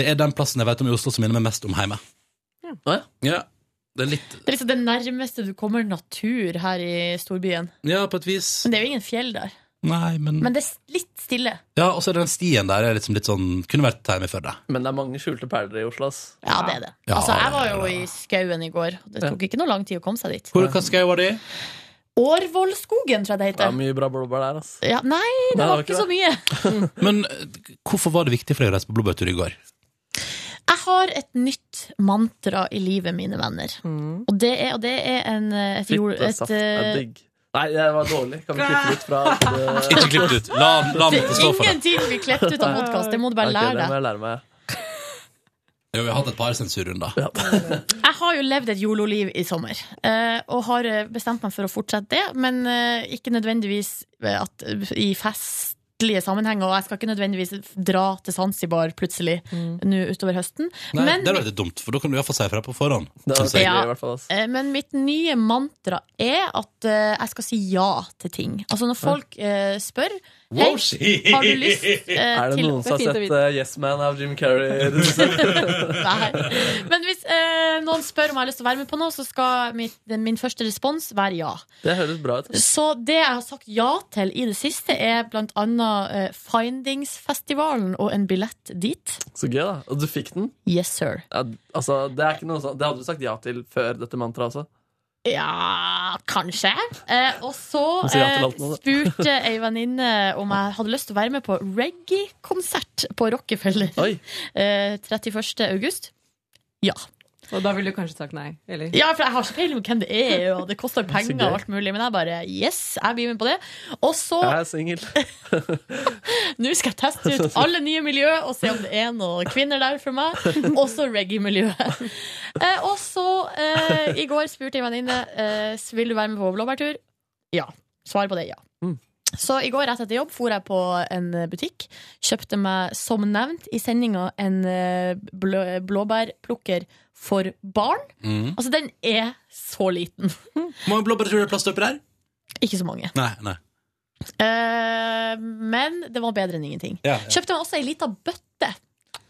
S1: det er den plassen jeg vet om i Oslo som minner meg mest om hjemme.
S2: Ja.
S1: Det er litt
S4: Det er liksom det nærmeste du kommer natur her i storbyen.
S1: Ja, på et vis.
S4: Men det er jo ingen fjell der.
S1: Nei, men
S4: Men det er litt stille.
S1: Ja, og så er det den stien der er liksom litt sånn Kunne vært hjemme før det.
S2: Men det er mange skjulte perler i Oslo, ass.
S4: Ja, det er det.
S1: Ja,
S4: altså, jeg var jo i skauen i går. Det tok ikke noe lang tid å komme seg dit.
S1: Hvor, hva skau var det i?
S4: Årvollskogen, tror jeg det
S2: Det er
S4: heter.
S2: mye bra blåbær der, ass.
S4: Ja, nei, det var ikke så mye.
S1: Men eh, hvorfor var det viktig for deg å reise på blåbærtur i går?
S4: Jeg har et nytt mantra i livet, mine venner. Og, det er, og det er en, eh, et jord... Et,
S2: Fittesaft er
S4: eh,
S2: digg. Nei, det var dårlig. Kan vi klippe det ut fra
S1: Ikke klipp det ut. La- la
S4: det er ingenting vi klippet ut av podkast, det må du bare
S2: Ok,
S4: lære
S2: Det må
S4: deg.
S2: jeg lære meg.
S1: Jo, vi har hatt et par sensurrunder.
S4: Jeg har jo levd et jololiv i sommer, eh, og har eh, bestemt meg for å fortsette det, men eh, ikke nødvendigvis eh, at, i festlige sammenhenger, og jeg skal ikke nødvendigvis dra til Zanzibar plutselig nå utover høsten.
S1: Nei,
S4: men,
S1: Det er veldig dumt, for da kan du iallfall si fra på forhånd.
S4: var Ja. hyggelig i hvert eh, men mitt nye mantra er at eh, jeg skal si ja til ting. Altså når folk eh, spør Hei, har du lyst eh,
S2: Er det
S4: til
S2: noen som har sett eh, Yes Man av Jim Carrey? i det siste?
S4: Nei. Men hvis eh, noen spør om jeg har lyst til å være med på noe, så skal mitt, den- min første respons være ja.
S2: Det høres bra ut.
S4: Så det jeg har sagt ja til i det siste, er blant annet eh, Findingsfestivalen og en billett dit.
S2: Så gøy, da. Og du fikk den?
S4: Yes, sir.
S2: Ja, altså, det, er ikke noe sånn, det hadde du sagt ja til før dette mantraet også.
S4: Ja, kanskje. Eh, og så
S2: Du sier ja til
S4: eh,
S2: alt nå, da.
S4: spurte ei venninne om jeg hadde lyst til å være med på reggae-konsert på Rockefeller eh, 31. august. Ja.
S11: Og da ville du kanskje sagt nei? Eller?
S4: Ja, for jeg har ikke peiling på hvem det er, og det koster penger og alt mulig, men jeg bare yes, jeg blir med på det. Og så
S2: Jeg er singel.
S4: Nå skal jeg teste ut alle nye miljø og se om det er noen kvinner der for meg. Også reggae-miljøet. Eh, og så, eh, i går spurte jeg en venninne eh, så vil du være med på blåbærtur. Ja. Svaret på det er ja. Så i går rett etter jobb for jeg på en butikk. Kjøpte meg, som nevnt i sendinga, en eh, blå, blåbærplukker for barn.
S1: Mm.
S4: Altså, den er så liten.
S1: Hvor mange blåbærturer er det plass til oppi der?
S4: Ikke så mange.
S1: Nei, nei.
S4: Eh, men det var bedre enn ingenting.
S1: Ja, ja.
S4: Kjøpte meg også ei lita bøtte.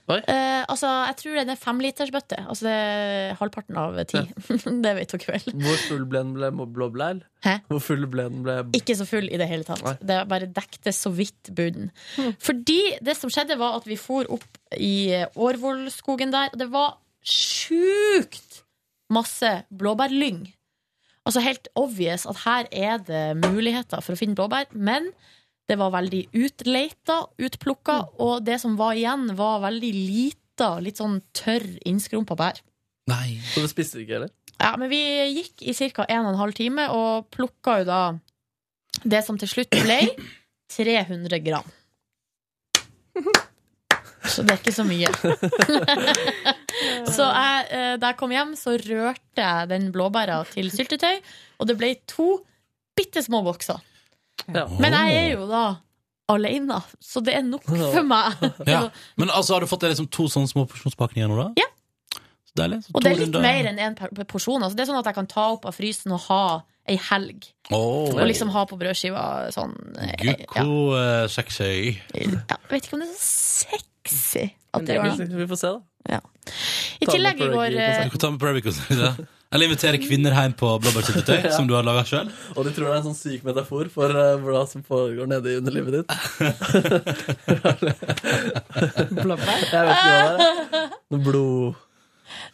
S4: Eh, altså, jeg tror det er en femlitersbøtte. Altså det er halvparten av ti. det vet dere vel.
S2: Hvor full ble den ble blåbær?
S4: Hæ?
S2: Hvor full ble den ble
S4: Ikke så full i det hele tatt.
S2: Nei.
S4: Det bare dekte så vidt buden. Fordi det som skjedde, var at vi for opp i Årvollskogen der, og det var sjukt masse blåbærlyng. Altså helt obvious at her er det muligheter for å finne blåbær, men det var veldig utleita, utplukka, og det som var igjen, var veldig lita, litt sånn tørr, innskrumpa bær.
S2: Så du spiste ikke, eller?
S4: Ja, men vi gikk i ca. 1 12 time og plukka jo da det som til slutt ble 300 gram. Så det er ikke så mye. så jeg, eh, da jeg kom hjem, så rørte jeg den blåbæra til syltetøy, og det ble to bitte små bokser. Men jeg er jo da aleine, så det er nok for meg.
S1: Ja. Men altså, har du fått deg liksom to sånne små porsjonspakninger nå, da?
S4: Ja.
S1: Så deilig. Så
S4: Og
S1: to
S4: det er litt
S1: runder.
S4: mer enn én per- porsjon. Altså, det er sånn at jeg kan ta opp av frysen og ha ei helg.
S1: Åh.
S4: Og liksom ha på brødskiva sånn eh,
S1: Gud,
S4: ja.
S1: hvor eh, sexy.
S4: ja, Vet ikke om det er så sexy
S2: Men
S4: at det
S2: det er
S4: gjør det.
S2: ikke- Vi får se, da.
S4: I
S2: Ta med
S4: tillegg i
S2: på
S4: går eh,
S1: Du kan ta med på Rubicon. ja. Eller invitere kvinner hjem på blåbærsyltetøy,
S2: Ja.
S1: som du har laga sjøl.
S2: Og de tror det er en sånn syk metafor for eh, hva som foregår nede i underlivet ditt. Blåbær? Jeg vet ikke hva det er. Noe blod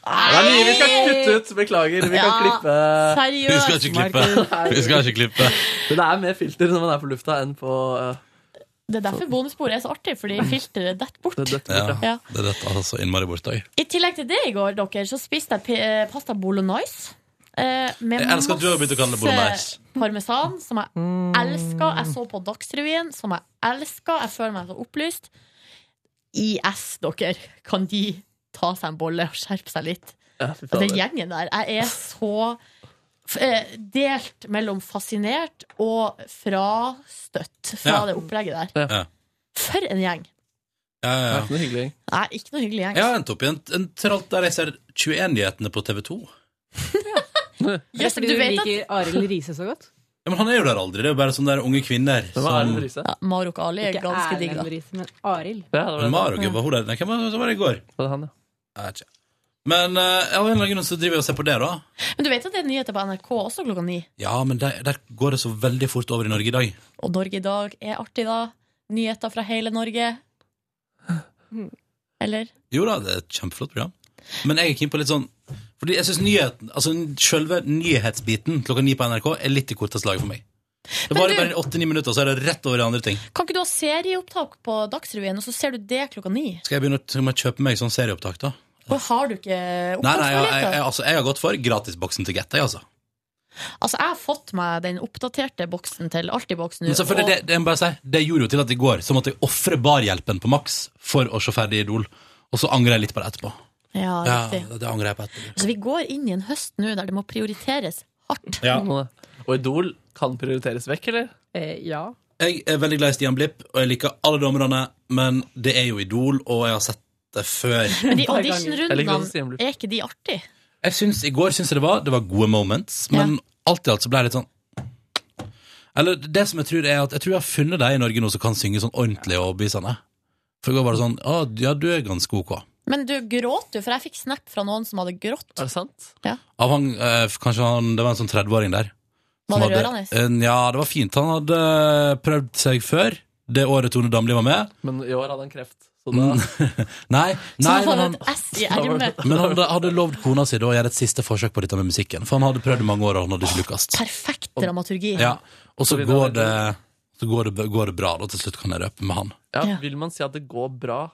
S2: Det er mye vi skal kutte ut. Beklager. Vi kan
S4: Ja,
S2: klippe.
S4: seriøst, Vi skal ikke klippe.
S1: Vi skal ikke klippe.
S2: Men det er mer filter når man er på lufta, enn på eh,
S4: Det er derfor bonusbordet er så artig, fordi filteret detter bort.
S2: det dette
S1: Ja,
S2: bordet.
S4: Ja.
S1: det er dette altså innmari bort òg.
S4: I tillegg til det i går, dere, så spiste jeg pi- eh, pasta bolognese. eh, Med
S1: Jeg elsker at du har begynt å kalle det bolognese. Mm.
S4: masse parmesan, som jeg elsker. Jeg så på Dagsrevyen, som jeg elsker. Jeg føler meg så opplyst. IS, dere, kan de ta seg en bolle og skjerpe seg litt?
S2: Ja, fy
S4: Og den
S2: fader.
S4: gjengen der. Altså, Jeg er så f- eh, delt mellom fascinert og frastøtt fra
S1: Ja.
S4: det opplegget der.
S1: Ja.
S4: For en gjeng!
S1: Ja, ja,
S2: Det er
S1: ja.
S2: ikke noe hyggelig.
S4: Nei, ikke noe hyggelig gjeng.
S1: Jeg har endt opp i en, en tralt der jeg ser 21-nyhetene på TV2.
S11: Er det
S4: Jøss,
S11: fordi
S4: du
S11: du
S4: vet at
S11: liker Arild Riise så godt?
S1: Ja, men han er jo der aldri. Det er jo bare sånne der unge kvinner
S2: Men hva er
S1: som
S2: det Riise?
S4: ja, Marok Ali er
S11: Ikke
S4: ganske digg, da.
S11: Erlend Riise, men Arild.
S2: Ja, det var det.
S1: Marok, var hun der? Nei, hvem var det som var det i går?
S2: Det var han, ja.
S1: Jeg vet ikke. Men eh, av en eller annen grunn så driver jeg og ser på det, da.
S4: Men du vet at det er nyheter på NRK også klokka ni?
S1: Ja, men der, der går det så veldig fort over i Norge i dag.
S4: Og Norge i dag er artig, da. Nyheter fra hele Norge. Eller?
S1: Jo da, det er et kjempeflott program. Men jeg er keen på litt sånn Fordi jeg syns nyheten, altså selve nyhetsbiten klokka ni på NRK er litt i korteste laget for meg. Det varer bare åtte-ni minutter, og så er det rett over i andre ting.
S4: Kan ikke du ha serieopptak på Dagsrevyen, og så ser du det klokka ni?
S1: Skal jeg begynne å skal jeg kjøpe meg sånn serieopptak, da?
S4: Og har du ikke
S1: Nei, nei, jeg, jeg,
S4: opptaksmuligheter?
S1: jeg, altså, jeg har gått for gratisboksen til Get, jeg, altså.
S4: Altså, jeg har fått meg den oppdaterte boksen til Altibox nå.
S1: Men selvfølgelig, det,
S4: og-
S1: det, må jeg bare si, det gjorde jo til at i går så måtte jeg ofre barhjelpen på maks for å se ferdig Idol. Og så angrer jeg litt på det etterpå.
S4: Ja,
S1: Ja,
S4: riktig.
S1: det, det angrer jeg på etterpå.
S4: Så vi går inn i en høst nå der det må prioriteres hardt.
S2: Og Idol kan prioriteres vekk, eller?
S11: Eh, ja.
S1: Jeg er veldig glad i Stian Blipp, og jeg liker alle dommerne, men det er jo Idol, og jeg har sett det før. Jeg
S4: Men de
S1: liker også Stian
S4: auditionrundene,
S1: Blipp.
S4: er ikke de artig?
S1: Jeg syns, I går syns jeg det var Det var gode moments, men alt i alt så ble jeg litt sånn Eller det som jeg tror er at Jeg tror jeg har funnet deg i Norge nå som kan synge sånn ordentlig og bisende. For i går var det sånn Å, ja, du er ganske ok.
S4: Men du gråt jo, for jeg fikk snap fra noen som hadde grått. Er
S2: det sant?
S4: Ja.
S1: Av han, eh, kanskje han, det var en sånn 30-åring der.
S4: Var
S1: Som
S4: det
S1: hadde- eh, en- Ja, det var fint. Han hadde prøvd seg før, det året Tone Damli var med.
S2: Men i år hadde han kreft. Så da
S1: Mm. nei, nei
S2: Så
S1: men
S2: han
S1: han,
S2: hadde et S i ermet.
S1: men han hadde, hadde lovd kona si da å gjøre et siste forsøk på dette med musikken. For han hadde prøvd i mange år, og han hadde ikke lykkes.
S4: Perfekt dramaturgi.
S1: Ja, og så går det, så går det, går det bra, da. Til slutt kan jeg røpe med han.
S2: ja, Vil man si at det går bra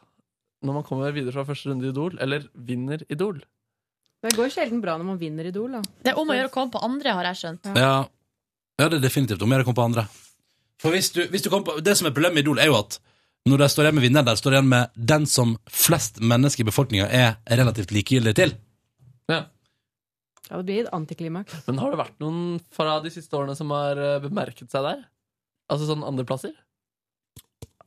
S2: når man kommer videre fra første runde i Idol, eller vinner Idol?
S11: Men det går sjelden bra når man vinner Idol, da.
S4: Det er om å gjøre å komme på andre, har jeg skjønt.
S1: Ja, ja det er definitivt om jeg kom på andre. For hvis du, hvis du kom på, Det som er problemet med Idol, er jo at når de står igjen med vinneren, der står de igjen med den som flest mennesker i befolkninga er relativt likegyldige til.
S11: Ja, det blir et antiklimaks.
S2: Men har det vært noen fra de siste årene som har eh, bemerket seg der? Altså sånn andreplasser?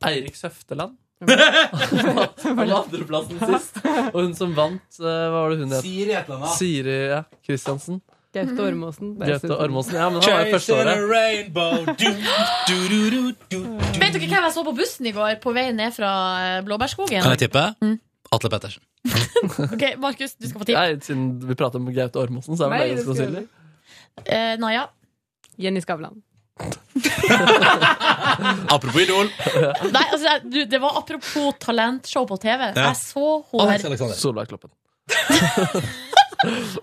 S2: Eirik Søfteland. Han var andreplassen sist. Og hun som vant, eh, hva var det hun het?
S1: Siri et eller annet.
S2: Siri ja, Kristiansen.
S11: Gaute Ormåsen.
S2: Gaute Ormåsen. Ja, men han var jo første året.
S4: Vet dere hvem jeg så på bussen i går, på vei ned fra eh, Blåbærskogen?
S1: Kan jeg tippe?
S2: Mm.
S1: Atle Pettersen.
S4: Ok, Markus, du skal få tipp.
S2: Nei, siden vi prater om Gaute Ormåsen, så er
S4: Nei,
S2: vel det
S4: det
S2: ganske
S4: skal
S2: sannsynlig.
S4: Eh, Naja.
S11: Jenny Skavlan.
S1: Apropos Idol.
S4: Nei, altså, jeg- du, det var apropos talentshow på TV.
S1: Ja.
S4: Jeg så hun her.
S2: Solveig Kloppen.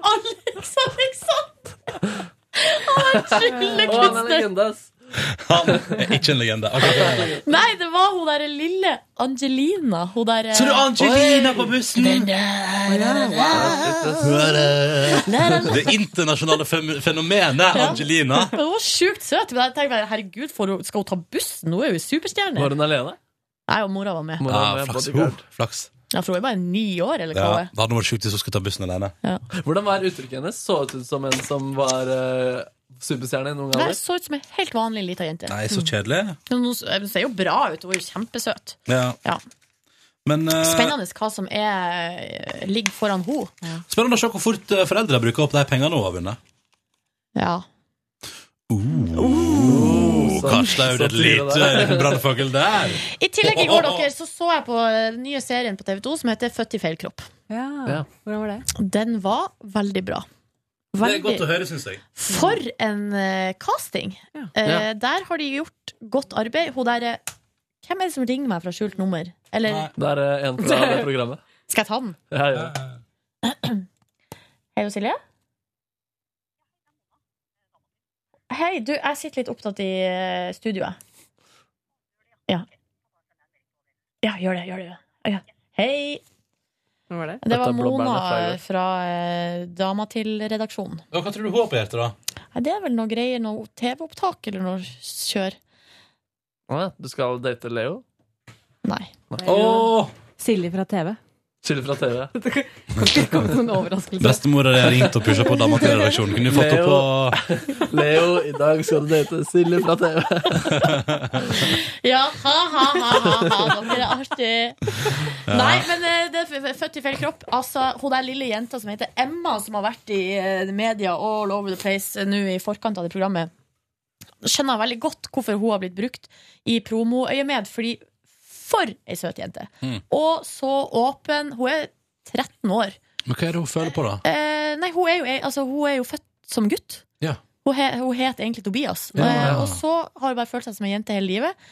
S4: Alex Alexander! Han
S2: Å,
S4: er
S2: han er en
S4: tryllekunstner.
S2: legende, ass.
S1: Han er ikke en legende. Okay.
S4: Nei, det var hun derre lille Angelina. Hun der, eh,
S1: Så du Angelina på bussen? Det internasjonale fem- fenomenet
S4: Ja.
S1: Angelina.
S4: Men Hun var sjukt søt. Men jeg tenkte bare, herregud, får hun, skal hun ta bussen? Hun er jo superstjerne.
S2: Var hun alene?
S4: Nei, og mora var med.
S1: Ja, flaks.
S2: bodyguard.
S1: Oh, flaks.
S4: Ja, for hun er bare ni år, eller
S1: Ja,
S4: hva hun
S1: det
S4: er.
S1: hadde vært sjukt hvis hun skulle ta bussen alene.
S2: Hvordan var uttrykket hennes? Så ut som en som var eh, superstjerne i noen
S4: Nei,
S2: ganger?
S4: så ut som ei helt vanlig lita jente.
S1: Nei,
S2: Mm.
S1: så kjedelig.
S4: Hun, hun ser jo bra ut. Hun er jo kjempesøt.
S1: Ja. Men, eh,
S4: Spennende hva som er, ligger foran henne.
S1: spennende å se hvor fort eh, foreldre bruker opp de pengene hun har vunnet.
S4: Ja.
S1: Oh, Kanskje det er jo
S2: så
S1: et
S2: fyrer
S1: lite
S2: det.
S1: liten brannfakkel der.
S4: I tillegg i går dere, så så jeg på eh, den nye serien på TV2 som heter Født i feil kropp.
S1: Ja.
S11: Hvordan var det?
S4: Den var veldig bra.
S1: Det er godt å høre, syns jeg.
S4: For en eh, casting! Eh,
S1: Ja.
S4: Der har de gjort godt arbeid. Hun der, eh, Hvem er det som ringer meg fra skjult nummer? Eller
S2: Det er eh, en fra det programmet.
S4: skal jeg ta den?
S2: Ja, ja.
S4: Hei, jo Silje. Hei, du, jeg sitter litt opptatt i eh, studioet. Ja. Ja, gjør det, gjør det. Ja. Hei!
S11: Hvordan var det?
S4: Det var Mona fra eh, Dama til redaksjonen.
S1: Hva tror du hun har på hjertet, da?
S4: Nei, det er vel noe greier, noe TV-opptak eller noe kjør.
S2: Å ja, Du skal date Leo?
S4: Nei.
S11: Silje fra TV.
S2: Silje fra TV.
S11: Kom til noen overraskelse.
S1: Bestemora di har ringt og pusha på dama til redaksjonen. Kunne du fått henne på
S2: Leo, i dag skal du date Silje fra TV.
S4: Ja, ha, ha, ha, ha, ha. Dere er artig. Nei, men eh, det er f- født i feil kropp. Altså, Hun der lille jenta som heter Emma, som har vært i eh, media all over the place eh, nå i forkant av det programmet, skjønner jeg veldig godt hvorfor hun har blitt brukt i promoøyemed. Fordi for ei søt jente.
S3: Mm.
S4: Og så åpen. Hun er 13 år.
S1: Men hva er det hun føler på, da?
S4: Eh, nei, hun er, jo, altså, hun er jo født som gutt.
S1: Ja.
S4: Hun, he, hun het egentlig Tobias.
S1: Ja, ja, ja.
S4: Eh, og så har hun bare følt seg som ei jente hele livet.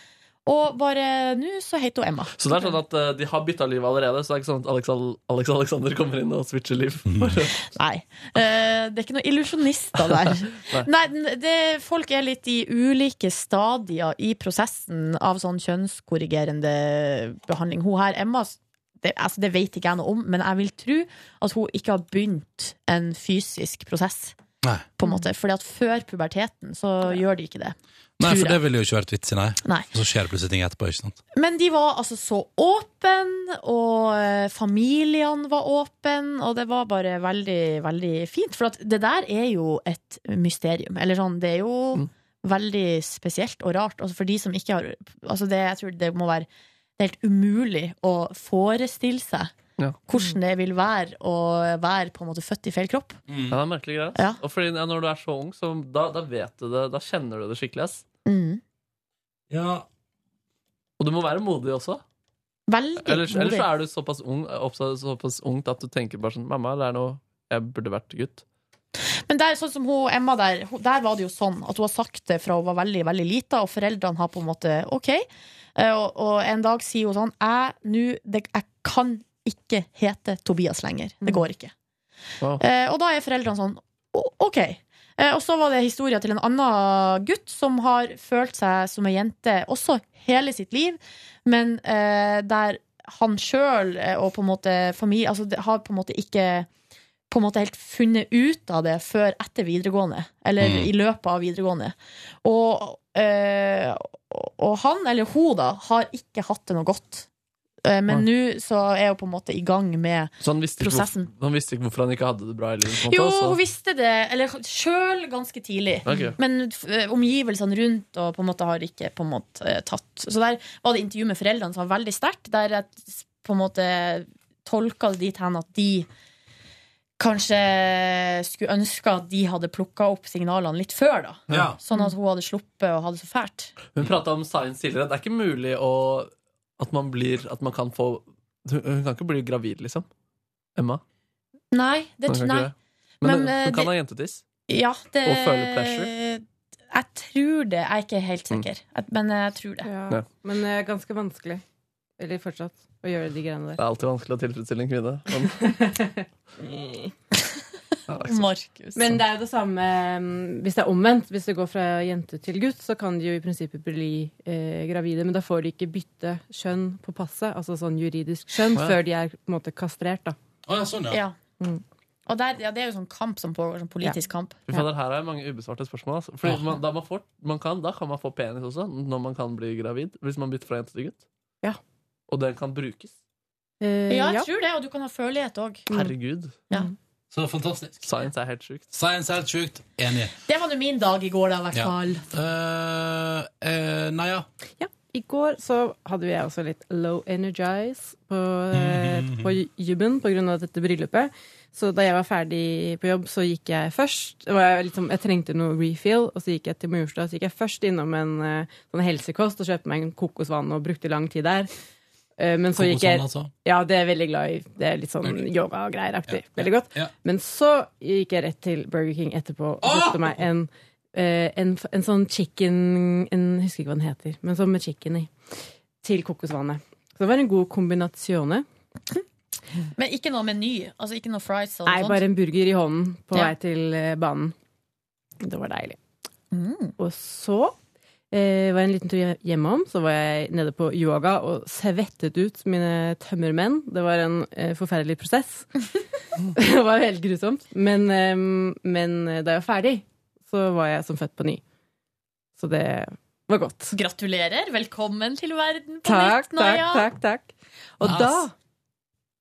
S4: Og bare eh, nå så heter hun Emma.
S2: Så det er sånn at eh, de har bytta liv allerede, så det er ikke sånn at Alex, Alex Alexander kommer inn og switcher liv.
S1: Mm.
S4: Nei. Eh, det er ikke noen illusjonister der.
S2: Nei.
S4: Nei, n- det, Folk er litt i ulike stadier i prosessen av sånn kjønnskorrigerende behandling. Hun her, Emma, s- det, altså det vet ikke jeg noe om, men jeg vil tro at hun ikke har begynt en fysisk prosess.
S1: Nei.
S4: På en måte, fordi at før puberteten så gjør de ikke det.
S1: Nei,
S4: Tror
S1: for det
S4: jeg.
S1: ville jo ikke vært vits i, nei.
S4: Nei.
S1: Og så skjer det plutselig ting etterpå, ikke sant?
S4: Men de var altså så åpne, og eh, familien var åpen, og det var bare veldig, veldig fint. For at det der er jo et mysterium. Eller sånn, det er jo
S2: Mm.
S4: veldig spesielt og rart. Altså for de som ikke har Altså det, jeg tror det må være det er helt umulig å forestille seg
S2: Ja.
S4: hvordan det vil være å være på en måte født i feil kropp.
S2: Ja, det er merkelig greie. ass. Og fordi ja, når du er så ung, så da, da vet du det. Da kjenner du det skikkelig. ass. Og du må være modig også.
S4: Veldig
S2: Ellers, ellers
S4: modig.
S2: så er du såpass ung oppsa- såpass ungt at du tenker bare sånn Mamma, det er noe Jeg burde vært gutt.
S4: Men det er sånn som hun, Emma der, hun- der var det jo sånn at hun har sagt det fra hun var veldig, veldig lita, og foreldrene har på en måte OK. Eh, Og, og en dag sier hun sånn Jeg, nå, det, jeg kan ikke hete Tobias lenger. Det går ikke. Eh, og da er foreldrene sånn «O- OK. Eh, og så var det historia til en annen gutt som har følt seg som ei jente også hele sitt liv, men eh, der han sjøl og på en måte familie altså, det har på en måte ikke på en måte helt funnet ut av det før etter videregående, eller
S12: Mm.
S4: i løpet av videregående. Og, eh, og- og han, eller hun da, har ikke hatt det noe godt. Eh, men nå så er hun på en måte i gang med
S2: Så han visste, ikke
S4: Prosessen.
S2: hvorfor, han visste ikke hvorfor han ikke hadde det bra i livet. på en måte,
S4: jo,
S2: og så-
S4: hun visste det, eller sjøl ganske tidlig.
S2: Ok.
S4: Men eh, omgivelsene rundt og på en måte har ikke på en måte eh, tatt. Så der var det intervju med foreldrene som var veldig sterkt, der jeg s- på en måte tolka det dit hen at de kanskje skulle ønske at de hadde plukka opp signalene litt før, da.
S2: Ja.
S4: Sånn at hun hadde sluppet å ha det så fælt.
S2: Hun prata om science tidligere. Det er ikke mulig å, at man blir At man kan få Hun hun kan ikke bli gravid, liksom. Emma.
S4: Nei, det,
S2: Hun kan ikke
S4: nei.
S2: det. Men,
S4: Men, eh,
S2: hun kan
S4: det-
S2: ha jentetiss.
S4: Ja, det,
S2: Og føle pleasure?
S4: Jeg tror det. Jeg er ikke helt sikker, Jeg- men jeg tror det.
S2: Ja.
S11: Men det er ganske vanskelig. Eller fortsatt. Å gjøre de greiene
S2: Det er
S11: der.
S2: alltid vanskelig å tilfredsstille en kvinne. Men,
S4: Mm. Markus.
S11: Men det er jo det samme mm, hvis det er omvendt. Hvis det går fra jente til gutt, så kan de jo i prinsippet bli eh, gravide. Men da får de ikke bytte kjønn på passet, altså sånn juridisk kjønn,
S4: Å ja.
S11: før de er på en måte kastrert, da.
S1: sånn,
S4: Ja.
S11: Mm.
S4: Og der, ja, det er jo sånn kamp som pågår, sånn politisk kamp.
S2: Fy fader, her er mange ubesvarte spørsmål. Altså. Fordi man, da, man får, man kan, da kan man få penis også, når man kan bli gravid. Hvis man bytter fra jente til gutt.
S11: Ja.
S2: Og den kan brukes.
S11: Eh,
S4: Ja, jeg
S2: ja.
S4: tror det, og du kan ha følelighet òg.
S2: Herregud.
S4: Ja.
S1: Så det er fantastisk.
S2: Science er helt sjukt.
S1: Science er helt sjukt. Enig.
S4: Det var nå min dag i går, da, i hvert
S1: Ja.
S4: fall.
S1: Eh, eh, nei, ja.
S11: I går så hadde jeg også litt low energize på, eh, på jobben på grunn av dette bryllupet. Så da jeg var ferdig på jobb, så gikk jeg først. Det var liksom, jeg trengte noe refill, og så gikk jeg til Majorstad. Så gikk jeg først innom en eh, sånn helsekost og kjøpte meg en kokosvann og brukte lang tid der. Eh, Men så
S1: sånn,
S11: gikk jeg
S12: Kokosvann, altså?
S11: Ja, det er jeg veldig glad i. Det er litt sånn yoga og greier aktig. Veldig godt. Men så gikk jeg rett til Burger King etterpå og kjøpte meg en, eh, en, f- en sånn chicken en, Jeg husker ikke hva den heter, men sånn med chicken i. Til kokosvannet. Så det var en god kombinasjone.
S4: Men ikke noe meny. Altså ikke noe fries eller
S11: Nei,
S4: noe
S11: bare en burger i hånden på
S4: Ja.
S11: vei til eh, banen. Det var deilig.
S4: Mm.
S11: Og så eh, var jeg en liten tur hje- hjemom. Så var jeg nede på yoga og svettet ut mine tømmermenn. Det var en eh, forferdelig prosess. det var helt grusomt. Men, eh, men eh, da jeg var ferdig, så var jeg som født på ny. Så det var godt.
S4: Gratulerer. Velkommen til verden på
S11: Takk,
S4: nytt, Naja.
S11: takk, takk, takk. Og
S4: Nice.
S11: da,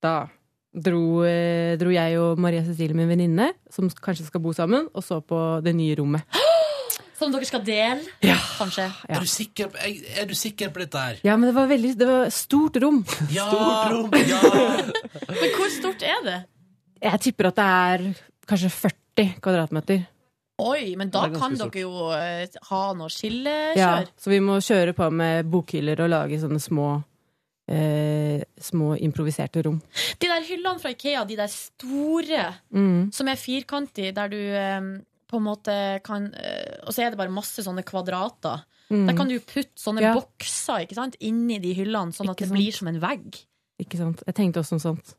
S11: da dro, eh, dro jeg og Maria Cecilie, min venninne, som sk- kanskje skal bo sammen, og så på det nye rommet.
S4: Som dere skal dele, kanskje.
S11: Ja. Er du
S1: sikker på, er du sikker på dette her?
S11: Ja, men det var veldig det var stort rom.
S1: Ja.
S11: Stort rom.
S4: Men hvor stort er det?
S11: Jeg tipper at det er kanskje 40 kvadratmeter.
S4: Oi, men da
S11: Det er ganske
S4: kan
S11: stort.
S4: dere jo eh, ha noe
S11: Ja,
S4: skillekjør.
S11: så vi må kjøre på med bokhyller og lage sånne små eh, små improviserte rom.
S4: De der hyllene fra Ikea, de der store,
S11: Mm,
S4: som er firkantige, der du eh, på en måte kan eh, Og så er det bare masse sånne kvadrater.
S11: Mm.
S4: Der kan du putte sånne
S11: Ja.
S4: bokser ikke sant, inni de hyllene, sånn at det blir som en vegg.
S11: Ikke sant? Jeg tenkte også om sånt.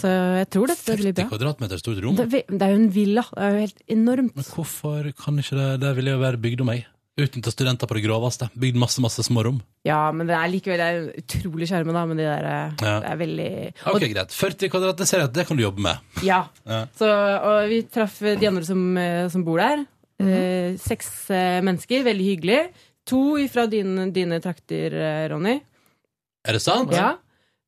S11: Så jeg tror dette blir bra.
S1: Kvadratmeter stort rom.
S11: Det, er ve- det er jo en villa. Det er jo helt enormt.
S1: Men hvorfor kan ikke det Det ville jo være bygd om ei. Utnytta studenter på det groveste. Bygd masse, masse små rom.
S11: Ja, men det er likevel det er utrolig sjarme, da, men de der eh,
S1: Ja.
S11: Det er veldig
S1: Ok, greit. 40 kvadrat, det ser jeg at det kan du jobbe med.
S11: Ja.
S1: Ja.
S11: Så, og vi traff de andre som, eh, som bor der. Eh, seks eh, mennesker, veldig hyggelig. To fra dine, dine trakter, eh, Ronny.
S1: Er det sant?
S11: Ja.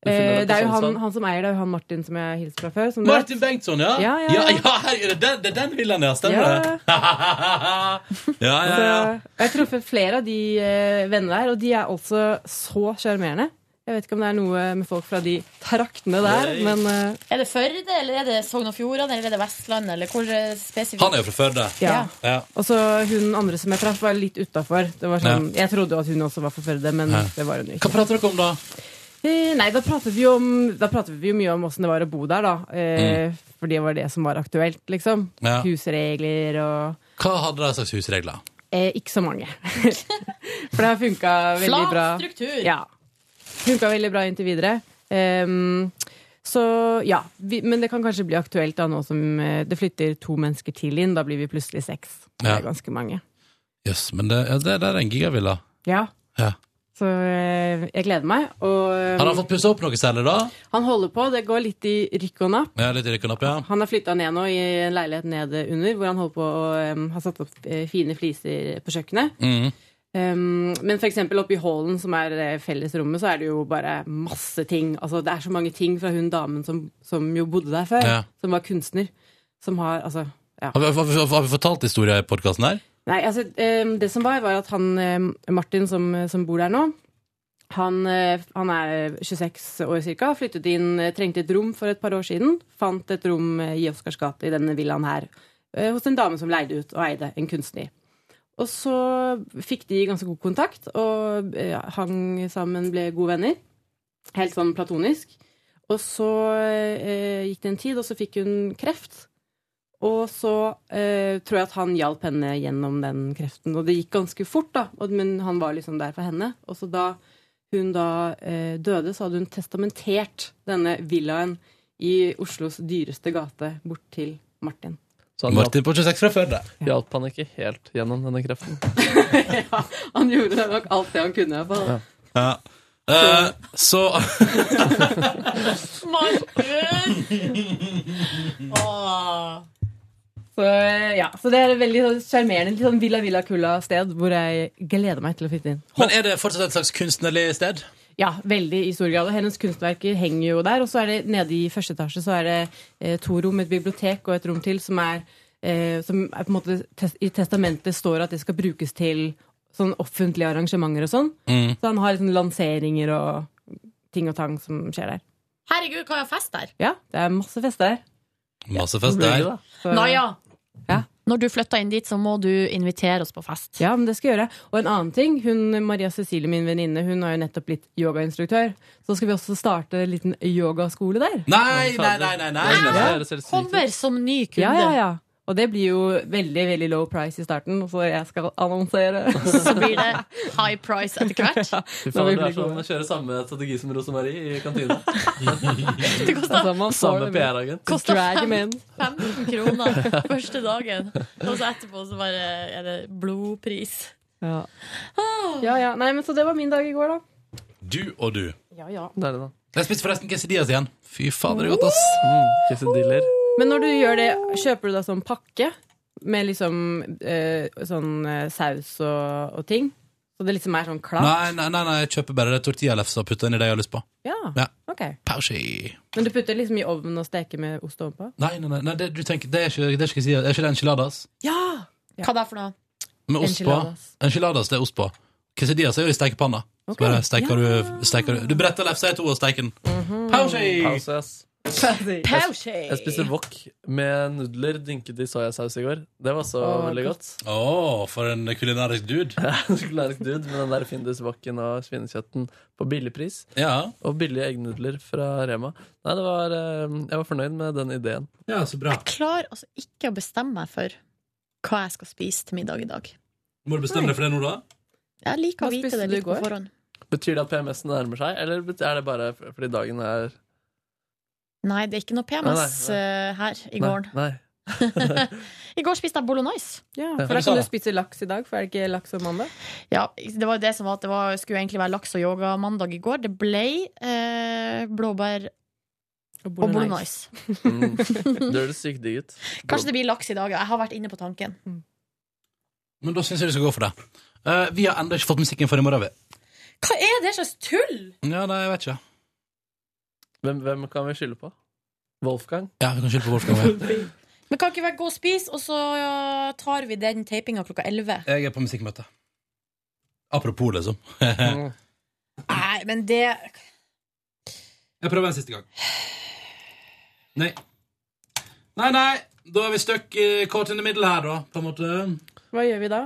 S1: Du finner
S11: Eh,
S1: dette
S11: det er jo
S1: sånn,
S11: han,
S1: sånn.
S11: han som eier det, er jo han Martin som jeg hilste fra før. Som du vet.
S1: Martin Bengtsson, ja?
S11: Ja,
S1: ja,
S11: ja, ja.
S1: ja, her er det den, det er den villaen, ja. Stemmer
S11: Ja. Altså-
S1: det? ja, ja, ja.
S11: Så Jeg har truffet flere av de eh, vennene der, og de er altså så sjarmerende. Jeg vet ikke om det er noe med folk fra de traktene der,
S4: Nei.
S11: men eh,
S4: Er det Førde, eller er det Sogn og Fjordane, eller er det Vestlandet, eller hvor eh, spesifikt?
S1: Han er jo fra Førde.
S11: Ja.
S1: ja.
S11: Og så hun andre som jeg traff, var litt utafor. Sånn, jeg trodde jo at hun også var fra Førde, men
S1: Ja.
S11: det var hun jo ikke.
S1: Hva prater dere om da?
S11: Eh, Nei, da pratet vi jo om, da pratet vi jo mye om åssen det var å bo der, da. Eh, For det var det som var aktuelt, liksom.
S1: Mm. Ja.
S11: Husregler og
S1: Hva hadde de slags husregler?
S11: eh, Ikke så mange. for det har funka veldig
S4: Flat
S11: bra.
S4: struktur.
S11: Ja. Funka veldig bra inntil videre. Ehm, så ja. Vi, men det kan kanskje bli aktuelt da nå som eh, det flytter to mennesker til inn. Da blir vi plutselig seks. Det
S1: Ja.
S11: er ganske mange.
S1: Jøss, men det, ja, det, det er en gigavilla.
S11: Ja.
S1: Ja.
S11: Så eh, jeg gleder meg. Og eh,
S1: Har han fått pussa opp noe særlig, da?
S11: han holder på. Det går litt i rykk og napp.
S1: Ja, litt i rykken opp, ja.
S11: Han har flytta ned nå i en leilighet nede under, hvor han holder på å um, ha satt opp eh, fine fliser på kjøkkenet.
S1: Mm.
S11: Um, men for eksempel oppe i hallen, som er eh, fellesrommet, så er det jo bare masse ting. Altså, det er så mange ting fra hun damen som, som jo bodde der før,
S1: Ja.
S11: som var kunstner, som har Altså, ja.
S1: Har, vi, har, vi, har vi fortalt historier i podkasten her?
S11: Nei, altså, eh, det som var, var at han eh, Martin, som, som bor der nå, han, eh, han er 26 år cirka, flyttet inn, eh, trengte et rom for et par år siden. Fant et rom eh, i Oscars gate i denne villaen her, eh, hos en dame som leide ut og eide, en kunstner. Og så fikk de ganske god kontakt, og eh, hang sammen, ble gode venner. Helt sånn platonisk. Og så eh, gikk det en tid, og så fikk hun kreft. Og så eh, tror jeg at han hjalp henne gjennom den kreften. Og det gikk ganske fort, da. Og- Men han var liksom der for henne. Og så da hun da eh, døde, så hadde hun testamentert denne villaen i Oslos dyreste gate bort til Martin.
S1: Martin på 26 fra Førde.
S2: Hjalp han ikke helt gjennom denne kreften?
S11: Han gjorde nok alt det han kunne. i hvert fall.
S1: Ja. Eh, så
S4: Martin! Åh.
S11: Så, eh, ja. så det er et veldig sånn sjarmerende, litt sånn Villa Villa Kulla-sted hvor jeg gleder meg til å flytte inn.
S1: Men er det fortsatt et slags kunstnerlig sted?
S11: Ja, veldig i stor grad. Og hennes kunstverker henger jo der. Og så er det nede i første etasje så er det eh, to rom, et bibliotek og et rom til, som er, eh, som er på en måte tes I testamentet står at det skal brukes til sånn offentlige arrangementer og sånn.
S1: Mm.
S11: Så han har liksom lanseringer og ting og tang som skjer der.
S4: Herregud, kan jeg ha fest der?
S11: Ja, det er masse fester der.
S1: Masse fest der.
S11: Så-
S4: Naja, når du flytter inn dit, så må du invitere oss på fest.
S11: Ja, men det skal jeg gjøre. Og en annen ting, hun, Maria Cecilie, min venninne, hun har jo nettopp blitt yogainstruktør. Så skal vi også starte en liten yogaskole der.
S1: Nei, nei, nei, nei, nei.
S11: Ja.
S4: Kommer som ny kunde.
S11: Ja, ja, ja. Og det blir jo veldig veldig low price i starten, så jeg skal annonsere.
S4: Så blir det high price etter hvert.
S2: Fy
S11: Når vi
S2: faen, det er
S11: blir
S2: sånn, kjører samme strategi som Rosemarie i kantina.
S4: Det koster
S2: Samme PR-agent.
S4: koster
S11: Drag
S4: fem-
S11: him in.
S4: 15 kroner første dagen, og så etterpå så bare er det blodpris.
S11: Ja.
S4: Ah.
S11: ja, ja. Nei, men så det var min dag i går, da.
S1: Du og du.
S11: Ja, ja.
S2: Deilig, da.
S1: Jeg spiste forresten quesadillas igjen. Fy fader, det er godt, ass.
S2: Quesadiller.
S11: Men når du gjør det, kjøper du da sånn pakke med liksom eh, sånn eh, saus og, og ting? Så det liksom er sånn klart?
S1: Nei, nei, nei, nei, jeg kjøper bare tortillalefse og putter inn i det jeg har lyst på.
S11: Ja.
S1: Ja.
S11: Ok.
S1: Pausi.
S11: Men du putter liksom i ovnen og steker med ost ovenpå?
S1: Nei, nei, nei, nei det, du tenker, det er ikke det er ikke, quesadillas, det er ikke det enchiladas.
S11: Ja!
S4: Hva det er for noe?
S1: Med ost på.
S11: Enchiladas.
S1: Enchiladas, det er ost på. Quesadillas er jo i stekepanna. Så
S11: Ok.
S1: Mhm. bare steker du, steker du Du bretter lefsa i to og steiker den. Pausi!
S2: Pause, ass.
S11: Pausi.
S2: Jeg spiste wok med nudler dynket i soyasaus i går. Det var så
S1: Åh,
S2: veldig
S1: godt.
S2: godt.
S1: Å, for en kulinarisk dude.
S2: Kulinarisk dude med den der Findus-woken og svinekjøtten på billigpris. Og billige eggnudler fra Rema. Nei, det var, eh, jeg var fornøyd med den ideen.
S1: Ja, så bra.
S4: Jeg klarer altså ikke å bestemme meg for hva jeg skal spise til middag i dag.
S1: Må du bestemme deg for det nå, da?
S4: Jeg liker
S11: Hva
S4: å vite
S11: spiste
S4: det
S11: du i
S4: litt på
S11: går?
S4: forhånd.
S2: Betyr det at PMS-en nærmer seg, eller bet- er det bare f- fordi dagen er
S4: Nei, det er ikke noe
S2: Nei,
S4: PMS
S2: nei, nei.
S4: eh, her i
S2: Nei,
S4: gården.
S2: Nei.
S4: I går spiste jeg bolognese.
S2: Ja.
S11: Ja, for da kan du spise laks i dag, for er det ikke laks om mandag?
S4: Ja, det var jo det som var at det var, skulle egentlig være laks og yoga mandag i går. Det ble eh, blåbær og bolognese.
S2: Mm. Det høres sykt digg ut.
S4: Kanskje det blir laks i dag. ja. Jeg har vært inne på tanken.
S1: Men da syns jeg du skal gå for det. Eh, vi har ennå ikke fått musikken for i morgen. vi.
S4: Hva er det slags tull?!
S1: Ja, nei, jeg vet ikke.
S2: Hvem, hvem kan vi skylde på? Wolfgang?
S1: Ja, vi kan skylde på Wolfgang. ja.
S4: Men kan ikke være gå og spise, og så ja, tar vi den tapinga klokka 11.
S1: Jeg er på musikkmøte. Apropos, liksom.
S4: Nei, men det
S1: Jeg prøver en siste gang. Nei. Nei, nei. Da er vi stuck i caught in the middle her, da, på en måte.
S11: Hva gjør vi da?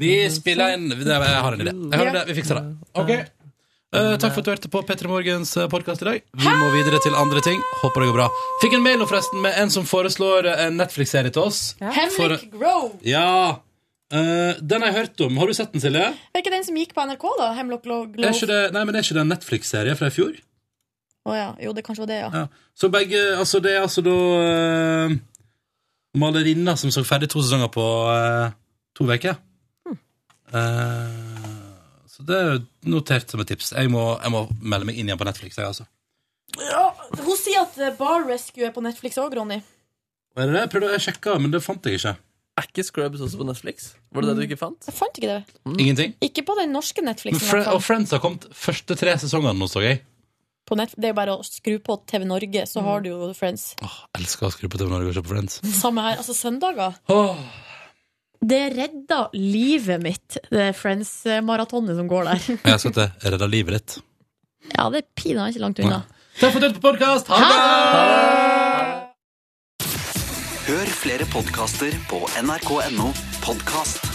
S1: Vi spiller inn det- Jeg har en idé. Jeg har en idé. Vi fikser det. Ok. Eh, takk for at du hørte på P3 Morgens podkast i dag. Vi må videre til andre ting. Håper det går bra. Fikk en mail nå forresten med en som foreslår en Netflix-serie til oss. For- eh,
S4: Henrik Grove!
S1: ja. Eh, den har jeg hørt om. Har du sett den, Silje?
S4: Er ikke den som gikk på NRK, da? Hemlock
S1: Er
S4: Glo-
S1: ikke
S4: Grove?
S1: det, nei, men er ikke det en Netflix-serie fra i fjor?
S4: Å ja. Jo, det kanskje var det, ja.
S1: Ja. Så begge, altså det er altså da uh, Malerinna som så ferdig to sesonger på eh, to uker.
S4: Hmm.
S1: Eh, så det er notert som et tips. Jeg må, jeg må melde meg inn igjen på Netflix. Jeg, altså.
S4: Hun sier at eh, Bar Rescue er på Netflix òg, Ronny.
S1: Er det det? Jeg prøvde å sjekke, men det fant jeg ikke.
S2: Er ikke Scrubs også på Netflix? Var det det du ikke fant?
S4: Jeg fant ikke det.
S1: Ingenting.
S4: Hmm. Ikke på den norske
S1: Men
S4: Netflixen. i
S1: Fre
S4: hvert fall.
S1: og Friends har kommet første tre sesongene nå, så jeg.
S4: På Netf- det er jo bare å skru på TV Norge, så har du
S1: Mm.
S4: jo Friends.
S1: Elsker å skru på TV Norge og se på Friends.
S4: Samme her. Altså, søndager
S1: Åh.
S4: Det redda livet mitt, det Friends-maratonet som går der.
S1: Jeg skal til Redda livet ditt.
S4: Ja, det er pinadø ikke langt unna.
S1: Takk for at du hørte på podkast! Ha det!
S5: Hør flere podkaster på nrk.no podkast.